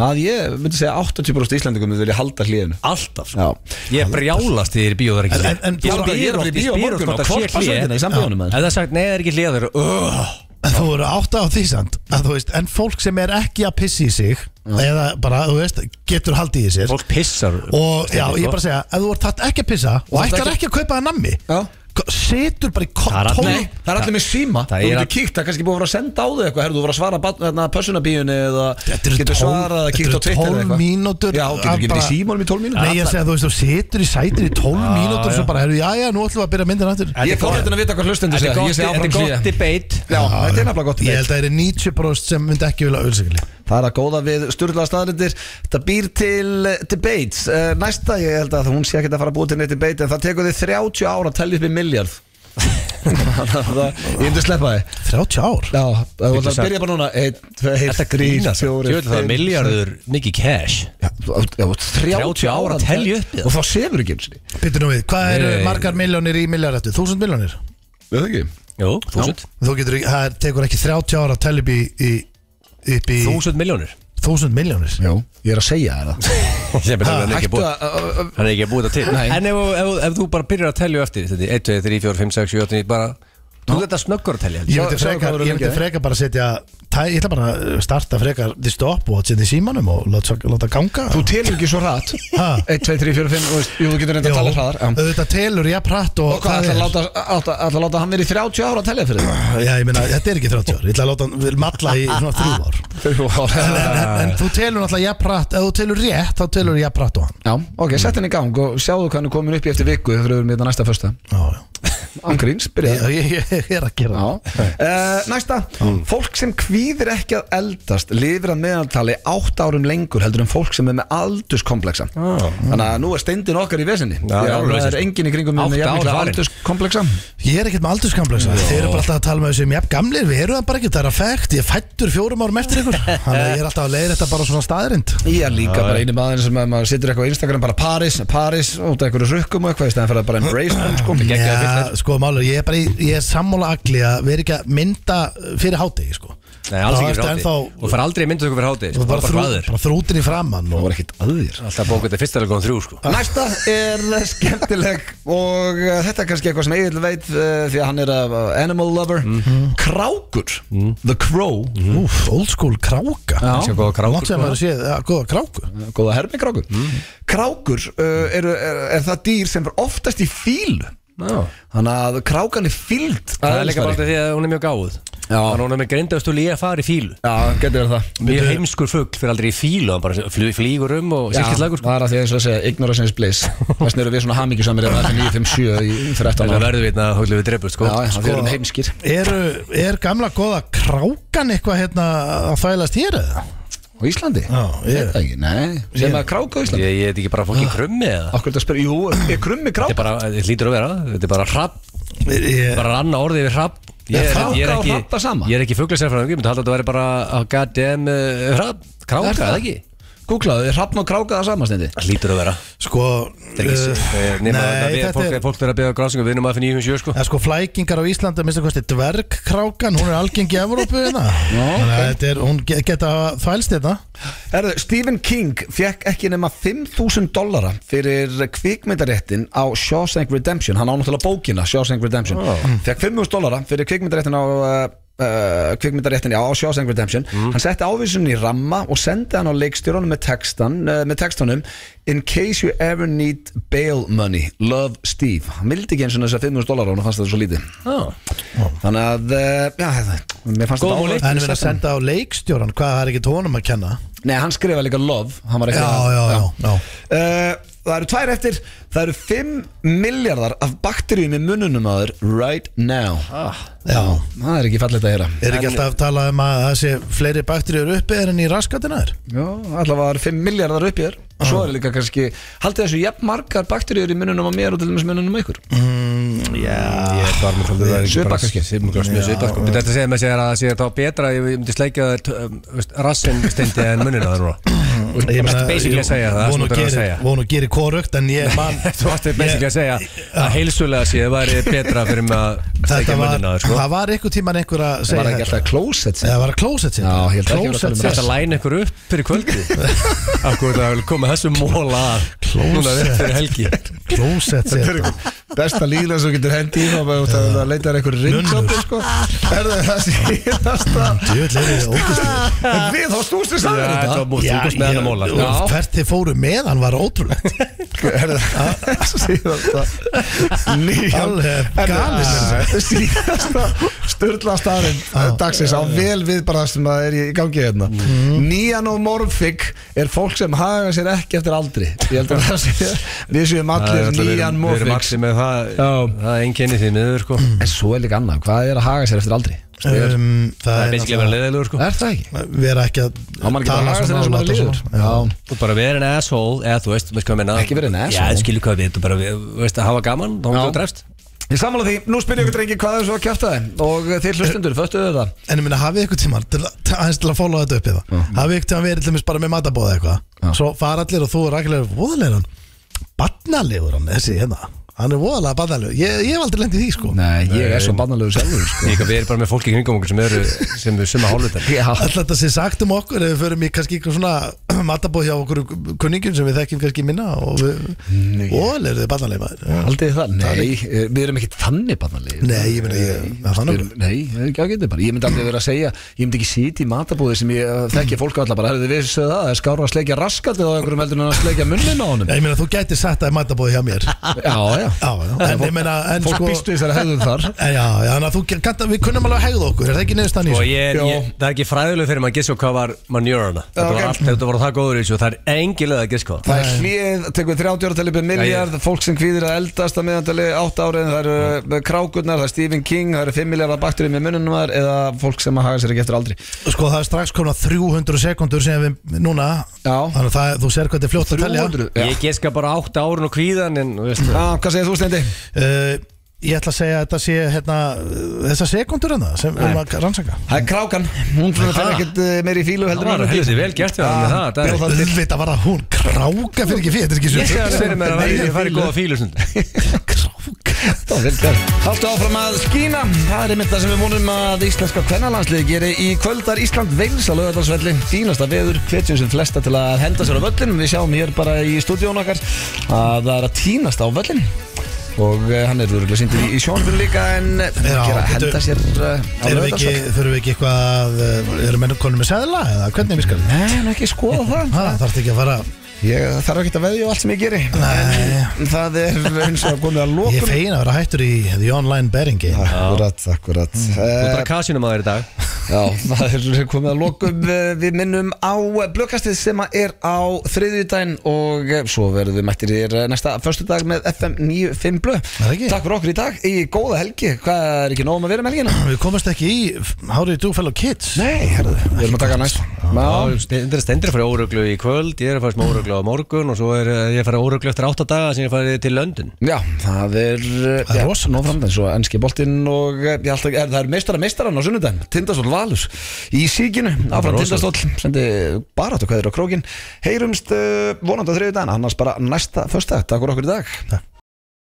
A: að ég myndi segja 80% Íslendingar myndi vilja halda hlíðinu
C: Alltaf sko.
A: Já
C: Ég brjálast því þér í bíó það er ekki
B: En-
C: hlið.
B: en- en-
C: Ég
B: þú-
C: spyr
A: ég er
C: oft-
A: bara í
C: ég
A: bíó á
C: spyr
A: morgun
C: oft hvort
A: og
C: það sé
A: hvolpa
C: hlé.
A: sveitina í sambíónum,
C: Ef
A: maður.
C: það er sagt nei það er ekki hlið það er öh.
B: En Þú eru átta á því samt að þú veist, en fólk sem er ekki að pissi í sig eða bara, þú veist, getur haldið í sér
C: Fólk pissar
B: og já, ég er bara að segja, ef þú ert þarft ekki að pissa og
A: ert
B: ætlar
A: ekki-
B: ekki að kaupa það nammi
A: Já.
B: Setur bara í
C: Það er
B: kott
C: allir-
B: tól
C: Nei.
A: Það er allir með síma, þú
C: Það er
A: getur
C: að-
A: kíkt, það er kannski búið að vera að senda á þig eitthvað Herðu, þú voru að svara barn- þarna, pössunarbíunni eða
B: Þetta eru
A: getur
B: tól-
A: svarað eða
B: þetta
A: kíkt á
B: eru
A: Twitter eða
B: tólf
A: eitthvað
B: mínútur
A: Já, getur
B: að
A: ekki verið í
B: bara-
A: símanum í 12 mínútur
B: Nei, ég segi að þú veist, þú setur í sætin í 12 mínútur og svo bara, herru, já, já, nú ætlum við að byrja myndin aftur
A: Ég er forveitin að vita hvað hlustendur
C: Þetta er
A: segja,
C: gott-
A: ég segi
C: þetta er
A: áfram
C: gott
A: síðan
C: debate
A: Já, þetta er nefnilega gott
B: Ég
A: debate.
B: held að það eru 90% sem myndi ekki vilja auðvitað
A: Það er að góða við styrlaða staðlindir Þetta býr til eh, debates Eh, Næsta, ég held að hún sé ekki að fara að búa til neitt debate En það tekur þið 30 ára að tellja upp í miljard Ég myndi sleppa þið
B: 30 ár
A: Já, þú ætlar að
C: sagt.
A: byrja bara núna 1, 2,
C: Þetta
A: 1, 3,
C: grínast
A: 4,
C: Ég veit að það er miljardur mikið cash
A: Já, þú- já, þú- 30 ára að telja upp
C: í það.
A: Og þá sefur ekki eins og
B: Býttu nú við, hvað eru
C: Nei.
B: margar miljónir í miljardrættu? 1000 miljónir?
A: Við það ekki
C: Jú, þúsund
B: Þú getur, ekki- það er- tekur ekki 30 ára að tella upp í, í upp í
C: Þúsund miljónir
B: 1000 miljónir
A: Já, ég er að segja þér það
C: Sem er hann er
A: Hættu
C: ekki búið
A: að að- að-
C: Hann er ekki búið það til
A: Nei.
C: En ef, ef, ef þú bara byrjar að telja á eftir Þetta er 1, 2, 3, 4, 5, 6, 7, 8, 9 bara, Þú þetta snöggur að telja
B: Ég
A: Sjá- sjáðu
B: myndi
A: hvað
B: frekar,
A: þú eru
B: ég myndi
A: lengi,
B: frekar bara að setja tæ, Ég ætla bara að starta frekar The stopwatch inn í símanum og láta, láta ganga
A: Þú telur ekki svo hratt
B: Ha?
A: 1, 2, 3, 4, 5 þú veist, Jú, þú getur reynda að tala hraðar já.
B: Þetta telur ég pratt og,
A: Og hvað, ætla að láta, ætla, ætla að láta hann verið 30 ára að telja fyrir þig?
B: Já, ég meina, þetta er ekki 30 ár Ég ætla að láta hann matla í svona þrjú ár
A: Ah.
B: En, en, en, en þú telur náttúrulega ég pratt Ef þú telur rétt, þá telur ég pratt og hann
A: Já, ok, sett henni í gang og sjáðu hvað hann er komin upp í eftir viku þegar við erum í þetta næsta fyrsta
B: Já,
A: Angrín,
B: já
A: spyrja
B: ég, ég, ég er að gera
A: Já. Uh, næsta,
C: Mm.
A: fólk sem kvíðir ekki að eldast lifir að meðaltali átt árum lengur heldur en fólk sem er með aldurskomplexa þannig að nú er steindin okkar í vesinni
C: Ah. Já, já,
A: það
C: vesinni.
A: er enginn í kringum mig
C: Átta
A: með jafnmikla
C: ár farin.
A: aldurskomplexa
B: Ég er ekkert með aldurskamleisa Þeir eru bara alltaf að tala með þessu um jafn gamlir Við erum það bara ekkert, það er að fækt Ég er fættur fjórum árum eftir ykkur Þannig að ég er alltaf að leiða þetta bara svona staðrind
A: ég er líka bara einu maður sem að maður situr eitthvað á Instagram bara Paris, Paris, út af einhverju rökkum og eitthvað í stæðan fyrir að bara embrace hann sko.
B: Já, sko málur, ég er bara í, ég er sammála agli að vera ekki að mynda uh, fyrir hátegi sko
C: Nei,
B: Þá
C: alls ekki
B: ertu
C: fyrir hátti
B: ennþá-
C: Og fara aldrei í myndutöku fyrir sko, hátti
B: Þú er bara, þrú,
C: hraður
B: bara þrútin í framann
A: það
B: og,
A: var ekkit aðir
C: Alltaf bókuð þetta fyrsta leikon þrjú sko
A: Næsta er skemmtileg og uh, þetta er kannski eitthvað sem Egil veit uh, því að hann er uh, animal lover
C: Mhm.
A: Krákur, The Crow
B: Úf, old school kráka
A: Já.
C: Kannski að góða krákur,
B: Mátt sem að séð, ja, góða kráku
A: Góða hermi krákur
C: Mhm.
A: Krákur uh, er, er, er það dýr sem er oftast í fíl
C: Já.
A: Þannig að krákan er fíld
C: Það er líka bara út af því að hún er mjög gáð Þannig að hún er með grindastul í að fara í fílu
A: Já, getur verið það
C: Mjög heimskur fugg fyrir aldrei í fílu Hann bara flý- flýgur um og
A: Já,
C: silkitt lagur sko
A: það er að því eins og að segja Ignorance is bliss Þessna eru við svona hamingjusamir eða þetta 957 í 13
C: Það
A: ára
C: verður vitna að höglum við drefust
A: Já,
C: sko
A: já, við erum heimskir
B: Eru, er gamla góða krákan eitthvað hérna að þvælast hér eða?
A: Á Íslandi?
B: Já, ég-
A: Þetta ekki, nei Sem að kráka á Íslandi
C: Ég ég veit ekki bara fólki krummi eða
A: Akkur þetta spyrir, jú, er krummi
C: Þetta
A: kráka?
C: er bara, þetta lítur að vera Þetta er bara hrapp,
B: Ég,
C: bara ranna orðið yfir hrapp Ég er,
A: Kráka
C: ég er
A: og
C: ekki,
A: hrafn það sama?
C: ég er ekki fuglasérfræðingur, ég myndi halda að þetta væri bara að goddamn uh, hrapp, kráka,
A: Er það?
C: eða ekki?
A: Googlaðu, er hrafn og kráka það samastendi?
C: Það lítur að vera
B: sko
C: Þetta er ekki
B: uh,
C: sér Nei,
B: Nei,
C: fólk,
B: þetta
C: er...
B: er
C: fólk verður að beða grásingu, við erum að finna í hún sjö sko
B: Það er sko flækingar á Íslandi að minnst að kosti dvergkrákan, hún er algengi í Evrópu hérna Þannig að þetta er, hún ge- geta þvælst hérna. þetta
A: Erðu, Stephen King fekk ekki nema 5.000 dollara fyrir kvikmyndaréttin á Shawshank Redemption hann ánáttúrulega bókina Shawshank Redemption
B: Ah.
A: fekk 5.000 dollara fyrir kvikmyndaréttin á uh, uh, kvikmyndaréttin á Shawshank Redemption
B: Mm.
A: hann setti ávísun í ramma og sendi hann á leikstjórunum með, textan, uh, með textanum In case you ever need bail money Love Steve hann vildi ekki eins og þess að 5.000 dollara hann fannst þetta svo lítið
B: Ah.
A: þannig að uh, já, þetta- mér fannst
C: Góð
A: þetta
C: múli.
A: áhugavert.
B: En við erum að senda á leikstjóran, hvað það er ekki tónum að kenna
A: Nei, hann skrifa líka love hann var ekki
B: Já, já, já, já.
A: Eh, Það eru tvær eftir Það eru 5 miljardar af bakteríum í mununum á þér Right now
B: Já,
A: Það er ekki fallegt að heyra
B: er ekki alltaf að tala um að það sé fleiri bakteríur uppi er enn í raskatina þér
A: Já, allavega er 5 miljardar upp í þér og Svo er líka kannski Haldið þessu jafn margar bakteríur í mununum á mér og til dæmis mununum á ykkur
C: Ég er bara með svolítið að
A: Svipað kannski.
C: Svipað kannski Svipað sko Þetta segir með sér að það sé þá betra að Ég myndi sleikja þér um, rassin steindi en munina þar núna Ég myndi basically að segja það
B: Vonu
C: Það er að
B: gerir,
C: segja
B: vonu gerir korugt en ég man
C: Þú varst basically að segja að heilsulega séð væri betra fyrir mig að
B: Þetta
C: steikja
B: var,
C: munina þér sko
B: það var einhver tíman einhver að segja
A: Var ekki
B: þetta.
A: alltaf closet
B: Eða það var að klósett sér
A: Já, ég held ekki að vera að tala um
B: Klósett
C: Þetta
B: sér
C: læna ykkur upp fyrir kvöldi Akkur það vil koma þessu móla að Núna rétt fyrir helgi
B: Klósett sér
A: Besta líðlega sem þú getur hendi í þá bara út að leita þér einhverju rinnsjóti sko. Er það það síðasta
B: Djöfull er ég ógeðslegur.
A: Við þá stústir
C: Já,
A: saman
C: þetta var múið, þú
B: Já,
C: komst með hennar móla
B: ég- og Hvert þið fóru með hann var ótrúlegt
A: Síðasta Nýjan
B: Alveg
A: En-
B: galið,
A: Ah. Síðasta Sturla staðarinn Dagsins á vel við bara það sem það er í gangi hérna Nýjan og morfik Er fólk sem haga sér ekki eftir aldri Ég held að það sé Við séum allir nýjan
H: Við erum
A: morfik
H: allir með það
A: Já.
H: Það er einnkenni því miður sko Það
A: En svo er líka annað Hvað er að haga sér eftir aldri?
B: um, Það
H: er basically að vera leiðilegur sko
A: Er það ekki?
B: vera ekki að
A: Á maður ekki bara að haga sér eins og maður líður Já
H: Þú bara verið en asshole Eða þú veist, þú veist hvað ég menna
A: Ekki vera an asshole.
H: Já, þú skilur hvað við Þú bara, þú veist, að hafa gaman Þá
A: Já.
H: hún þú drefst
A: Ég sammála því, nú spyrir ég ykkur drengi hvað er svo að kjæfta þeim Og eh, þeir hlustundur, föttu þau það?
B: En ég minna, hafið ykkur tíma til, að- til, aðeins til að fóla þetta upp í það Hafið ykkur tíma verið til dæmis bara með matabóða eitthvað Svo fara allir og þú er rækilega voðalegur hann Barnalegur hann, þessi hérna Hann er voðalega barnalegur Ég, ég hef aldrei lendið því sko
A: Nei, ég er svo bannalegu sjálfur sko.
H: Líka við erum bara með fólki í kringum okkur sem eru sem er summa hálfutar
A: Já,
B: Alltaf þetta sé sagt um okkur Ef við förum í kannski ykkur svona matabóð hjá okkur kunningjum sem við þekkjum kannski minna Og við, voðalegur þið barnalegur maður Já.
A: Haldið þið það? Nei, eh, við erum ekki þannig bannalegi
B: Nei, ég meina, ég- það er þannig.
A: Nei, það er ekki ágætið bara Ég myndi aldrei vera að segja, ég myndi ekki sýti í matabúði sem ég eh, þekki fólk alla bara Herðu, vissu það, það er skára að sleikja raskatið á einhverjum heldur en að sleikja munnin á honum
B: Ég meina, þú gætir sagt að matabóð hjá mér
A: Já, já,
B: Já, já. En ég meina, en
A: Fólk
B: sko
A: býstu þessari hefðum þar
B: En Já, já, þannig að þú gæta, við kunnum alveg að hegða okkur, er það ekki
C: Sko,
B: neðustan í
H: Og
B: þessu?
H: ég,
A: Já.
H: ég, það er ekki fræðileg fyrir maður að gissa hvað var manjörana Þetta
A: Ok.
H: var allt, þetta voru það góður í þessu Það er engin leið að gissa hvað
A: Það er hlið, tekur 30 ára talið miljard, fólk sem kvíðir að eldast að meðantali 8 árið, það eru eh, krákurnar, það er Stephen King, það eru 5 miljardar bakturinn með mununum þar eða fólk sem að haga sér ekki eftir aldri
B: Sko það er strax komin að 300 sekundur sem við núna
A: Já.
B: Þannig að það, þú sér hvað þetta er fljótt að telja
A: 300 Já.
H: Ég giska bara átta árun og kvíðan en, þú veist,
A: Já, Ah, hvað segir þú Steindi?
B: uh, Ég ætla að segja að þetta sé hérna, þessar sekundur hérna sem við erum að rannsaka
A: Það er krákan, hún fyrir að ekkert eh, meira í fílu
H: Það
A: heldur
H: var
A: en hún.
H: helviti vel gert hjá hann með það Davíð.
B: Þetta var að hún kráka fyrir ekki fyrir, þetta er ekki
H: Ég sé hann fyrir mér að væri- ég
B: Nei,
H: færi góða fílu stund
B: Kráka
A: Það var vel gert. Haltu áfram að skína Það er einmitt það sem við vonum að íslenska kvennalandslið gerir í kvöldar Ísland veils á lögadalsvelli Fínasta veður, hvetjum sem flesta til að henda sér á völlin Við sjáum hér bara í stúdíón okkar að það er að tínast á völlin og eh, hann er örgulega síndur í, í sjónfinn líka en Já, gera,
B: bíddu.
A: henda sér eh, á
B: Erum við ekki,
A: lögadalsvelli
B: þurfum við ekki eitthvað að, uh, erum mennum konum með seðla eða hvernig við skalum?
A: Nei, hann er ekki að skoða það
B: Það þarf ekki að fara
A: Ég þarf ekki að veðja á allt sem ég geri
B: Nei,
A: En það er eins og komið að
B: ég er
A: lokum
B: fegin að vera hættur í the online betting game
A: Akkurat, akkurat
H: Þú
A: mm.
H: bara kasinum að þér í dag
A: Já, það er komið að lokum Eh, Við minnum á blökkastið sem að er á þriðjudaginn og eh, svo verðum við mættir þér eh, næsta föstudag með FM 95 blö
B: það ekki?
A: Takk fyrir okkur í dag, í góða helgi Hvað er ekki nóg um að vera um helgina?
B: Við komast ekki í How do you do fellow kids?
A: Nei, herðu, við erum að taka næst Já,
H: Það stendur að fara í óruglu í kvöld Ég er að fara smá óruglu á morgun Og svo er eh, ég að fara í óruglu eftir átta daga Sem ég farið til London
A: Já, það er eh,
B: Það er rosalegt.
A: Nó framdæn, svo ennski boltinn og eh, ég alltaf, er, það er meistara meistaran á sunnudaginn Tindastóll Valur í síkinu Áfram
H: rosalegt.
A: Tindastóll, sendi bara eh, á kveður á krókin Heyrumst uh, vonandi á þriðudaginn, annars bara næsta föstudag, takk fyrir okkur í dag
B: Takk.